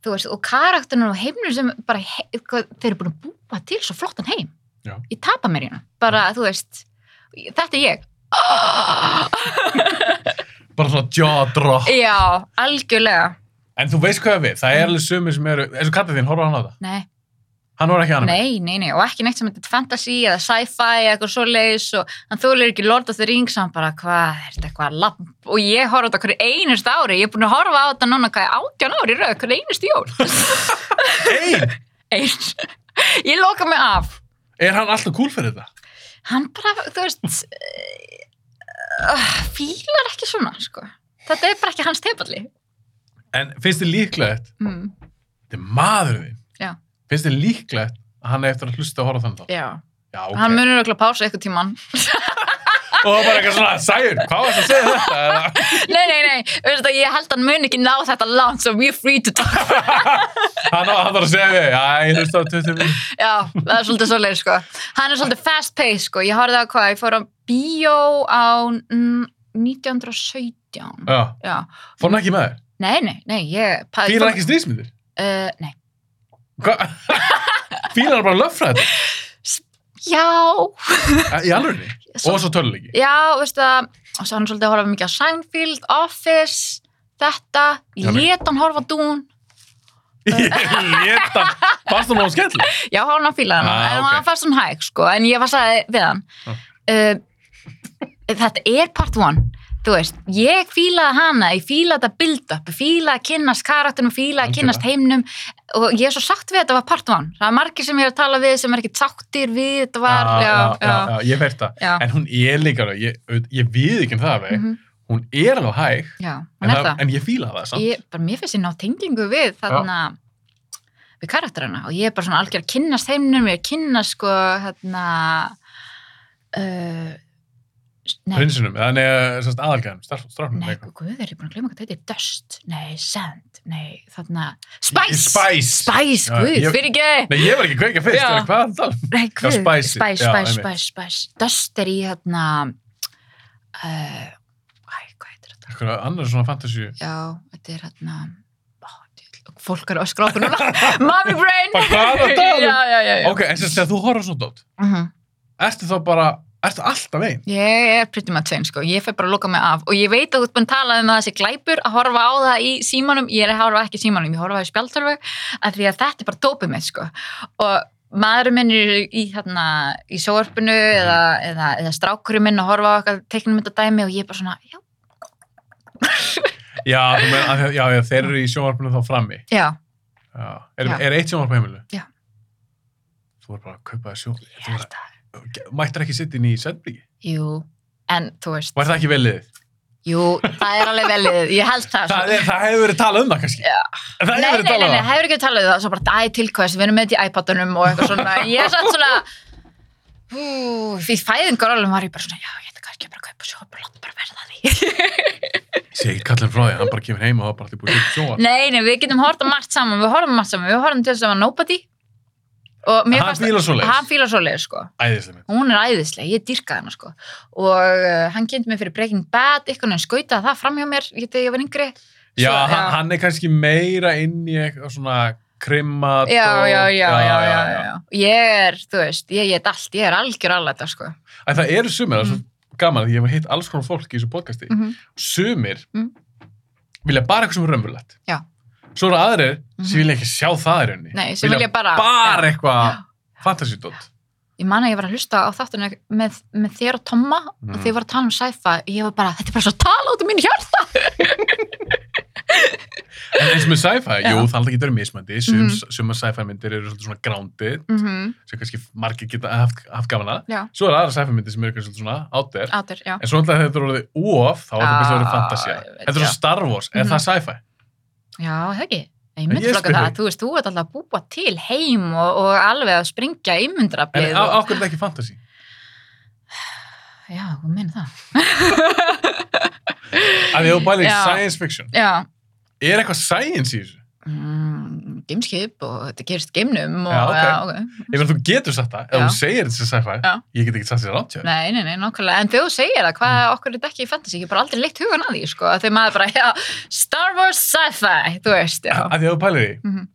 þú veist, og karakterinu og heimnum sem bara, he, hvað, þeir eru búin að búa til svo flottan heim. Já. Ég tapa mér hérna, bara, þú veist, þetta er ég. [GASPS] Ah! bara svona jaw drop Já, algjörlega. en þú veist hvað ég á við, það er alveg sumir sem eru eins og kattið þín, horfa hann á það Nei, hann var ekki anime, nei, nei, nei, og ekki neitt sem þetta fantasy eða sci-fi eða eitthvað svoleiðis og hann þólir ekki Lord of the Rings hann bara, hvað, er þetta eitthvað lamp og ég horfa á þetta hverju einust ári ég er búin að horfa á þetta núna hvað átján ári í röð hverju einust jól [LAUGHS] ein, Eins. ég loka mig af er hann alltaf cool fyrir þetta hann bara, þú veist uh, fílar ekki svona sko. þetta er bara ekki hans tefalli en finnst þið líklegt, mm, þetta er maður þinn Já. finnst þið líklegt að hann er eftir að hlusta og horfa þannig þá já, já, ok, hann munur okkur að pása eitthvað tíman og það er bara eitthvað svona sæður, hvað varst að segja þetta Eða- [LAUGHS] nei, nei, nei, veistu, ég held hann mun ekki ná þetta langt so we're free to talk hann, á- hann þarf að segja við, já, ég hlusta á 20 minn Já, það er svolítið svolítið sko. Hann er svolítið fast pace sko. Ég horfði á hvað, ég fór á bíó á mm, 1917. já, Já, fór hann ekki með þér nei, nei, nei, ég... pa- fílar hann ekki strísmyndir Uh, nei. Hva- [LAUGHS] fílar hann bara löffræði Já, í alveg, Svo- og svo töluleiki já, veistu það, og svo hann er svolítið að horfa mikið á Seinfeld, Office, þetta, Já, ég nei. let hann horfa á Dún, [LAUGHS] ég lét hann, fannst hún á skemmtileg já, hann á Ah, fílaðan, ah, en ok. hann fannst hann hæg, sko, en ég var sagði við hann, Ah. uh, þetta er part one, þú veist, ég fílaði hana, ég fílaði þetta build-up, ég fílaði að kynnast karakterum, fílaði að Algjörlega. kynnast heimnum og ég er svo sátt við að þetta var part one, það er margir sem ég er að tala við sem er ekki sáttir við, þetta var, Já, já, já, já, ég veit það já, en hún er líka alveg, ég, auðvitað- ég við ekki um það alveg, mhm, hún er alveg hæg já, en, hún er það. en ég fíla það samt ég, bara, mér finnst ég ná tengingu við þarna við karakterina og ég er bara svona algjör að kynnast heimnum ég er að kynnast sko hérna uh, s- nei, prinsinum, þannig að aðalgæðum strafnum nei, guð, er ég búin að gleyma hvað þetta er dust, nei, sand, nei þarna, spice, Spice. spice, Já, guð, ég- [LAUGHS] fyrir ekki Nei, ég var ekki að kveika fyrst, Já. er, hvað er það? nei, guð, spicy, spice, já, spice, einmitt. spice, spice, dust er í hérna uh, æ, hvað heitir þetta Eitthvað annar svona fantasíu já, þetta er hérna ó, djöfull, fólk er að öskra [LAUGHS] okkur núna mommy brain Bara, hvað er það að tala um? [LAUGHS] já, já, já, já. Ok, en sem þegar þú horfður svona dót Mhm. Ertu þá bara, ertu alltaf einn? Ég er pretty much einn sko, ég fer bara að loka mig af og ég veit að þú ert búin að tala um að þessi glæpur að horfa á það í símanum, ég er að horfa ekki í símanum, ég horfa á spjaltölvu af því að þetta er bara dópið mitt sko og maðurinn minn er í, hérna, í sjóarpinu eða, eða, eða strákurinn minn að horfa á eitthvað teiknum þetta dæmi og ég er bara svona, já, Já, þú meina, að- já, já, þeir eru í sjónvarpinu þá frammi já, Já, er, Já. er eitt sjónvarp á heimilu? Já. Þú er bara að kaupa þér sjón ég held að, Þú mættir ekki sitt inn í Sendbríki jú, en þú veist, Var það ekki velið? jú, það er alveg velið, ég held það sko. Það, er, það hefur verið talað um það kannski Já. Það hefur Nei, verið nei, nei, talað um nei, það hefur ekki talað um það, svo bara, æ, til hvers, við erum með þetta í iPadunum og eitthvað svona, ég er satt svona, hú, því fæðingar alveg var ég bara svona, já, ég ætla kannski bara að kaupa sjó, bara láta bara verða að því. [LAUGHS] Ég segi kallin frá því, hann bara kemur heim og það er bara alltaf búið að kaupa sjónvarp nei, nei, við getum horta margt saman, við horfum margt saman, við horfum til þess að nobody og mér Hann fílar svoleiðis. hann fílar svoleiðis, sko. Æðislega mynd. Hún er æðislega, ég dýrkaði hana sko og uh, hann kynnti mig fyrir Breaking Bad, eitthvað hann skautaði það fram hjá mér, ég þegar ég var yngri. Svo- Já, hann, hann er kannski meira inn í eitthvað svona krimmat já, og- já, já, já, já, já. Ég er, þú veist, ég get allt, ég er algjör alveg þetta, sko. En það eru sumir, það er Mm. svo gaman því ég hef hitt alls konar fólk í þessu podcasti Mhm. sumir Mm. vilja bara eitthvað sem er raunverulegt Já. svo eru aðrir sem Mhm. vilja ekki sjá það í rauninni Nei, sem vilja bara... bara eitthvað Já. fantasíudótt Ég man að ég var að hlusta á þáttuna með, með þér og Tomma og Mm. þið voru að tala um sci-fi. Ég var bara, þetta er bara svo tala út um mín hjarta. en eins og með sci-fi, Já. jú það er alltaf getur mismandi sum, mm Mhm. sumar sci-fi myndir eru svolítið svona grounded Mm sem kannski margir geta haft, haft gafan að Já. svo eru aðra sci-fi myndir sem eru kannski svolítið svona out there Átur, já. en svo alltaf þetta er orðið of þá er þetta Ah, kannski orðið fantasía ég veit, þetta er já. svona Star Wars, er Mhm. það sci-fi? Já, það ekki. Ég En myndi ég flokka spyr það, þig. þú veist, þú ert alltaf að búa til heim og, og alveg að springja en ímyndrablið. á- Og... af hverju er þetta ekki fantasy? Já, hún meina það. að því að þú bælir Já. science fiction Já. er eitthvað science í þessu? Mm, gameskip og þetta gerist geimnum og, Já, ok. ok. Ég meina, þú getur sagt það, ef Já. þú segir þetta sem sci-fi, Já. ég get ekki sagt þetta rámt hjá. þér. Nei, nei, nei, nákvæmlega, en þegar þú segir það, hvað Mm. okkur er þetta ekki í fantasy, ég hef bara aldrei leitt hugan að því, sko, þegar maður bara, já, Star Wars sci-fi, þú veist, já, Af því að þú pælir því, Mhm.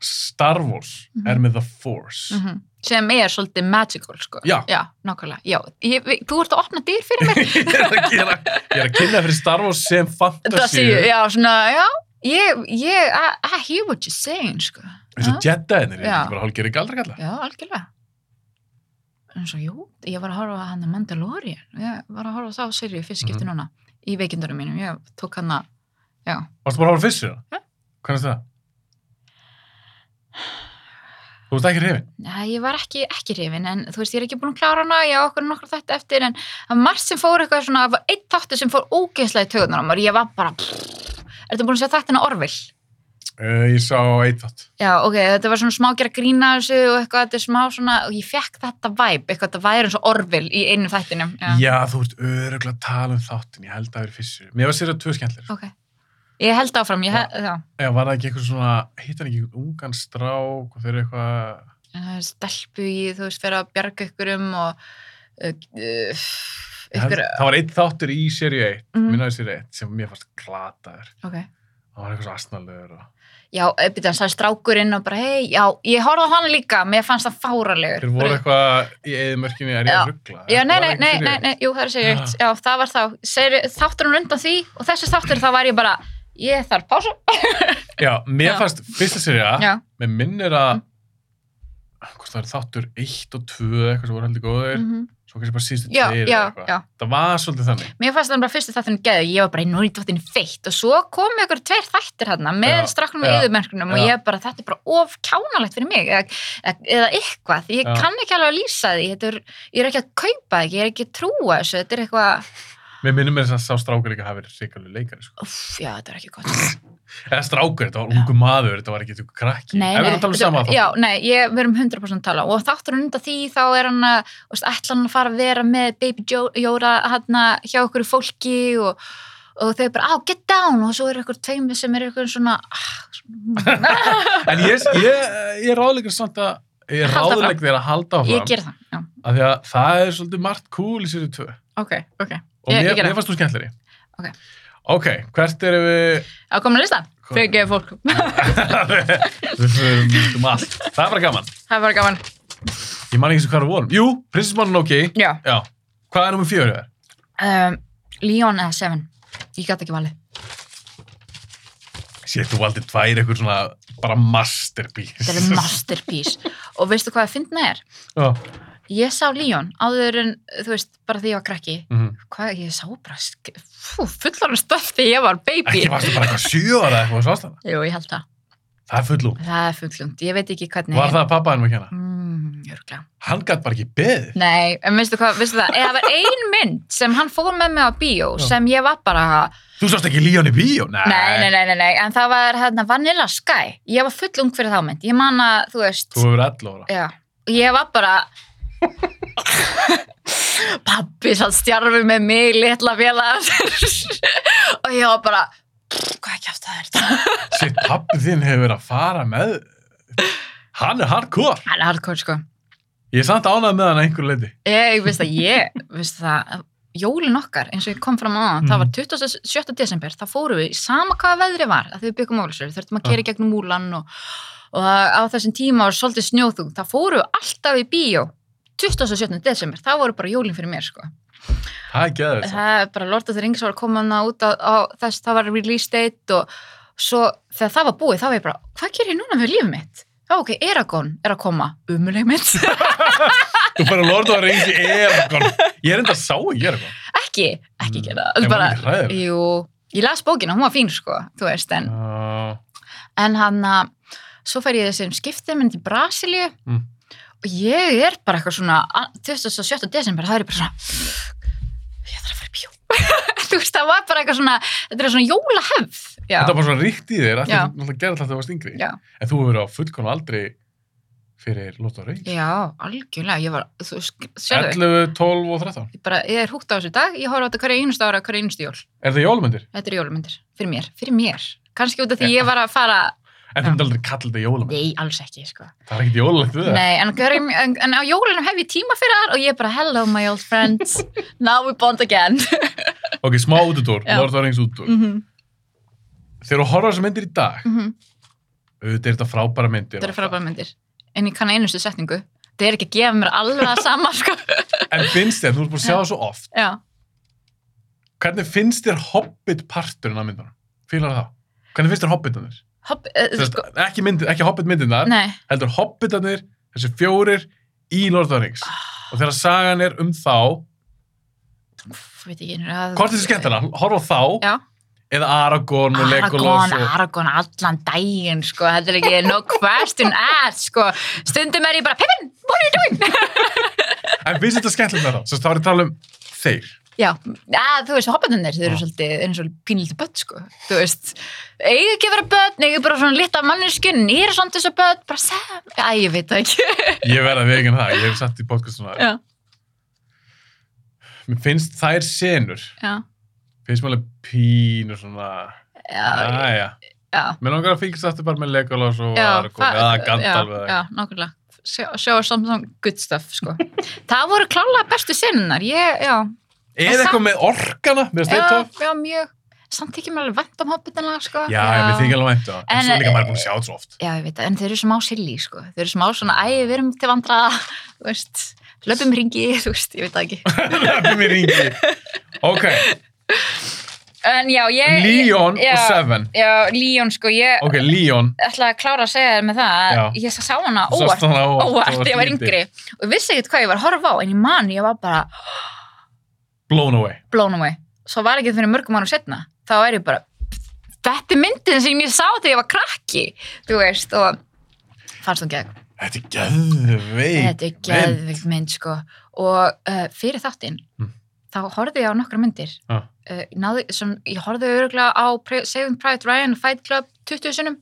Star Wars er með The Force. Mhm. sem er svolítið magical, sko. Já. [LAUGHS] Já, nákvæmlega, já, ég, við- þú ert að opna dyr fyrir mér, ég, er að gera, ég er að kynna fyrir Star Wars sem það fantasy, séu, já, svona, já, ég, ég, I, I hear what you're saying, sko, eins og Jedi-inir, ég Já. er bara hálfgerið galdra kalla. já, algjörlega. En svo, jú, ég var að horfa að hann að Mandalorian, ég var að horfa á þá serið fyrst skipti Mhm. núna, í veikindunum mínum, ég tók hann að, já, Varstu bara að horfa fyrst fyrir það? Já. Hvernig er það? Þú veist ekki hrifin? Nei, ég var ekki, ekki hrifin, en þú veist, ég er ekki búin að klára hana, ég á okkur nokkru þetta eftir, en það var margt sem fór eitthvað svona, það var einn þáttu sem fór ógeðslega í tögunar á mér, ég var bara, ertu búin að segja þættina Orville? Uh, ég sá eitt þátt. Já, ok, þetta var svona smá að gera grína þessu og eitthvað, þetta er smá svona, og ég fekk þetta væp, eitthvað, þetta væri eins og Orville í einu þættinum. Já. þú ert öruglega að tala um þáttin, ég held að það verið fyrst fyrir. Mér var sér að tvö skemmtilegir. Ok, ég held áfram, ég held, já, Eða var það ekki eitthvað svona, hitt hann ekki einhvern ungan strák og þeir eru eitthvað... já. stelpu í, þú veist, fyrir að bjarga ykkur um og, uh, uh, Ég held- ykkur, Það var eitt þáttur í serið 1, mm. Mhm. minnaði serið 1, sem mér fannst glataður. Mm, ok. Það var eitthvað svo asnalögur og... Já, eh, auðvitað, það er strákurinn og bara, hei, já, ég horfði á hana líka, mér fannst það fáralegur. Þeir voru Bara- eitthvað í eðumörkinni, er ég Já. að ruggla? Já, nei, nei, nei, nei, nei, jú, það er segið eitt, já, það var þá, segir, þáttur hún undan því og þessi þáttur þá var ég bara, ég þarf pásu. Já, mér Já. fannst fyrsta serið Já, Mm. Mér minnir að hvort það er þáttur 1 og 2 eitthvað sem voru heldur góðir, mhm. svo kannski bara síðustu já, 2 já, já, Það var svolítið þannig. mér fannst það bara fyrstu þátturinn geðu, ég var bara, nú er þátturinn feitt og svo kom ykkur tveir þættir hérna með Já, stráknum já, og yðurmerknum og já. ég bara, þetta er bara of kjánalegt fyrir mig eða, eða- eða eitthvað, ég Já. kann ekki alveg að lýsa því, þetta er, ég er ekki að kaupa það ekki, ég er ekki að trúa þessu, þetta er eitthvað, Mér minnir mér þess að sá strákur líka hafi verið ríkalegu leikari. Sko. uff, já, þetta er ekki gott. Eða strákur, þetta var ungu maður, þetta var ekki eitthvað krakki. Nei, Ef nei, við erum að tala um sama þetta- þátt. já, nei, ég, við erum 100% að tala og þáttur hann undan því þá er hann að þú veist, ætla hann að fara að vera með Baby Jo- Yoda hann hjá okkur fólki og, og þau bara, á, get down og svo eru ykkur tveim sem eru ykkur svona ah, svona- En ég, ég, ég ráðleikur samt að, ég Halda áfram. ráðleik þér að halda áfram. ég ger það, já, Af því að það er svolítið margt cool í sér í tvö. ok, ok Og Ég- ég mér, geri það. mér fannst þú skemmtleri. Ok. Ok, hvert erum við... [LAUGHS] á komin að lista, Hvað- fyrir gefið [LAUGHS] fólk við fyrir um allt. Það er bara gaman. það var gaman, Ég man ekki sem hvað við vorum. Jú, prinsessmann ok. já Já. Hvað er nummið fjögur þér? um, Leon eða Seven, ég gæti ekki valið Sér, þú valdir tvær eitthvað svona bara masterpiece. [LAUGHS] þetta er masterpiece og veistu hvað að fyndna er? Já. ég sá Leon áður en, þú veist, bara því ég var krakki Mhm. hvað ég sá bara sk- fú, fullan stöf þegar ég var baby Ekki varstu bara eitthvað sjö ára eitthvað og sást hana. Jú, ég held það, Það er fullum. það er fuglund ég veit ekki hvernig Var það pappa hennum ekki hana? Mm, örugglega. Hann gætt bara ekki beðið. Nei, en veistu hvað, veistu það, eða það var ein mynd sem hann fór með mig á bíó Já. sem ég var bara, Þú sást ekki Líón í bíó? Nei. nei, nei, nei, nei, nei, en það var hérna Vanilla Sky, ég var fullung fyrir þá mynd, ég man að, þú veist, Þú hefur 11 ára. Já, og ég var bara [LAUGHS] pappi satt stjarfi með mig litla félagar [LAUGHS] og ég var bara hvað ekki aftur það er þetta Sitt, pappi þinn hefur verið að fara með... Hann er hardcore. [LAUGHS] hann er hardcore sko Ég er samt ánað með hann að einhverju leiti. ég veist að ég veist það jólin okkar eins og ég kom fram á það Mhm. það var 27. desember, það fórum við í sama hvaða veðri var, að því við byggum ólisur við þurftum að Ah. kera í gegnum múlan og, og á þessum tíma var svolítið snjóðung það fórum við alltaf í bíó 27. desember, það voru bara jólin fyrir mér sko Það er geður það. það er bara Lord of the Rings var að koma hana út á, á þess, það var release date og svo þegar það var búið þá var ég bara, hvað gerir ég núna með lífið mitt? Já, ok, Eragon er að koma, umuleg mitt, [LAUGHS] Þú bara lortu að ringi Eragon. Ég er enda að sá ekki Eragon. Mm. ekki, ekki gera Ég það, var bara, ekki hræður. [LAUGHS] jú, ég las bókina, hún var fín sko, þú veist, en, Uh, en hann að, svo fær ég þessum skiptiminn til Brasilíu Mm. og ég er bara eitthvað svona, a- 27. desember, það er ég bara svona, ég þarf að fara í bjó, [LAUGHS] þú veist, það var bara eitthvað svona, þetta er svona jólahefð, já. þetta var bara svona ríkt í þér að þú Já. náttúrulega gerði alltaf að það varst yngri. Já. En þú hefur verið á fullkonu aldrei fyrir Lóta Reyn. Já, algjörlega, ég var, þú sérðu, 11, 12 og 13. ég, bara, ég er húgt á þessu dag, ég horfa á þetta hverja einustu ára, hverja einustu jól. Er það jólmyndir? Þetta er jólumyndir, fyrir mér, fyrir mér. Kanski út af því ég var að fara, En þú myndi aldrei kalla þetta jólamynd. Nei, alls ekki, sko. Það er ekkert jólalegt [LAUGHS] við það. Nei, en, hverjum, en, en á jólunum hef ég tíma fyrir það og ég er bara, hello my old [LAUGHS] friends, now we bond again. Ok, smá útudór, Já. Lord of the Rings útudór. mm Þegar þú horfður þessar myndir í dag, auðvitað er þetta frábæra myndir. Þetta eru frábæra myndir. En ég kann einustu setningu. Þetta er ekki að gefa mér alveg það sama, [LAUGHS] sko. En finnst þér, þú ert búin að sjá það svo oft, Já. hvernig finnst þér Hobbit parturinn af myndunum? Fýlar það? Hvernig finnst þér Hobbitanir? Hopp, uh, Sko, sko, ekki, myndir, ekki Hobbit myndirnar, nei. heldur Hobbitanir, þessi fjórir í Lord of the Rings. Ah. Og þegar sagan er um þá, Úff, veit ekki, að, hvort er þessi skemmtana? Horfa á þá Já. eða Aragorn og Legolas Aragorn, og... Aragorn allan daginn, sko. Þetta er ekki no question asked, sko. Stundum er ég bara, Pippin, what are you doing? En finnst þetta skemmtilega þá? Svo þá er ég að tala um þeir. Já, að, þú veist, hoppatundir, þau eru Já. svolítið þeir eru svolítið pínlítið börn, sko. Þú veist, eiga ekki að vera börn, eiga bara svona litla manneskjun, nýra samt þessu börn, bara sem, æ, ég veit það ekki. Ég verða að veginn það, ég hef sagt í podcastuna Já. Mér finnst þær senur Já, finnst mér alveg pínur svona já, aðja, já. mér langar að fylgst aftur bara með Legolas og Já, Aragorn það- eða já, Gandalf já, eða nákvæmlega sjá, sjá samsung good stuff sko. það voru klálega bestu sinnar ég, já, eða eitthvað með orkana, mér finnst já, þeir tóf já, mjög samt ekki mér alveg vænt um hobbitina sko. Já, ég mér þykir alveg vænt á það, en En- svo líka maður er búin að sjá þetta svo [LAUGHS] oft já, ég veit það, en þau eru smá silly sko. þau eru smá svona, æ, við erum til vandraða [LAUGHS] þú veist, löpum ringi [LAUGHS] þú veist, ég veit það ekki Löpum í ringi Ok, en já, ég Leon Eh, já, og Seven já, Leon, sko, ég Ok, Leon ætla að klára að segja þér með það Já. að ég sá hana Þú sást óvart hana óvart, þú óvart, varst ég var lítill. yngri og ég vissi ekkert hvað ég var að horfa á en ég man, ég var bara Blown away blown away svo var ekki fyrir mörgum árum setna þá er ég bara þetta er myndin sem ég sá þegar ég var krakki þú veist og fannst hún gegn Þetta er geðveik þetta er geðvikt mynd sko og uh, fyrir þáttinn Mm. Ah. þá horfði ég á nokkra myndir Já. uh, náði, sem, ég horfði öruglega á Pri- Saving Private Ryan og Fight Club 20 sinnum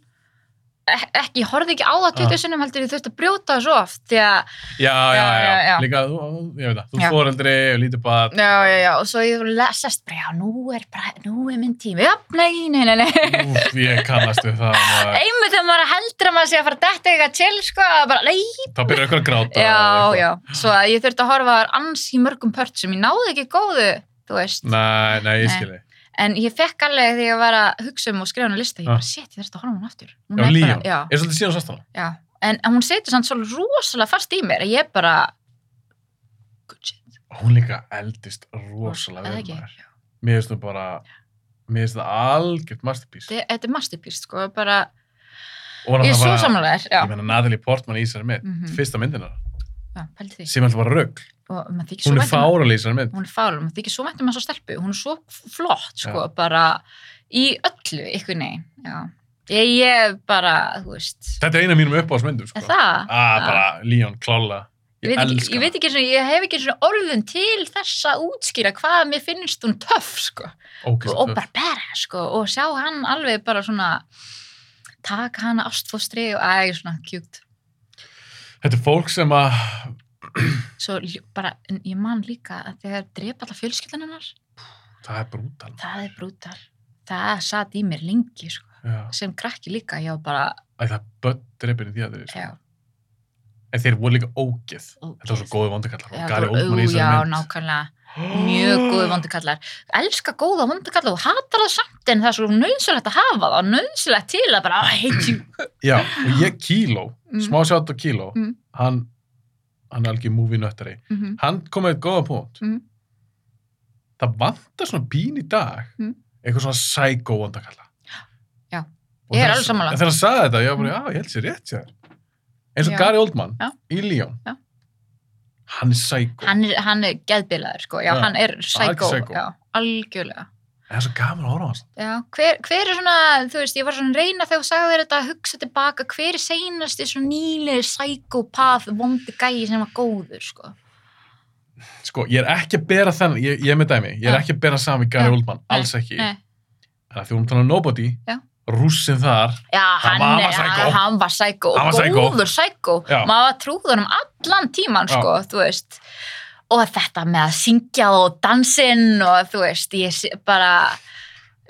Ek- ekki, ég horfði ekki á það 20 Já. sinnum heldur ég þurfti að brjóta það svo oft því að, já, já, Já, já, já, já. líka, þú- ég veit það, þú Já. er fóreldri og lítið bad já, já, já, og svo ég le- sest bara, já, nú er bara, nú er minn tími, já, nei, nei, nei, nei [LAUGHS] Úf, ég kannast við það [LAUGHS] maður. einmitt þegar maður heldur að maður sé að fara að detta eitthvað til sko, að bara, nei, þá byrjar eitthvað að gráta já, eða eitthvað. já svo að ég þurfti að horfa þar ansi mörgum pört sem ég náði ekki góðu, þú veist Nei, nei, ég Nei. skilji en ég fekk alveg þegar ég var að hugsa um og skrifa hann að lista, ég Ah. bara, shit, ég þurfti að horfa hann aftur hún Já, er Líón, bara, ég er svolítið síðan sást hana já, já, en hún setur samt svo rosalega fast í mér að ég bara good shit, Hún líka eldist rosalega eða vel ekki maður Mér finnst þú bara Mér finnst það algjört masterpiece Þe- þetta er masterpiece, sko, bara Og hann ég er svo bara- samanlegar, já Ég meina Natalie Portman í þessari mynd Mhm. Fyrsta myndin hana, Já, pældi því. sem er alltaf bara rögg og maður þykir svo Hún er vænt um hana. fáralega í þessari mynd hún er fál, maður þykir svo mættum að svo stelpu hún er svo flott, sko, Já. bara í öllu, ykkur negin já, ég, ég bara, þú veist Þetta er eina af mínum uppáðsmyndum sko. er það? Ah, bara Leon, klála Ég ég, veit ekki, elska ég veit ekki, svona, ég hef ekki svona orðin til þess að útskýra hvað mér finnst hún töff, sko, og, Ógeðslega og töff. bara bera, sko, og sjá hann alveg bara svona taka hana ástfóstri og æg, svona, kjúkt Þetta er fólk sem að svo ljó- bara, en ég man líka að þegar drepa alla fjölskyldan hennar Það er brútal það er brútal, það satt í mér lengi, sko Já. sem krakki líka, ég var bara Æ, Það er börn drefin í því að þeir sko. já, En þeir voru líka ógeð Þetta var svo ógeð. góði vondakallar Já, og Gary þú- Oldman í ú, já, þessari mynd nákvæmlega, mjög góðu Mm. vondukallar elska góða vondukallar og hatar það samt en það er svo nöðsynlegt að hafa það og nöðsynlegt til að bara, I hate you [GASPS] Já, og ég Kíló, Mm. smá sjátt á Kíló, Mm. hann, hann er algjör movie nöttari. Mhm, Hann kom með eitt góða punkt. Mm. Það vantar svona bín í dag, Mm. eitthvað svona psycho vandakalla. Já. Og Ég er þegar- alveg sammála. Hmm. En þegar hann sagði þetta, ég var bara, já, ég held sér rétt sér. Eins og Já. Gary Oldman Já. í Leon. Já. Hann er psycho. hann er, hann er geðbilaður sko, já, Já, hann er psycho, psycho. já, algjörlega Það er svo gaman að horfa á hans. já, hver, hver er svona, þú veist, ég var svona að reyna þegar þú sagði þér þetta að hugsa tilbaka hver er seinasti svona nýlega psychopath vondi gæi sem var góður sko, Sko, ég er ekki að bera þennan, ég, ég er með dæmi, ég er Já. ekki að bera saman við Gary Nei. Oldman, alls ekki. nei En að því hún talaði um Nobody, Já. rússin þar, Já, Hann hann, var- hann var er- psycho. hann var sækó Hann var og psycho. góður sækó. Já. Maður var trúðunum allan tíman, Já. sko, þú veist. Og þetta með að syngja og dansinn og þú veist, ég sé bara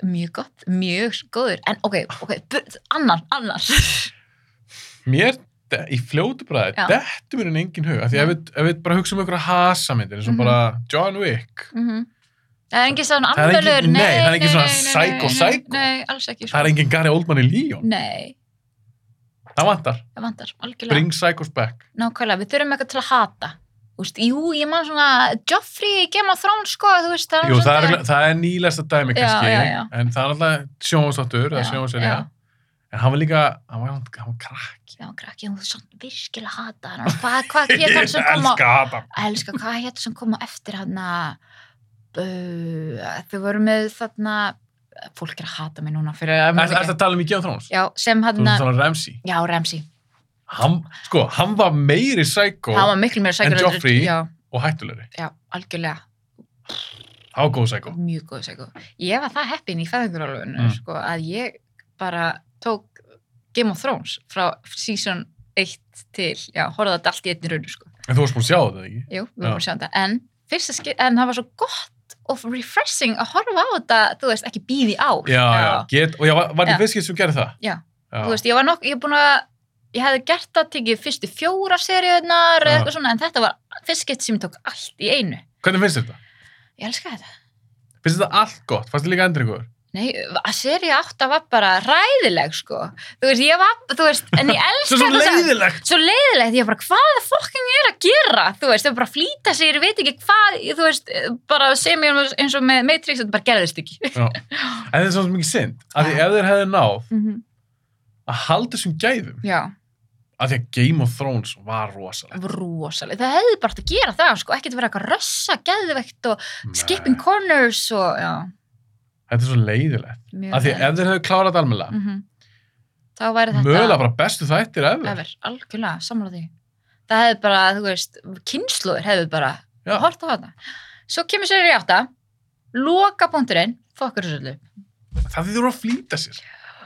mjög gott, mjög góður en ok, ok, bur- annar, annar Mér, de- í fljótu bræði, Já. dettu mér en engin hug. af Því ef við, ef við bara hugsa um einhverja hasamyndir, eins og Mhm. bara John Wick, Mhm. það er engin Það svona er engin- alveglegur nei, það er engin svona nei, psycho, nei, psycho. nei, alls ekki sko. það er engin Gary Oldman í Líón. nei, Það vantar. það vantar, algjörlega Bring Psychos back. nákvæmlega, við þurfum eitthvað til að hata Úst, jú, ég man svona Joffrey, Game of Thrones, sko, þú veist það Jú, það er, svolítið- örugglega- það er nýlesta dæmi Já, kannski, já, já. en það er alltaf sjónvastáttur, það er Já, sjónvaserja. já. En hann var líka, hann var, hann var krakki. Já, krakki, hún svona virkilega hata hann Hvað hva [LAUGHS] hétt hann sem kom á elska Adam. Elska, hvað hétt sem kom á eftir hann uh, Þau voru með þarna Fólk er að hata mig núna fyrir að Er þetta að tala um í Game of Thrones? Já, sem Þú hann veist þannig Ramsey. Já, Ramsey Hann, sko, hann var meiri psycho Það var miklu meira sækur Joffrey? Já, og hættulegri. já, algjörlega Það var góð psycho. Mjög góð sækur Ég var það heppin í fæðingurálfinu Mm. sko, að ég bara tók Game of Thrones frá season 1 til Já, horfði þetta allt í einni rauninu sko En þú varst búin að sjá þetta, ekki? Jú, við Já. vorum að sjá þetta. En, fyrsta skil, en það var svo gott og refreshing að horfa á þetta, þú veist, ekki bíði á. Já, já, get, og já, var, var Já. þetta fiskir sem gerði það? Já. Já. Þú veist, ég var nokk, ég er búin að, ég hefði gert það, tekið fyrstu fjóra seriunar Já. eða eitthvað svona, en þetta var fyrst skeitt sem ég tók allt í einu. Hvernig finnst þér þetta? Ég elska þetta. Finnst þetta allt gott? Fannst þetta líka [LAUGHS] endringur? Nei, að serið átta var bara ræðileg, sko. Þú veist, ég var, þú veist, en [LAUGHS] ég elska Svo svo þessa- [LAUGHS] leiðilegt! svo leiðilegt, ég bara hvaða fokking er að gera, þú veist, þau bara flýta sér, ég veit ekki hvað, þú veist, bara sem ég eins og með Matrix, þetta bara gerðist ekki. Já. En þetta er svo mikið synd, að því Já. ef þeir hefðu náð Mm að halda þessum gæðum, Já, að því að Game of Thrones var rosalegt. rosalega. Það hefði bara átt að gera það, sko, ekkert verið eitthvað rössa, geðveikt og skipping Nei, corners og, já, Þetta er svo leiðilegt. mjög Að því ef þeir hefðu klárað almennilega, Mm Þá væri þetta... mögulega bara bestu þættir ever. Ever, algjörlega, samla því. Það hefði bara, þú veist, kynsluður hefði bara, Já. hort á þetta. Svo kemur sér í átta, loka punkturinn, fokkar þessu öllu. það þurfa að flýta sér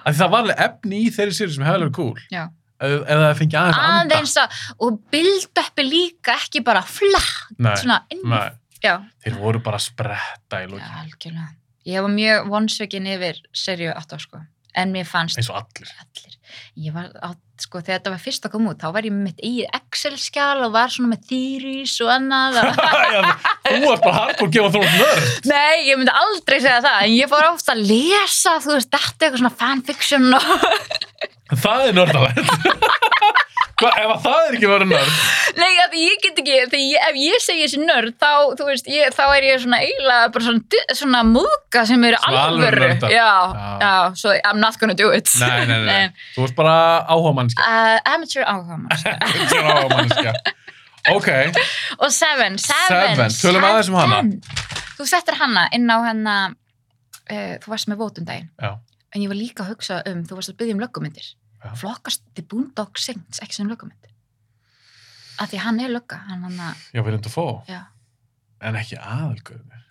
að það var alveg efni í þeirri séri sem hefði verið cool Já. eða eða það fengi aðeins að anda aðeins að, og build-upi líka ekki bara flatt, nei, svona inn nei, já, þeir voru bara að spretta í já, lókin algjörlega ég var mjög vonsveikin yfir serju 8 sko, en mér fannst eins og allir [LAUGHS] allir, ég var á, sko, þegar þetta var fyrst að koma út, þá var ég með mitt eigið Excel-skjál og var svona með theories og annað, [LAUGHS] og... Já, þú varst bara hardcore gefa þrótt nörd nei, ég myndi aldrei segja það, en ég fór oft að lesa þú veist, þetta eitthvað svona fanfiction og [LAUGHS] það er nördalegt [LAUGHS] Hva, ef að það er ekki verið nörd Nei, að ég get ekki, þegar ég, ef ég segi þessi nörd, þá, þú veist, ég, þá er ég svona eiginlega bara svona, di- svona múðga sem eru Svona alvöru alvöru. nördar. Já, Já. já, so I'm not gonna do it. nei, nei, [LAUGHS] nei, þú varst bara áhuga [LAUGHS] mannskja Uh, amateur áhugamann. áhuga mannskja ok, Og Seven, Seven. Seven, tölum aðeins um hana. Seven. Þú settir hana inn á hana, uh, þú varst með vótundaginn. Já. En ég var líka að hugsa um, þú varst að byggja um löggumindir. Já. Flokkast The Boondock Saints ekki sem löggumind. Af því hann er lögga, hann hann að, já, við erum þetta að fá Já. en ekki aðalgöður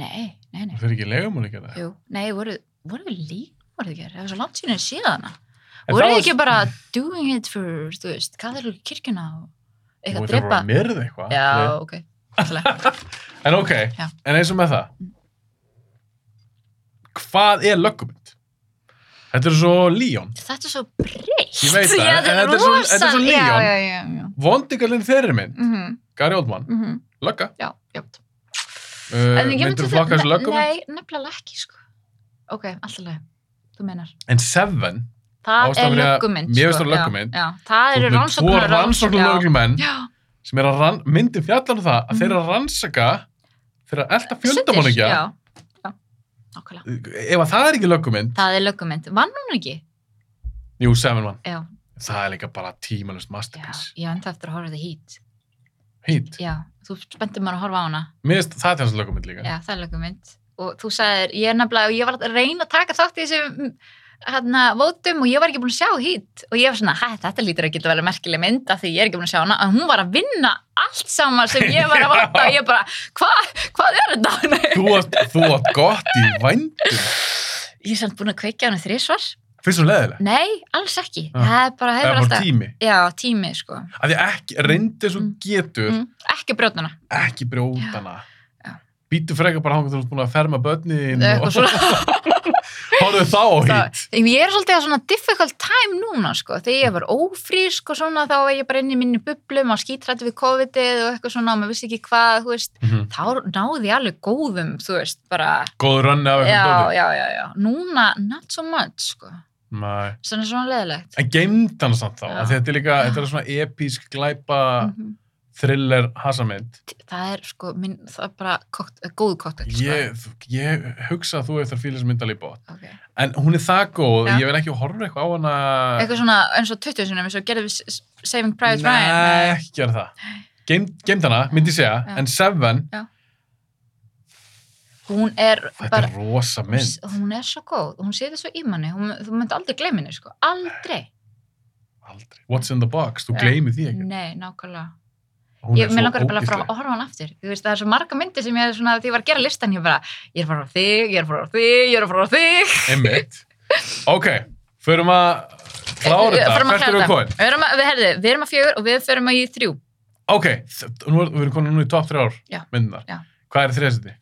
nei, nei, nei. þau eru ekki legum að líka það Jú, nei, voru, voru við líka voru þið gerð, það var svo langt síðan síðan hana En voru það þið var- ekki bara doing it for, þú veist, hvað er kirkjuna og Nú, eitthvað þau voru drepa að myrða eitthvað já, Nei. ok, alltaf En ok, Já. en eins og með það Hvað er löggumynd? Þetta er svo Líón þetta er svo breytt Ég [LAUGHS] veit það, Já, en þetta er svo- þetta er svo rosalega- Leon. já, já, já, já. Vondigalinn þeirri mynd, Mhm, Gary Oldman mhm, Lögga, já, já uh, En ég myndi myndur það- flokka þessu löggumynd nei, nefnilega ekki, sko ok, alltaf þú menar En Seven, það Ástæðan er fyrir að- löggumynd mér finnst sko, það já, löggumynd. já, það þú eru ert með tvo rannsóknar rannsóknar löglumenn já, sem er að rann, myndin fjallan um það að Mhm. þeir eru að rannsaka þeir eru að elta syndir, fjöldamanningja já, já, okkarlega Ef að það er ekki löggumynd, Það er löggumynd. Vann hún ekki? jú, Seven mann Já. Það er líka bara tímalust Já, masterpiece ég enda eftir að horfa á þetta hít. Hýtt, Já, þú spenntir maður að horfa á hana. mér finnst það til þessu löggumynd líka Já, það er löggumynd. Og þú sagðir, ég er nefnilega, og ég var að reyna að taka þátt í þessu hérna, vótum og ég var ekki búin að sjá hít. Og ég var svona, hæ, þetta lítur að geta vel merkileg mynd af því ég er ekki búin að sjá hana. En hún var að vinna allt saman sem ég var að vanda og ég bara, hvað, hvað er þetta? [LAUGHS] Nei. Þú átt, þú átt gott í vændum Ég er samt búin að kveikja hana þrísvar. Finnst þú leðilega? Nei, alls ekki. Já. Það er bara, Það hefur var alltaf. tími Já, tími, sko. að því ekki, reyndi svo Mm. getur Mm. Ekki brjótnuna. ekki brjótana Já. býtu frekar bara hangað þú ert búin að ferma börnin eitthvað og [LAUGHS] svona Horfðu þá á hýtt. Það, ég er svolítið að svona difficult time núna sko, þegar ég var ófrísk og svona þá var ég bara inn í minni bublum á skítrætti við COVID-ið og eitthvað svona og maður vissi ekki hvað, þú veist, Mhm. þá náði ég alveg góðum, þú veist, bara Góð rönni af eitthvað já, dóti. já, já, já, núna not so much, sko, Nei. svona svona leðilegt En geimd hann samt þá. Já. af því Þetta er líka, þetta er svona episk glæpa Mhm. thriller hasamind. það er sko, minn, það er bara kokt, góð koktel, sko Ég, ég hugsa að þú eftir að fýla þessu myndal í bótt. Ok. En hún er það góð, Já. ég vil ekki horfa eitthvað á hana... eitthvað svona eins og 20 sinum eins og gerðum við S- S- Saving Private Nei, Ryan ekki gera það. Geimt geimt hana, myndi ég segja, Já. en Seven, hún er þetta bara er rosa mynd. hún er svo góð, hún séði svo í manni hún, þú myndi aldrei gleymi henni sko, aldrei Aldrei. What's in the box, þú Já. gleymið því ekki. nei, nákvæmlega Hún ég, mér langar bara að fara ógeðsleg. að horfa hann aftur þú veist, það er svo marga myndir sem ég er svona því ég var að gera listan, ég bara, ég er að fara á þig ég er að fara á þig, ég er að fara á þig Einmitt. Ok, förum að klára þetta. Eh, Förum að Hvert klára eru við þetta. komin? við erum að, við, herði, við erum að fjögur og við förum að í þrjú Ok, þ- nú er, við erum komin nú í top 3 ár Já. myndunar. Já. Hvað er þriðasindi?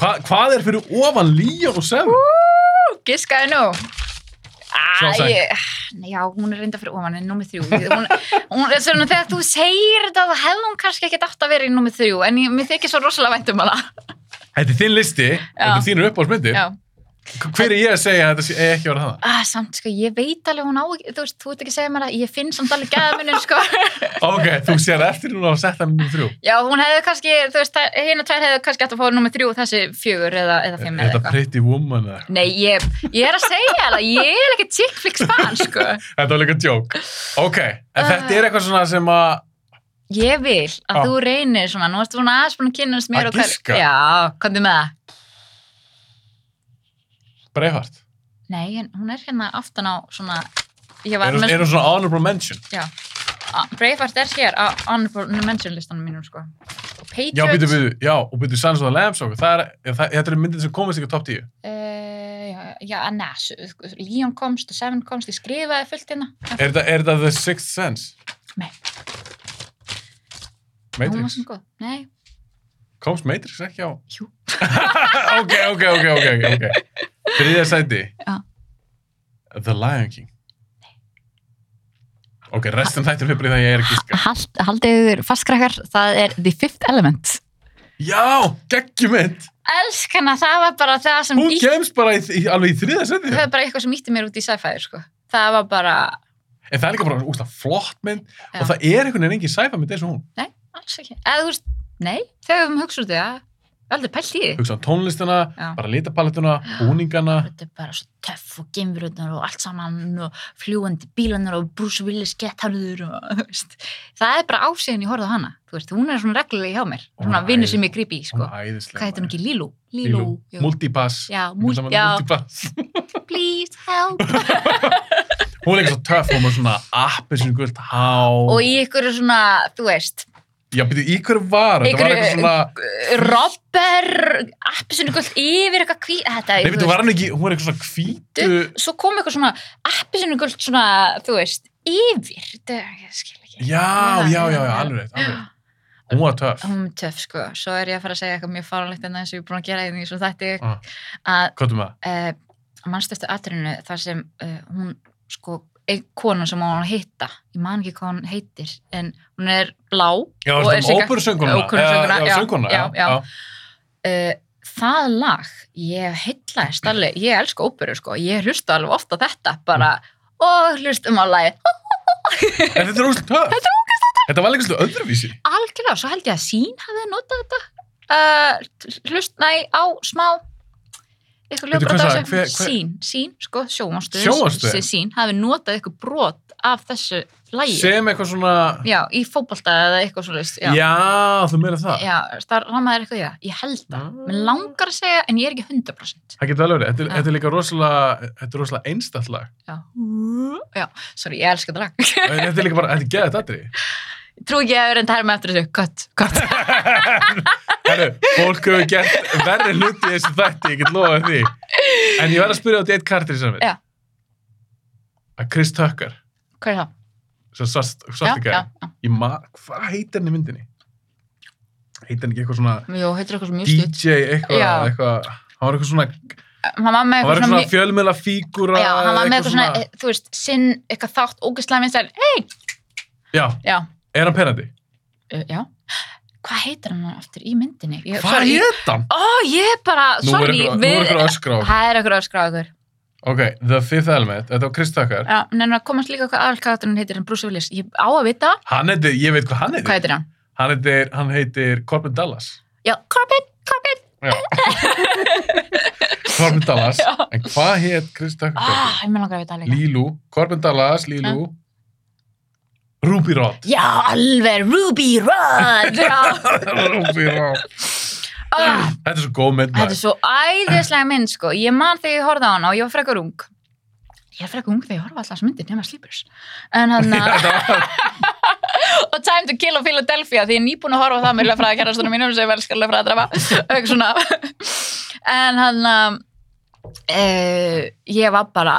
Hva, hvað er fyrir ofan Líó og Seven? Giskaði nú Ah, Sjálfsagt. ég, já, hún er reynda fyrir ofan en númið þrjú hún, hún, svona, þegar þú segir þetta þá hefði hún kannski ekki átt að vera í númið þrjú en ég, mér þykir svo rosalega vænt um hana Þetta er þinn listi, þetta er þínur uppáhaldsmyndir. já. H- Hver er ég að segja að þetta sé eigi ekki að vera það? Ah, samt sko, ég veit alveg hún á ekki þú veist, þú ert ekki að segja mér að ég finn samt alveg gæðamunin sko, Ok, þú sér eftir núna að setja hann í þrjú. já, hún hefði kannski þú veist, hérna tvær hefði kannski átt að fá númið þrjú og þessi fjögur eða, eða Er fimm eða þetta eitthvað Pretty Woman eða? eitthvað? Nei, ég, ég er að segja alveg, ég er ekki chick flicks fan, sko. Þetta var líka djók. Ok, en þetta er eitthvað svona sem að... Ég vil að Ah. þú reynir svona, nú erstu svona aðeins búin að kynast mér Að og hver- giska? Já, komdu með það. Breifart. Nei, en hún er hérna aftan á svona ég var Er hún með, er hún svona honorable mention? já A- Braveheart er hér á honorable mention listanum mínum sko og Patriots Já, býtu, býtu, já, og býtu Sands og Lambs og það er, er það- þetta er myndin sem komist ekki á topp 10. Eh, já, já, na, s- Leon komst og Seven komst, ég skrifaði fullt hérna Er þetta- er þetta The Sixth Sense? Nei. Hún var Matrix? svona góð, nei Komst Matrix ekki á? Jú. [LAUGHS] ok, ok, ok, ok, ok, ok. Þriðja sæti. Já. The Lion King. Ok, restin þættir fyrir því að ég er ekki skar. Hald, Haldiður fastkrakkar, það er The Fifth Element Já, geggjumynd. Elskana, það var bara það sem Hún ítt- kemst bara í, í, alveg í þriðja sæti. það var bara eitthvað sem ítti mér út í sci-fi sko. það var bara, En það er líka bara úrslag flott mynd Já. og það er einhvern veginn engin sci-fi mynd eins og hún. alls ekki eða þú veist, nei, þegar við höfum hugsað út í það aldrei pælt í því Hugsa um tónlistina, Já. bara litapalettuna, búningana. þetta er bara svo töff og geimverutnar og allt saman og fljúandi bílanar og Bruce Willis gettarður og þú veist. það er bara ásíðan ég horfði á hana þú veist, hún er svona reglulega hjá mér Hún er svona vinnu æði- sem ég grip í, Hún sko er æðislega. hvað heitir hún ekki, Lílú? Lílú. Lílú, jú. Multipass. já, Hún múl, er saman já, Multipass. please help Hún er ekki svo töff, hún er svona appi sem gult há. og í ykkur er svona, þú veist Já, byrju, í hverju var? Þetta var Einhverju- eitthvað svona... robber, appisinu gullt yfir eitthvað hví, þetta Nei, er, byrju, var hann ekki... Hún er eitthvað svona hvítu... svo kom eitthvað svona appisinu gullt svona, þú veist yfir, þetta ég skil ekki Já, já, já, já, Já. alveg rétt, alveg rétt. Hún var töff. hún er töff sko, svo er ég að fara að segja eitthvað mjög fálanlegt en það eins og ég er búin að gera einnig svo þetta Ah. að Hvað er með það? uh, mannstöftu atrinu þar sem uh, hún sko, ein konan sem hún á að hitta ég man ekki hvað hún heitir en hún er blá Já, Og er þetta líka- var óperusönguna. óperusönguna, Já, já, sönguna, já, já. uh, það lag, ég heitlaðist alveg, ég elsku óperu sko ég hlusta alveg ofta þetta bara og hlustum á lagið En þetta er óslega töff. Þetta er óslega töff. Þetta var líka svolítið öðruvísi. algjörlega, svo held ég að sín hafði notað þetta uh, hlust, nei, á smá Veitu, eitthvað lögbrot hvað af sagði- hver- þessu hver- sín, sín, sko, sjónvarstöð Sjónvarpsstöðin? sín hafði notað eitthvað brot af þessu lægi Sem eitthvað svona... já, í fótbolta eða eitthvað svo leist já, Já, þú meira það. já það ramaði eitthvað í það, ég held það mér langar að segja, en ég er ekki 100% Það getur vel verið. Þetta er- Já. Þetta er líka rosalega, þetta er rosalega einstætt [LAUGHS] lag. já, já sorry, ég elska þetta [LAUGHS] lag En Þetta er líka bara, þetta er geðið aðri. trú ekki að ég er enda herma eftir þessu, gott, gott [LAUGHS] Herru, fólk hefur gert verri hluti í þessu þætti, ég get lofað því. En ég verð að spyrja út í eitt kartir í saman. Já. Að Chris Tucker, hvað er það? sem svart, Já, svarti gæði, já, ég maður, hvað heitir hann í myndinni? Heitir hann ekki eitthvað svona já, jú, heitir eitthvað svo mjög stutt DJ eitthvað, Já. eitthvað, hann var eitthvað svona, hann var með Það var eitthvað eitthvað svona svona fjölmjöla fígúra Já, hann var með eitthvað svona, þú veist, sinn, eitthvað þátt, ógæslega vinsæl, hei, Já, já, er hann penandi? uh, já. Hvað heitir hann aftur í myndinni? Ég, Eh, Hvað sorry, er hann? Ó, ég er bara, Nú er sorry, eitthvað- nú er við, eitthvað öskra á okkur. það er eitthvað öskra á ykkur. Ok, The Fifth Element, þetta var Chris Tucker Já, en en að komast líka hvað aðalkarakterinn heitir en Bruce Willis, ég á að vita, Hann heitir, ég veit hvað hann hvað heitir heitir hann? Hann heitir, hann heitir Corbin Dallas Já, Corbin, Já. Corbin, Corbin Dallas [LAUGHS] Já. En hvað heit Chris Tucker? ah, ég með langar að vita það líka. Lílu, Corbin Dallas, Lílu Ruby Rod Já, alveg, Ruby Rod, já, [LAUGHS] Ruby Rod ah, Þetta er svo góð mynd Þetta er maður. svo æðislega mynd sko. Ég man þegar ég horfði á hana og ég var frekar ung. Ég er frekar ung þegar ég horfa alltaf myndin nema Sleepers. [LAUGHS] En hann Þetta var- og Time to Kill og Philadelphia því ég er nýbúin að horfa á það með löffræða kærastunum mínum sem ég velskar löffræða drafa. Eitthvað svona. en hann um, e, ég var bara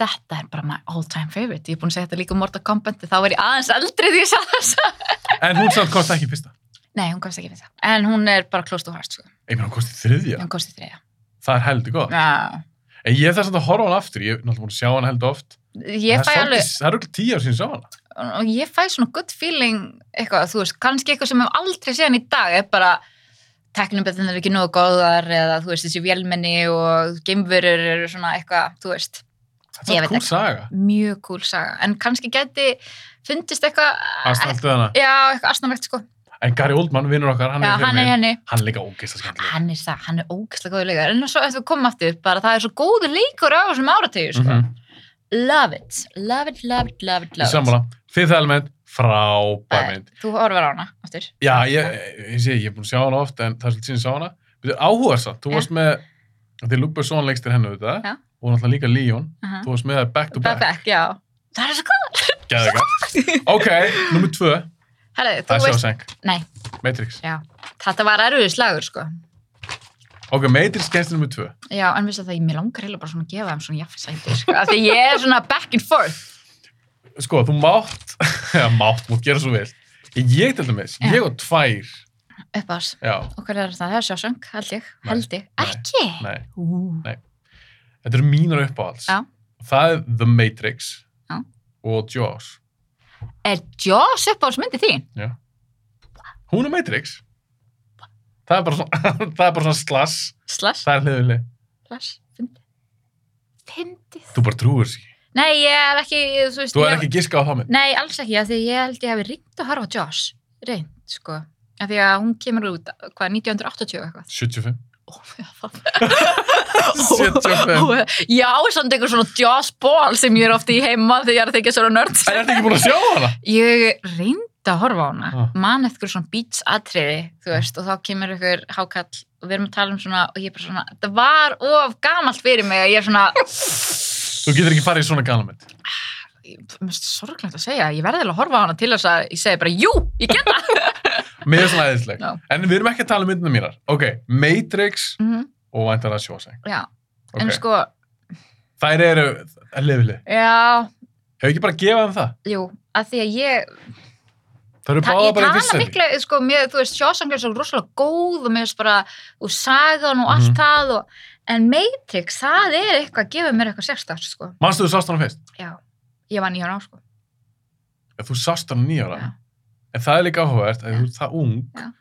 þetta er bara my all time favorite. Ég er búin að segja þetta líka um Mortal Kombat þá var ég aðeins eldri því ég sagði þess að En hún samt komst ekki í fyrsta Nei, hún komst ekki við það. En hún er bara close to heart sko. Ég meina hún komst í þriðja, Hún komst í þriðja. það er heldur góð Já. En ég er þess að horfa á hann aftur, ég er náttúrulega búin að sjá hann heldur oft Ég fæ Það er alveg svolítið- Það er okkur tíu ár síðan ég sá hann og ég fæ svona good feeling eitthvað, þú veist, kannski eitthvað sem hef aldrei séðan í dag, er bara tekniböðin er ekki nógu góðar eða þú veist, þessi vélmenni og geimverur eru svona eitthvað, þú veist Þetta Ég er veit kúl ekki. saga mjög cool saga, en kannski gæti fundist eitthvað Aðstæðan hana já, eitthvað asnavegt sko En Gary Oldman, vinnur okkar, hann já, er hérna fyrir hann er mig henni Hann er líka ógeist að skemmtilega hann er það, hann er ógæslega góður leikar en svo ef við komum aftur, bara það er svo góður leikur á þessum áratögu, sko Mhm. love it, love it, love it, love it, Í love it. sammála Fifth Element, frábær mynd þú horfir á hana, aftur Já, ég, ég sé, ég er búin að sjá hana oft en það er svolítið síðan ég sá hana. Þetta er áhugaðsamt, þú Já. varst með, þegar Luke Besson leikstir hennu auðvitað Já. og náttúrulega líka Leon, uh þú varst með þær back to back, Back, já. Það er svo góð. gæði [LAUGHS] Ok, nummið tvö, Herri, þú það er veist, Shawshank, nei, Matrix. þetta var erfiður slagur, sko. Ok, Matrix gæsti nummið tvö. Já, en vissi það, ég mér langar heila bara svona að gefa þeim svona jaffisæti, sko. Af því ég er svona back and forth. Sko, þú mátt, [LAUGHS] já, mátt, mútt gera svo vel. Ég til dæmis, Já. ég og tvær, Upp á þess. já, Og hvað er það? Það er sjásöng, held ég. Nei, Held ég. nei, Ekki? nei, Ú. þetta eru mínar uppáhalds. Já. Það er The Matrix Já. og Jaws. Er Joss upp á þess myndi þín? Hún er Matrix. Það er bara svona, [LAUGHS] það er bara svona slass. Slash, Það er hliðileg. slash, fyndið. Fyndið. Þú bara trúur sér. Nei, ég er ekki, þú veist, Þú er ég- ekki giska á það minn. Nei, alls ekki, af því ég held ég hefði ringt að horfa á Joss. Reynd, sko. Af því að hún kemur út, hvað, 1980 eitthvað? 75. Ó, já, það 75. Já, samt einhver svona Joss Ball sem ég er ofti í heima þegar ég er að þykja svona nörd. Það er þetta ekki búin að sjá hana. Ég reyndi að horfa á hana, Ah. man eftir svona beats atriði, þú veist, og þá kemur einhver hákall og við erum að tala um svona, og ég er bara svona, það var of gamalt fyrir mig og ég er Þú svona, getur ekki farið í svona gana mynd. mér finnst sorglegt að segja, ég verði alveg að horfa á hana til þess að ég segi bara, jú, ég get það. Mér er svona æðisleg. Já. En við erum ekki að tala um myndina mínar. Ok, Matrix Mhm, og væntar að sjóseng. já, Ok. en sko, Þær eru hliðileg. já, Hefur ekki bara gefað um það? jú, að því að ég, Það eru Ta báða ég bara í tala fyrstsendi. mikla, sko, mér, þú veist, Sjósang er svo rosalega góð og mér finnst bara, og sagan og allt Mhm. það og, en Matrix, það er eitthvað að gefa mér eitthvað sérstakt, sko. Manstu þú sást hana fyrst? Já, ég var nýjan á, sko. Ef þú sást hana nýja ára. Já. En það er líka áhugavert, ef Já. þú ert það ung, Já.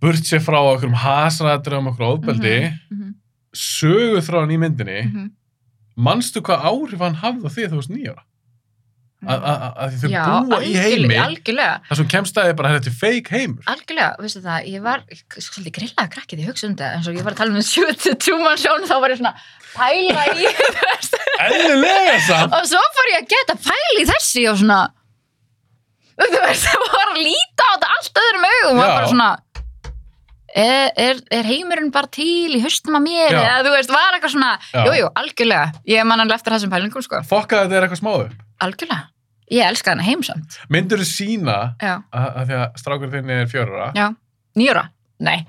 burt sér frá okkur um hasrættur um okkur ofbeldi, Mm -hmm. sögu þráðan í myndinni, Mm -hmm. manstu hvað áhrif hann hafði á því að þú varst nýjára? Að því þau búa í heimi, mhm. algjörlega, þar sem kemst að þið bara, "Herra, þetta er feik heimur. algjörlega, veistu það, ég var ég- svolítið grillað krakkið, ég hugsa um þetta, en svo ég var að tala um 72 mann sjón, þá var ég svona pæla í, [LAUGHS] þú veist, Eðlilega samt! og svo fór ég að geta pæla í þessi og svona, þú veist, það var að líta á þetta allt öðrum augum, var Já. bara svona, er, er, er heimurinn bara til í höstum að mér, Já. eða þú veist, var eitthvað svona, Já. jújú, jú, algjörlega, ég man hann eftir þessum pælingum, sko, Fokkaði þetta er eitthvað smáðu. algjörlega, ég elska hann heimsamt, Myndur þú sína já. að, að því að strákur þinn er fjörara, Já. Nýjóra? Nei,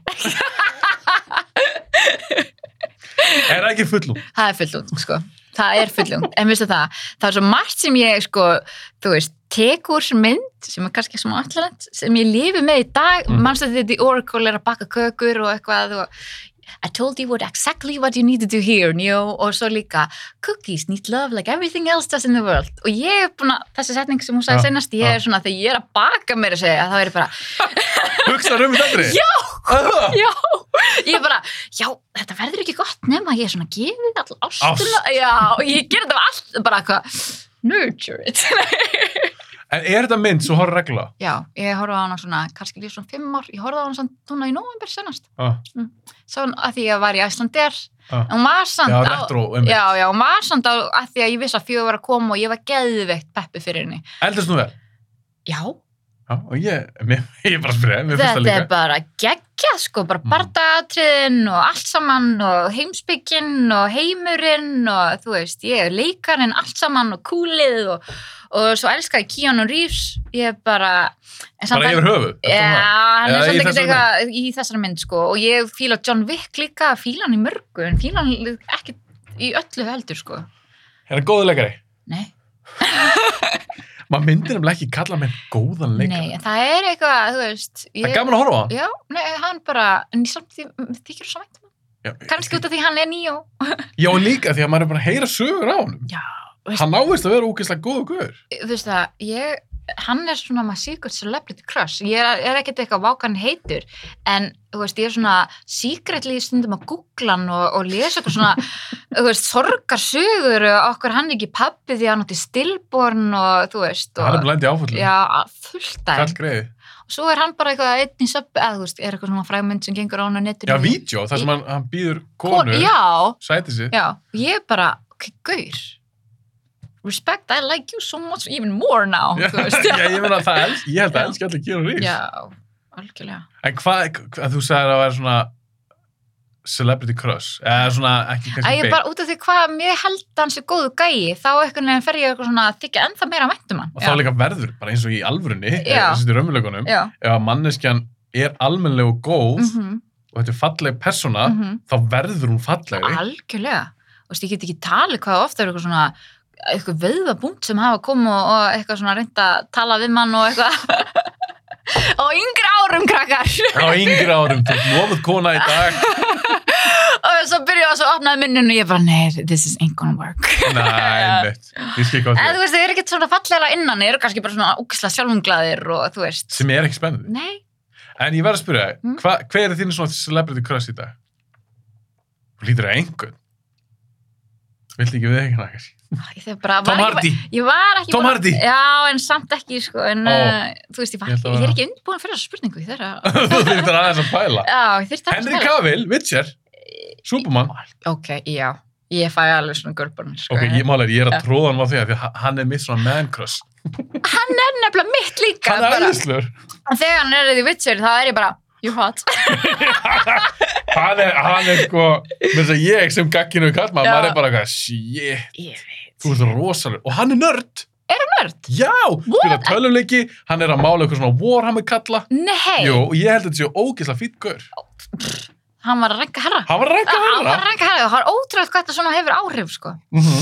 er það ekki fullum? það er fullung, sko. Það er fullung. En veistu það, það er svo margt sem ég, sko, þú veist, tekur mynd sem er kannski smá allanett, sem ég lifi með í dag. Mhm. Mm. Manstu þetta í Oracle er að baka kökur og eitthvað og I told you what exactly what you need to do here, Neo, og svo líka, cookies need love like everything else does in the world. Og ég er búin að, þessi setning sem hún sagði Já, senast, ég er svona, þegar ég er að baka mér að segja, þá er ég bara, Hugsaður um þetta aldrei? Já! Ah, já, ég er bara, já, þetta verður ekki gott nema ég er svona gefið all ástuna, já, og ég ger þetta af allt, bara eitthvað, nurture it. [LAUGHS] [LAUGHS] En er þetta mynd svo horror regla? já, ég horfa á hana svona, kannski líf svona fimm ár, ég horfa á hana svona núna í november senast, Ah, svo að því ég var í Æslander, Ah. en hún var samt já, á- retro, um Já, já, hún var samt á, að því að ég vissi að fjögur var að koma og ég var geðveikt peppi fyrir henni. Eldast nú vel? Já, Já, og ég, mér, [LAUGHS] ég er bara að spyrja, mér finnst það þetta líka. er bara geggjað sko, bara Mm. bardatriðin og allt saman og heimsbygginn og heimurinn og þú veist, ég er leikarinn allt saman og kúlið og, og svo elska ég Keanu Reeves, ég er bara en Bara yfir höfu. Já, um hann Já, í er svolítið ekkert þessari eitthvað í þessari mynd sko og ég fíla John Wick líka, fíla hann í mörgu en fíla hann ekki í öllu heldur sko, Er það góðu Hérna, leikari? nei Maður myndir nefnilega ekki kalla menn góðan leikari. Nei, en það er eitthvað, þú veist ég, Það er gaman að horfa á hann. Já, nei, hann bara, en ég samt því mér þykir svo vænt um hann Já, Kannski út af því hann er nýjó Já, og líka því að maður er bara að heyra sögur á hann. Já, Hann náist að vera úkislega góðu guður. þú veist það, ég hann er svona maður secret celebrity crush ég er, er ekkert eitthvað vákan heitur en þú veist, ég er svona secretly stundum að googla hann og, og lesa eitthvað svona, [LAUGHS] þú veist, sorgarsögur og okkur hann er ekki pappi því að hann átti stillborn og þú veist Hann er og, blændi áfallið. já, fullt af Kall greiði. svo er hann bara eitthvað einn í söp eða þú veist, er eitthvað svona frægmynd sem gengur á hann á netinu Já, vídeo, þar sem hann, hann býður konu, já, sæti sig. já, ég bara ok, gaur respect, I like you so much even more now Já, þú veist, [LAUGHS] [LAUGHS] já, ég meina að það elsk, ég held Já. að elski allir Keanu Reeves. já, algjörlega En hvað, hvað þú sagðir að vera svona celebrity crush, eða svona ekki að kannski ég beint, bara út af því hvað mér held að hann sé góðu gæi, þá einhvern veginn fer ég eitthvað svona að þykja ennþá meira væntum hann og þá líka verður, bara eins og í alvörunni, eh, Já. eins og í raunveruleikunum, já, ef að manneskjan er almennleg og góð mm -hmm, og þetta er falleg persóna, Mhm. þá verður hún fallegri. algjörlega og veist, ég get ekki talið hvað ofta er eitthvað svona eitthvað veiðabúnt sem hafa komið og, og eitthvað svona reynda að tala við mann og eitthvað [LAUGHS] og yngri árum krakkar [LAUGHS] Á yngri árum, þú ert lofuð kona í dag. og svo byrjaði og svo opnaði minninu og ég bara, nei, this is ain't gonna work Nei, mitt, ég skil hvað eða þetta þú er. veist, þau eru ekkert svona fallega innan þau eru kannski bara svona ógislega sjálfumglaðir og þú veist, Sem er ekki spennandi. nei En ég verð að spyrja, Mm. hva, hver er þín svona celebrity crush í dag? Þú lítur að einhvern. Viltu ekki við ekki kannski? Ah, ég þegar bara, Tom var Hardy. ekki, ég var ekki Tom bara- Hardy. já, en samt ekki, sko en, Ó. uh, þú veist, ég, var, Ég ég, ætla að er vera- ekki undirbúin fyrir þessu spurningu ég þeirra, [LAUGHS] Þú þurftir aðeins að [LAUGHS] pæla. já, ég þurfti að Henry Cavill, Witcher, Superman. ok, já, ég fæ alveg svona gulbarnir, sko Ok, ég málega, ég er Já. að tróða hann á því að því að ha- hann er mitt svona man crush. er nefnilega mitt líka Hann er bara, æðislur. þegar hann er í The Witcher, þá er ég bara you're hot, hann er, hann er sko, með þess að ég sem gagginu kallt maður, Já. maður er bara eitthvað, shit, ég veit þú ert rosalur. Og hann er nörd. nörd, Já, spila töluleiki, hann er að mála eitthvað svona Warhammer kalla. nei, Jú, og ég held að þetta séu ógislega fýtt gaur. hann var að ranka herra Hann var að rækka hann var hana. að ranka herra, það er ótrúlega hvað þetta svona hefur áhrif, sko Mhm.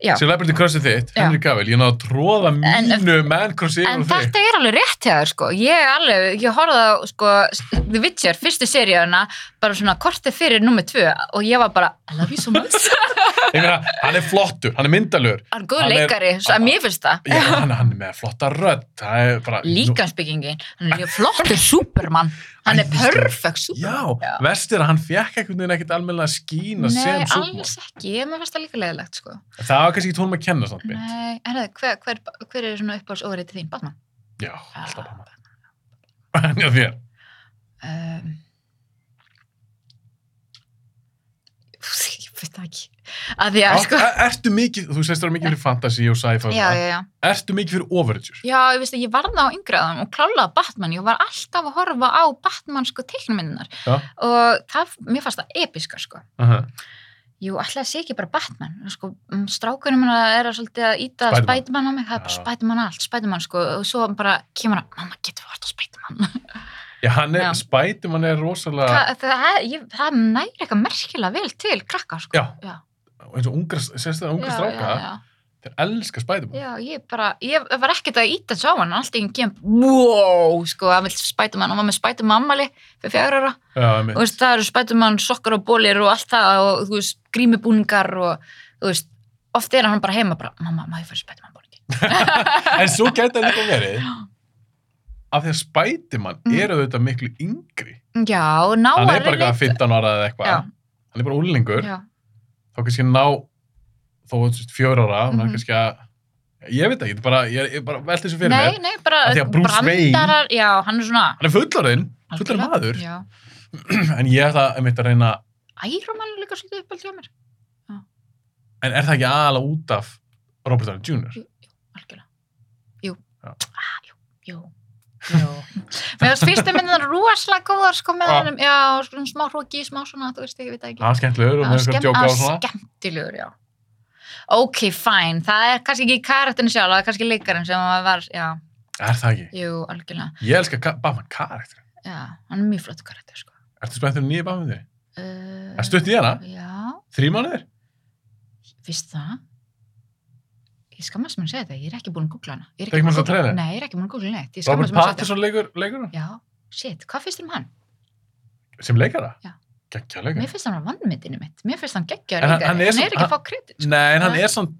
Já. Celebrity crushið þitt, Já. Henry Cavill, ég náðu að tróða En- mínu man crushið En yfir á þig. þetta er alveg rétt hjá þér sko, ég er alveg, ég horfði á sko The Witcher, fyrstu seríuna, bara svona kortið fyrir nummið tvö og ég var bara, I love you so much, [LAUGHS] Ég meina, hann er flottur, hann er myndalur, hann er góð Hann er- leikari, svo að mér finnst það. Já, hann, hann er með flotta rödd, það er bara... Líkansbyggingin, hann er líka [LAUGHS] flottur supermann, hann er Æðislegur. perfect Já, supermann. verst er að hann fekk einhvern veginn ekkert almennilega að skína Nei, sem Superman. alls ekki, ég mér finnst það líka leiðilegt sko. Það var kannski ekki tónum að kenna samt mér. Nei, herrðu, hver, hver, hver er svona uppáhaldsóriðið þín, Batman? Já, alltaf bara. [LAUGHS] En já, þér. um, ég veit það ekki að því að Já, sko e- Ertu mikið, þú segist það mikið fyrir fantasy og sci-fi. og já, það. já, já. Ertu mikið fyrir overager? já, ég veist að ég varða á yngraðum og klálaði Batman, ég var alltaf að horfa á Batman sko teiknumindunar Já. og það, mér fannst það episka sko Uh Jú, alltaf sé ekki bara Batman sko, strákunum hann er að svolítið að íta Spiderman. Spiderman á mig, það er bara Já. Spiderman allt Spiderman sko, og svo bara kemur hann mamma, getur við hort á Spiderman Já, hann er, Já. spætum hann er rosalega... það, það, ég, það næri eitthvað merkilega vel til krakka sko Já, eins og ungra, segist það ungra já, stráka, já. Þeir elska Spiderman. Já, ég bara, ég var ekkert að íta þessu á hann, allt í enn kem, wow, sko, hann vil spætumann, hann var með spætumann ammali fyrir fjagur ára, Já, einmitt. og þú veist, það eru spætumann sokkar og bólir og allt það og, þú veist, grímubúningar og, þú veist, oft er hann bara heima bara, mamma, má ég fara spætumann búningi? En svo geta líka verið af því að Spiderman Mm. er auðvitað miklu yngri. Já, ná hann að er bara reyna- eitthvað 15 ára eða eitthvað. Já. Hann er bara úlingur. Já, Þá kannski ná þó þú veist, fjör ára. Mm Mhm. -hmm. kannski að, ég veit ekki, þetta er bara, ég er bara velt þessu fyrir nei, mér. nei, bara Af því að Bruce Wayne- brandarar, já, hann er svona Hann er fullorinn, fullorinn Algjörlega. maður. Já, En ég ætla einmitt að reyna ærumann er líka svolítið uppöld hjá mér, En er það ekki aðalega út af Robert Downey Jr.? algjörlega Jú, Já. ah, jú, jú Jú. Mér finnst fyrstu myndinar rosalega góðar sko með Já. honum, já, sko, smá hróki, smá svona, þú veist, ég veit það ekki. Það er skemmtilegur og Hann með einhverjum djóka og svona. skemmtilegur, já. Ok, fine, það er kannski ekki karakterin sjálf, það er kannski leikarinn sem hann var, já, Er það ekki? jú, algjörlega, Ég elska ka- Batman karakter. já, hann er mjög flott karakter, sko. Ertu spenntur um nýju Batman þér? Uh, Er stutt í hana? Já, Þrý mánuðir? Vist það? Ég skammast mér að segja þetta, ég er ekki búin að googla hana. Ég Það er ekki búin að sjá trailer? Nei, ég er ekki búin að googla neitt. Ég Robert skammast mér að segja þetta. Pattinson leikur, leikur hann? Já, shit, hvað finnst þér um hann? Sem leikara? Já. Gekkja leikara. Mér finnst hann að vannmyndinu mitt. Mér finnst hann geggjaður En hann- leikari. hann er Hann svo- er ekki að fá kredit. sko. Nei, en hann Nei. er svona...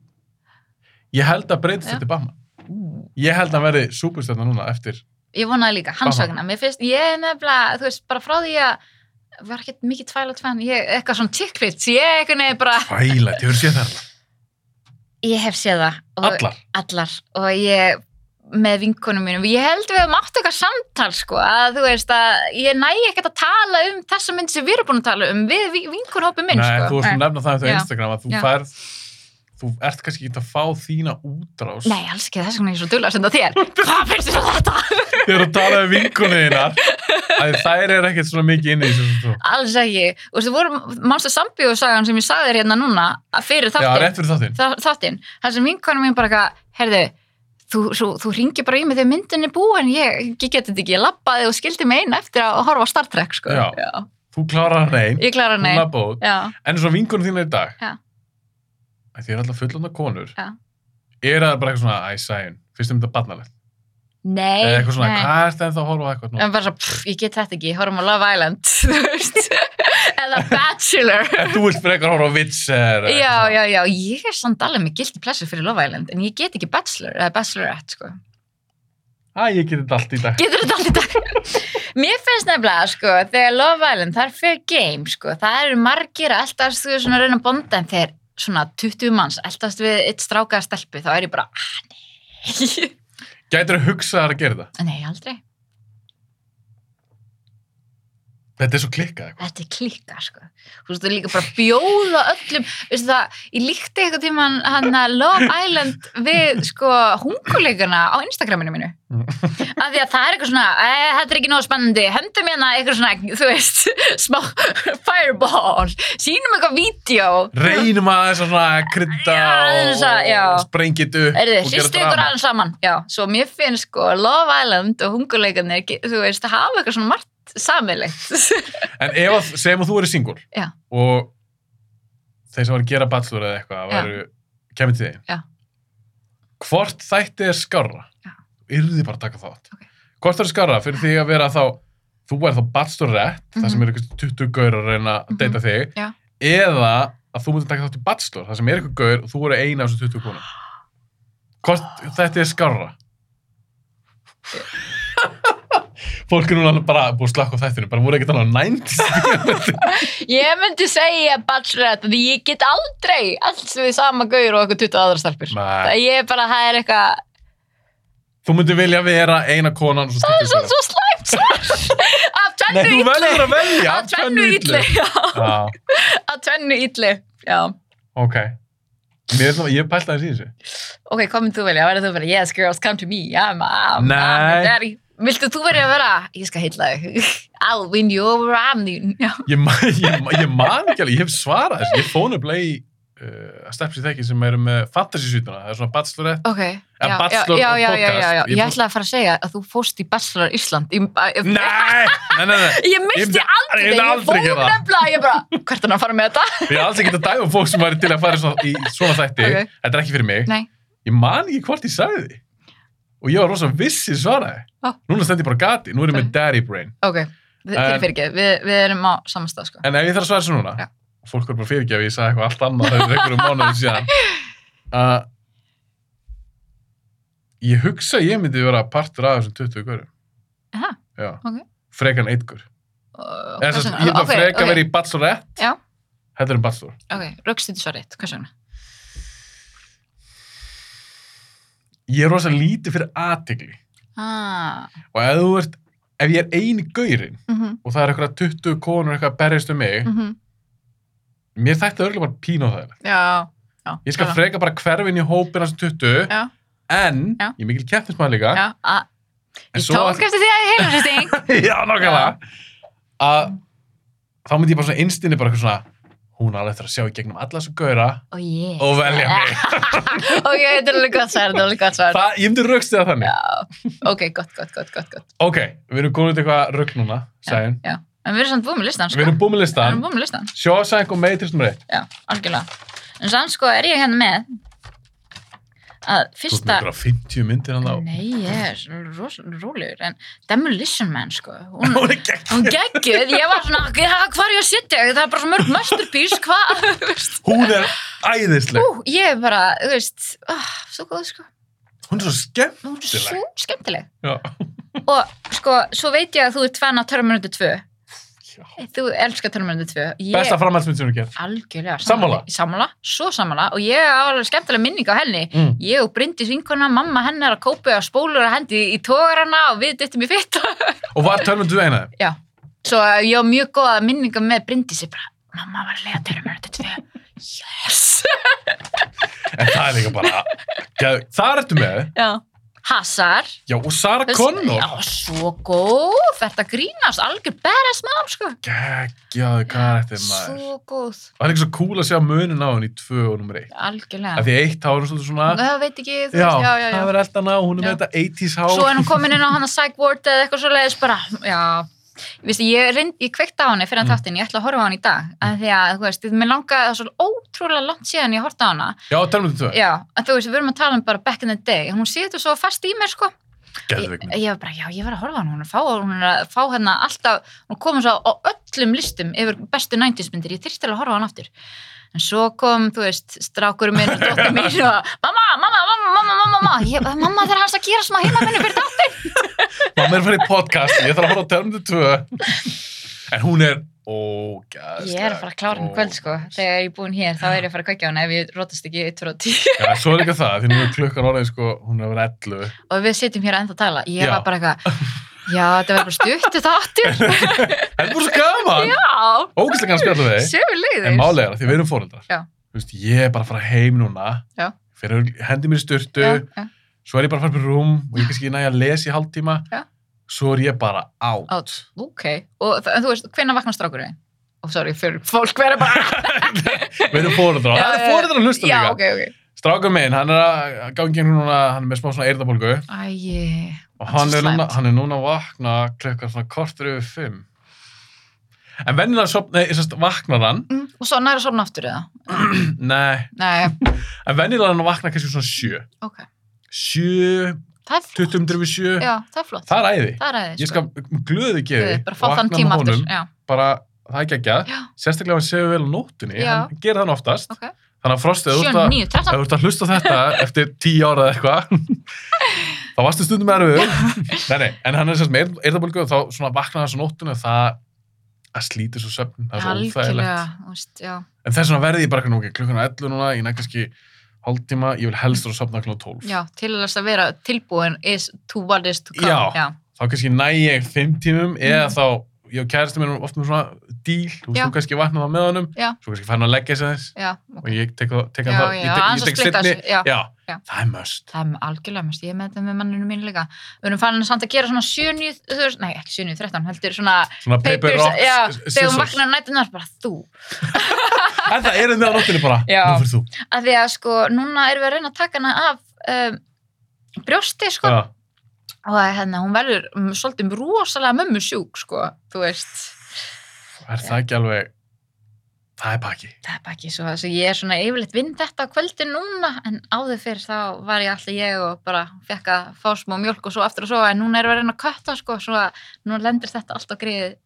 Ég held að breytist Já. þetta Batman. Ú, Ég held að hann verði superstjörna núna eftir... Ég vonaði líka, hans Bara. vegna. Mér finnst, ég er nefnilega, þú veist, bara frá því að var ekkert mikið Twilight fan, ég eitthvað svona tikkvits, ég eitthvað nefnilega bara, Tvælætt, ég verði séð það allar. ég hef séð það. og- Allar. allar og ég með vinkonum mínum, ég held við höfum átt eitthvað samtal sko, að þú veist að ég næ ekkert að tala um þessa mynd sem við erum búin að tala um, við vinkonhópi minn Nei, sko. þú varst að nefna það um þau Já. Instagram að þú Já. færð... Þú ert kannski ekki að fá þína útrás Nei, alls ekki, þess vegna er ég svo dula að senda þér Hvað finnst þér um þetta? [LAUGHS] þegar þú talaði um vinkunniðinar að þær er ekkert svona mikið inni í þessu svona. Alls ekki, og þú voru mannstu sambíðusagan sem ég sagði þér hérna núna að fyrir Já, þáttinn, rétt fyrir þáttinn. Þa- þáttinn þar sem vinkonum mín bara eitthvað, herðu Þú, svo, þú ringir bara í mig þegar myndin er búin ég, ég geti þetta ekki, ég labbaði og skildi mig einn eftir að horfa á Star Trek sko. Já. Þú klarar hann einn, ég klara hún neinn lappa út. Já. En svo vinkunum þína í dag, Já. að því er alltaf fullanda konur, Já. er það bara eitthvað svona, æ, sæjun, finnst um þetta barnalegt? Nei, Eða eitthvað svona, nei. Um. hvað er þetta en þá horfa á eitthvað? En bara svo, pff, ég get þetta ekki, horfum á Love Island, [LAUGHS] þú veist, eða Bachelor. En þú vilt frekar horfa á vitser. já, já, já, ég er samt alveg með gildi plessur fyrir Love Island, en ég get ekki Bachelor, eða Bachelorette, sko. Æ, ég geti þetta allt í dag. Getur þetta allir dag? Mér finnst nefnilega, sko, þegar Love Island, það er fyrir game, sko, það eru margir að eldast, þú veist, svona að reyna að bonda, en þegar svona 20 manns eldast við eitt strákaða stelpu, þá er ég bara, ah, nei, [LAUGHS] Gætir að hugsa þar að gera þetta? nei, aldrei. Þetta er svo klikkað eitthvað. þetta er klikka sko. þú veist það er líka bara að bjóða öllum veistu það, ég líkti eitthvað tíman hann að Love Island við sko hunguleikana á Instagraminu mínu Mm. af því að það er eitthvað svona e, þetta er ekki nóg spennandi, höndum hérna eitthvað svona, þú veist, [LAUGHS] smá fireball, sínum eitthvað vídeo, Reynum aðeins að svona krydda Já, aðeins að- já. og sprengið upp erðu, og hristu ykkur aðeins saman já, svo mér finnst sko Love Island og hunguleikanir, þú veist, hafa eitthvað svona margt [LAUGHS] samilegt En ef að, segjum að þú eru singul Já. og þeir sem var að gera bachelor eða eitthvað Já. væru, kemur til þig Já. Hvort þætti er skarra? Já. Yrði bara að taka þátt Ok. Hvort er skarra fyrir því að vera þá þú er þá bachelorett, mm það sem Mhm. er eitthvað 20 gaur að reyna að Mhm. deyta þig Já. eða að þú myndir taka þátt í bachelor það sem er eitthvað gaur og þú eru eina af þessu 20 konum Hvort þetta er [LAUGHS] skarra? Fólk er núna alveg bara búið að slakka á þættinu, bara voru ekkert alveg 90s Ég myndi segja bachelorette því ég get aldrei alls við sama gaur og eitthvað 20 aðra stelpur. Nei. Það ég er bara, það er eitthvað, Þú myndir vilja vera eina konan og svo það er svo, stuttur í svo slæmt [LAUGHS] svar. Af Nei, tvennu þú yllu. verður að velja Af tvennu yllu, já. Já, Af tvennu yllu, já. ok. Mér, er svona- ég pælt aðeins í þessu. Ok, hvað mynd þú velja? Verður þú velja, yes girls, come to me, I'm, I'm, I'm Nei. a daddy. Viltu þú verja að vera? Ég skal heilla þig. [LAUGHS] I'll win you over, I'm the... Já. Ég, ma- ég, ma- ég man ekki alveg, ég hef svarað þessu. Ég fóna upp leið í uh, stefns í þekki sem eru með fantasy suituna, það er svona bachelorette Ok, En já, já, Bachelor já, já, já, podcast, já, já, ég ég bú- ætlaði að fara að segja að þú fóst í Bachelor Ísland Ég, Nei, nei, nei, nei. ég misti myndi- aldrei ég myndi þetta, ég aldrei fór gera það. nefnilega, ég bara, hvert er hann að fara með þetta? Ég [LAUGHS] er alls ekki að dæma fólk sem væri til að fara í svona, í svona þætti. Ok. Þetta er ekki fyrir mig. Nei. Ég man ekki hvort ég sagði því. Og ég var rosa vissið svaraði. Ah. Núna stend ég bara á gati, nú er ég með Sorry. daddy brain. Ok, þið En- fyrir ekki, við, við erum á samastað sko. En ef ég þarf að svara þessu núna, Já. fólk voru bara fyrirgjafi, ég sagði eitthvað allt annað þegar einhverjum mánuðum [LAUGHS] síðan. Uh, ég hugsa að ég myndi vera partur af þessum 20 görum. Aha, Já. ok. Frekan eitgur. Og- Ég hvers þarf vegna? að Ok, freka ok, verið í bachelorette. Já. Þetta er um bachelor. Ok, röggstýttu svo rétt, hvers vegna? Ég er rosa lítið fyrir aðtegli. Ah, Og ef þú ert, ef ég er eini gaurinn, mhm, og það er eitthvað 20 konur eitthvað að berjast um mig, mhm, mér þætti örgulega bara pína á það. já, já. Ég skal já, freka bara hverfin í hópina sem 20, Já. en Já. ég er mikil kæftinsmaður líka. Já, að, en ég tók eftir því að ég heilur þessi [LAUGHS] Já, nákvæmlega. Að þá myndi ég bara svona instinni bara eitthvað svona, hún er alveg eftir að sjá í gegnum alla þessu gaura Ó, ég. og velja mig. [LAUGHS] Ok, þetta er alveg gott svar, þetta er alveg gott svar. það, ég myndi raukst það þannig. Ok, gott, gott, gott, gott, gott. Ok, við erum góðið eitthvað rauk núna, sæðin. Já, en við erum samt búin með listan, sko. Við erum búið með Við erum listan. búin með listan, Sjósæk og Matrix nummer 1. já, algjörlega. En samt sko er ég hérna með að Þú ert fyrsta... með ykkur 50 myndir hann á. Nei, ég er ros- rólegur, en Demolition Man, sko, hún, Hún er gegn. hún geggjuð, ég var svona, "Ha, hvað er ég að setja, það er bara svo mörg masterpiece, hvað, [LAUGHS] þú veist, Hún er æðisleg. ú, ég er bara, þú veist, oh, svo góð, sko, Hún er svo skemmt. hún er svo skemmtileg. Já. Og, sko, svo veit ég að þú ert fan af Terminator 2, Já. þú elskar Terminator 2, ég, Besta framhaldsmynd sem hún gerð. algjörlega, Sammála. sammála, svo sammála, og ég á alveg skemmtileg minning á henni, Mm. ég og Bryndís vinkona, mamma hennar að kópa á spólur að hendi í tógarana og við dyttum í fitt Og var Terminator 2 einaði? svo ég á mjög góða minninga með Bryndísi bara, mamma var að lega Terminator 2 yes En það er líka bara... Geð- Þar ertu með. já. Hazar Já, og Sarah Þú veist, Connor. já, svo góð, þetta grínast algjör badass maður sko Geggjaðu karakter maður. svo góð, Það er líka svo cool að sjá munin á henni í 2 og nummer 1. Af algjörlega því eitt hár er svolítið svona... það veit ekki, þú Já, veist, já, já, það já verður alltaf ná, hún er með Já. þetta 80s svo hár. er hún komin inn á hann að Psych Ward eða eitthvað svo leiðis bara, já Vistu, ég, reynd, ég kveikta á henni fyrir Mm. mm. þáttinn, ég ætla að horfa á henni í dag af því að, þú veist, mér langaði það var svo ótrúlega langt síðan ég horfði á hana Já, Terminator 2. Já, en þú veist, við erum að tala um bara back in the day, hún setur svo fast í mér, sko. Ég, Geðveikmynd. ég var bara, já, ég var að horfa á hana, hún er að fá, hún er að fá hérna alltaf, hún komið svo á öllum listum yfir bestu 90s myndir, ég þyrfti alveg að horfa á hana aftur. En svo kom, þú veist, strákurinn minn og dóttir mín og mamma, mamma, mamma, mamma, mamma, mamma, ég, mamma þegar hans að gera smá heimavinnu fyrir þetta. Mamma er að fara í podcast, ég þarf að horfa á Terminator 2. En hún er ógæðslega. Ég er að fara að klára henni í kvöld, sko, þegar ég er búin hér, þá er ég að fara að kvækja hana ef ég rótast ekki 1, 2 og 10. [LAUGHS] Já, svo er líka það, því nú er klukkan orðin sko, hún er að vera 11. Og við sitjum hér að ennþá að tala, ég Já. var bara eitthvað, já, þetta verður bara stutt [LAUGHS] þáttur, Það er bara svo gaman! já. Ógæslega kannski alltaf þeir. Sjöfur leiðis. En málega, því við erum fóreldrar. Já. Þú veist, ég er bara að fara heim núna, Já. fyrir hendi mér í sturtu, Já, já. svo er ég bara að fara upp í rúm og ég kannski næja að lesa í hálftíma, Já. svo er ég bara á. Átt, ok. Og þa- en þú veist, hvenær vaknar strákurinn? Og sorry, fyrir fólk verður [LAUGHS] bara... við erum fóreldrar. Það Já, já, er já. fóreldrar að hlusta Já, líka. ok, ok. Strákur minn, hann er að gangi hérna núna, hann er með smá svona eyrðabólgu Æi, og hann Svo er, slæmt. núna, hann er núna að vakna klukkan svona kortur yfir fimm. En vennilega sopna, nei, sérst, vaknar hann, [CLEARS THROAT] mm, og svo næra svona aftur eða? nei, Nei, en vennilega hann vaknar kannski svona sjö. ok. Sjö, Það er flott. 20 myndir við sjö, Já, það er flott. það er æði. Það er aðeins. Ég skal glöði geði Bara fá þann tíma aftur. Já, bara það er ekki ekki að Já. sérstaklega ef hann sefur vel á nóttunni Já. hann gerir þann oftast ok. þannig að frostið, ef þú 7, ert að- 9, ef 13. þú ert að hlusta á þetta [LAUGHS] eftir tíu ára eða eitthvað [LAUGHS] þá varstu stundum erfið nei, nei, en hann er sérst með eyrðabólgu og þá svona vaknaði hans á nóttunni og það að slíti svo söfn, það er svo Algjörlega, óþægilegt þú veist, já. en þess vegna verði ég bara nú, okay, klukkan á 11 núna, ég næg kannski hálftíma, ég vil helst vera að sofna klukkan á 12 Já, til þess að vera tilbúin is to what is to come. Já. já. þá kannski næ ég fimm tímum eða Mm. þá ég og kæristi minn erum oft með svona díl og Já. svo kannski vakna það með honum Já. svo kannski fær hann að leggja sig þess já. og ég tek, það- tek Já, hann það já, ég tek, aðeins ég að tek splitta seinni- þessu, já. já. Já. það er möst Það er algjörlega mest, ég er með þetta með manninu mín líka. Við erum farin að samt að gera svona 7, þú veist, nei ekki 7, 13, heldur svona svona paper Papers, rocks já, s- þegar hún scissors vaknar á nættunar bara þú En það er með á nóttinni bara. Já. Nú fyrir þú. Af því að sko, núna erum við að reyna að taka hana af um, brjósti, sko. Já. Og hérna, hún verður um, svolítið rosalega mömmu sjúk, sko, þú veist. Er það ekki alveg... Það er pakki. Það er bara ekki svo, þess að ég er svona yfirleitt vinn þetta á kvöldin núna, en áður fyrir þá var ég alltaf ég og bara fekk að fá smá mjölk og svo aftur og svo, en núna erum við að reyna að kötta, sko, svo að núna lendir þetta alltaf greiðið.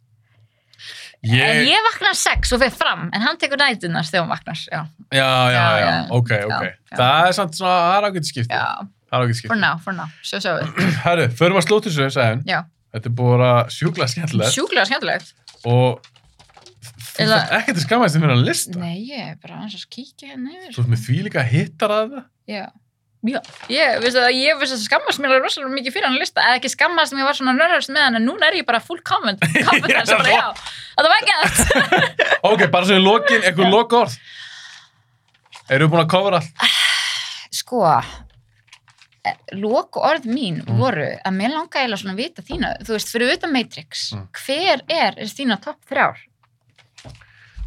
En Ég... ég vaknar sex og fer fram, en hann tekur nætunar þegar hún vaknar, já, Já, já, Já, já. já. Ok, ok. já. Það er samt svona... Það er ágætt skipti. já, Það er ágætt for skipti. now, for now, svo sjáum við. Herru, förum að slóta þessu, sagði hún. Já. Þetta er búið að sjúkla skemmtilegt Sjúklega skemmtilegt. og þú Eða- þarf ekkert að skammaðist þér fyrir að lista. Nei, ég er bara aðeins að kíkja hérna yfir. Þú ert með því líka hittar að það. Já. Já, ég veist að ég veist að skammast mér alveg rosalega mikið fyrir hann að lista, eða ekki skammast mér var svona nörðast með hann, en núna er ég bara full [LAUGHS] comment, confidence, Já, bara já, þetta var ekki allt. [LAUGHS] Ok, bara svo í lokin, einhver loka orð. Erum við búin að kofra allt? Sko, lóku orð mín Mm. voru að mér langa eiginlega svona að vita þína, þú veist, fyrir utan Matrix, Mm. hver er, er þína topp þrjár?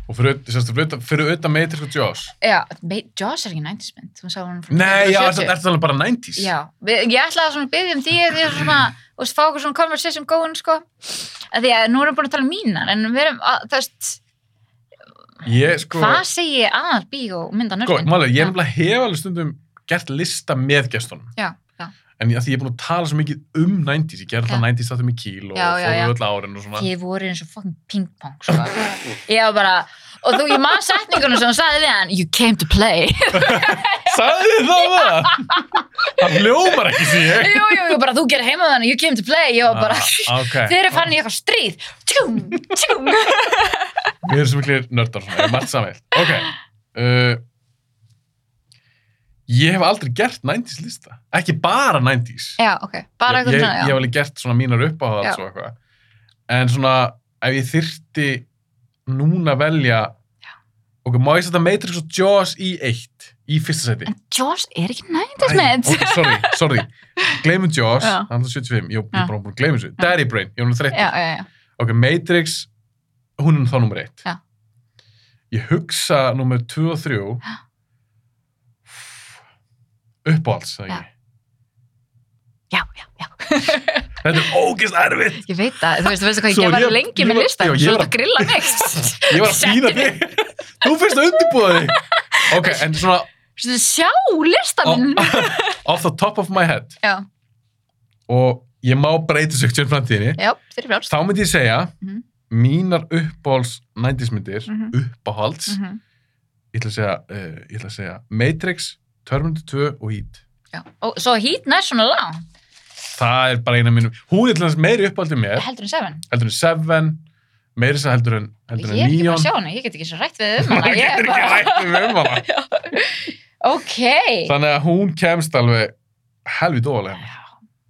Og fyrir, sérst, fyrir, utan, fyrir utan Matrix og Jaws. Já, Ma- Jaws er ekki 90s mynd, þú sagði hún frá Nei, já, 1970. ertu er alveg bara 90s? Já, við, ég ætlaði svona að byggja um því því að svona, þú veist, fá okkur svona conversation going, sko. Af Því að nú erum við búin að tala um mínar, en við erum, að, þú veist, Ég, sko, hvað segi ég aðal bíó mynda sko nörðin? málega, ég Já. nefnilega hef alveg stundum gert lista með gestunum. Já, já. En af því ég er búin að tala svo mikið um 90s, ég gerði Já. það 90s þáttum í kíl og Já, já, já. fórum öll árin og svona. Þið voru eins og fucking ping-pong, sko. Ég var bara, og þú, ég man setningunum sem hún sagði við hann, you came to [LAUGHS] play. Sagði þið það með [LAUGHS] það? Það hljómar ekki því ég. jú, jú, jú, bara þú gerir heima þannig, you came to play. Ég var bara, [LAUGHS] Ah, ok. þeir eru fann í eitthvað stríð. Tjúm, [LAUGHS] tjúm. Við erum svo miklir nördar svona, við erum margt samveilt. Ok. Uh, ég hef aldrei gert 90s lista. Ekki bara 90s. Já, ok, bara ég, eitthvað ég, svona, ég já. hef alveg gert svona mínar Já. uppáhalds og eitthvað. En svona, ef ég þyrti núna velja... Ok, má ég setja Matrix og Jaws í eitt, í fyrsta seti? En Jaws er ekki Æ, 90s mynd. ok, sorry, sorry. Gleimum Jaws, Já. hann er 75, ég, ég Já. er bara búin að gleyma þessu. Daddy Brain, ég er hún [LAUGHS] Já, 30. já, já. Ok, Matrix, hún er þá nummer eitt. Já. Ég hugsa nummer 2 og 3 uppáhalds, það Já. ekki. Já, já, já. Þetta er ógist erfitt. Ég veit það, þú veist, þú veist hvað ég Svo gefa ég- lengi ég með var- listan, já, ég svo var- þetta grilla mig. [LAUGHS] Ég var að fýna þig. Þú fyrst að undirbúða þig. [LAUGHS] Ok, en svona Svona, sjá listan minn. o- [LAUGHS] off the top of my head Já. og ég má breyta þessu ykkur framtíðinni, Já, þeir eru frjálst. þá myndi ég segja Mhm. mínar uppáhalds 90s myndir, Mhm. uppáhalds Mhm. ég ætla að segja, uh, ég ætla að segja Matrix, Terminator 2 og Heat. Já, og svo hít nær svona lang, Það er bara eina mínum. Hún er til þess meiri uppáhaldið mér, heldur en seven. heldur en Seven, meiri þess að heldur en, heldur Ég en er ekki bara að Neon. sjá hana, ég get ekki svo rætt við um hana. Maður Ég er getur ekki bara, [LAUGHS] rætt um um hana. ok. Þannig að hún kemst alveg helvið óvalega. Já,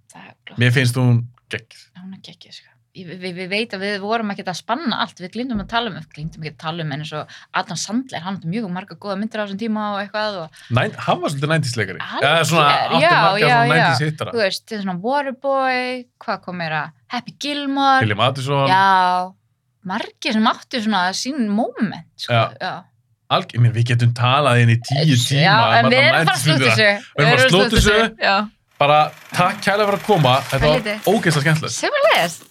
það er glott. Mér finnst hún gegg. Hún er gekkið, sko. Við vi, vi veit að við vorum ekki að spanna allt, við glindum að tala um, glindum ekki að tala um en eins og Adam Sandler, hann átti mjög marga góða myndir á þessum tíma og eitthvað og Næn, hann var svolítið 90s leikari. Algjör, Eða svona, átti já, marga já, svona já. 90s hittara. þú veist, þetta er svona Waterboy, hvað kom meira, Happy Gilmore, William Addison, Já, margir sem áttu svona sín moment, sko. Já. Já, já. alg, ég meina, við getum talað inn í tíu tíma. um en við alla erum bara að 90s slúta myndina. þessu. Við erum bara að slúta þessu. Já, Bara takk kælega fyrir að koma. Þetta var Helviti. ógeðslega skemmtilegt. sem er leiðist.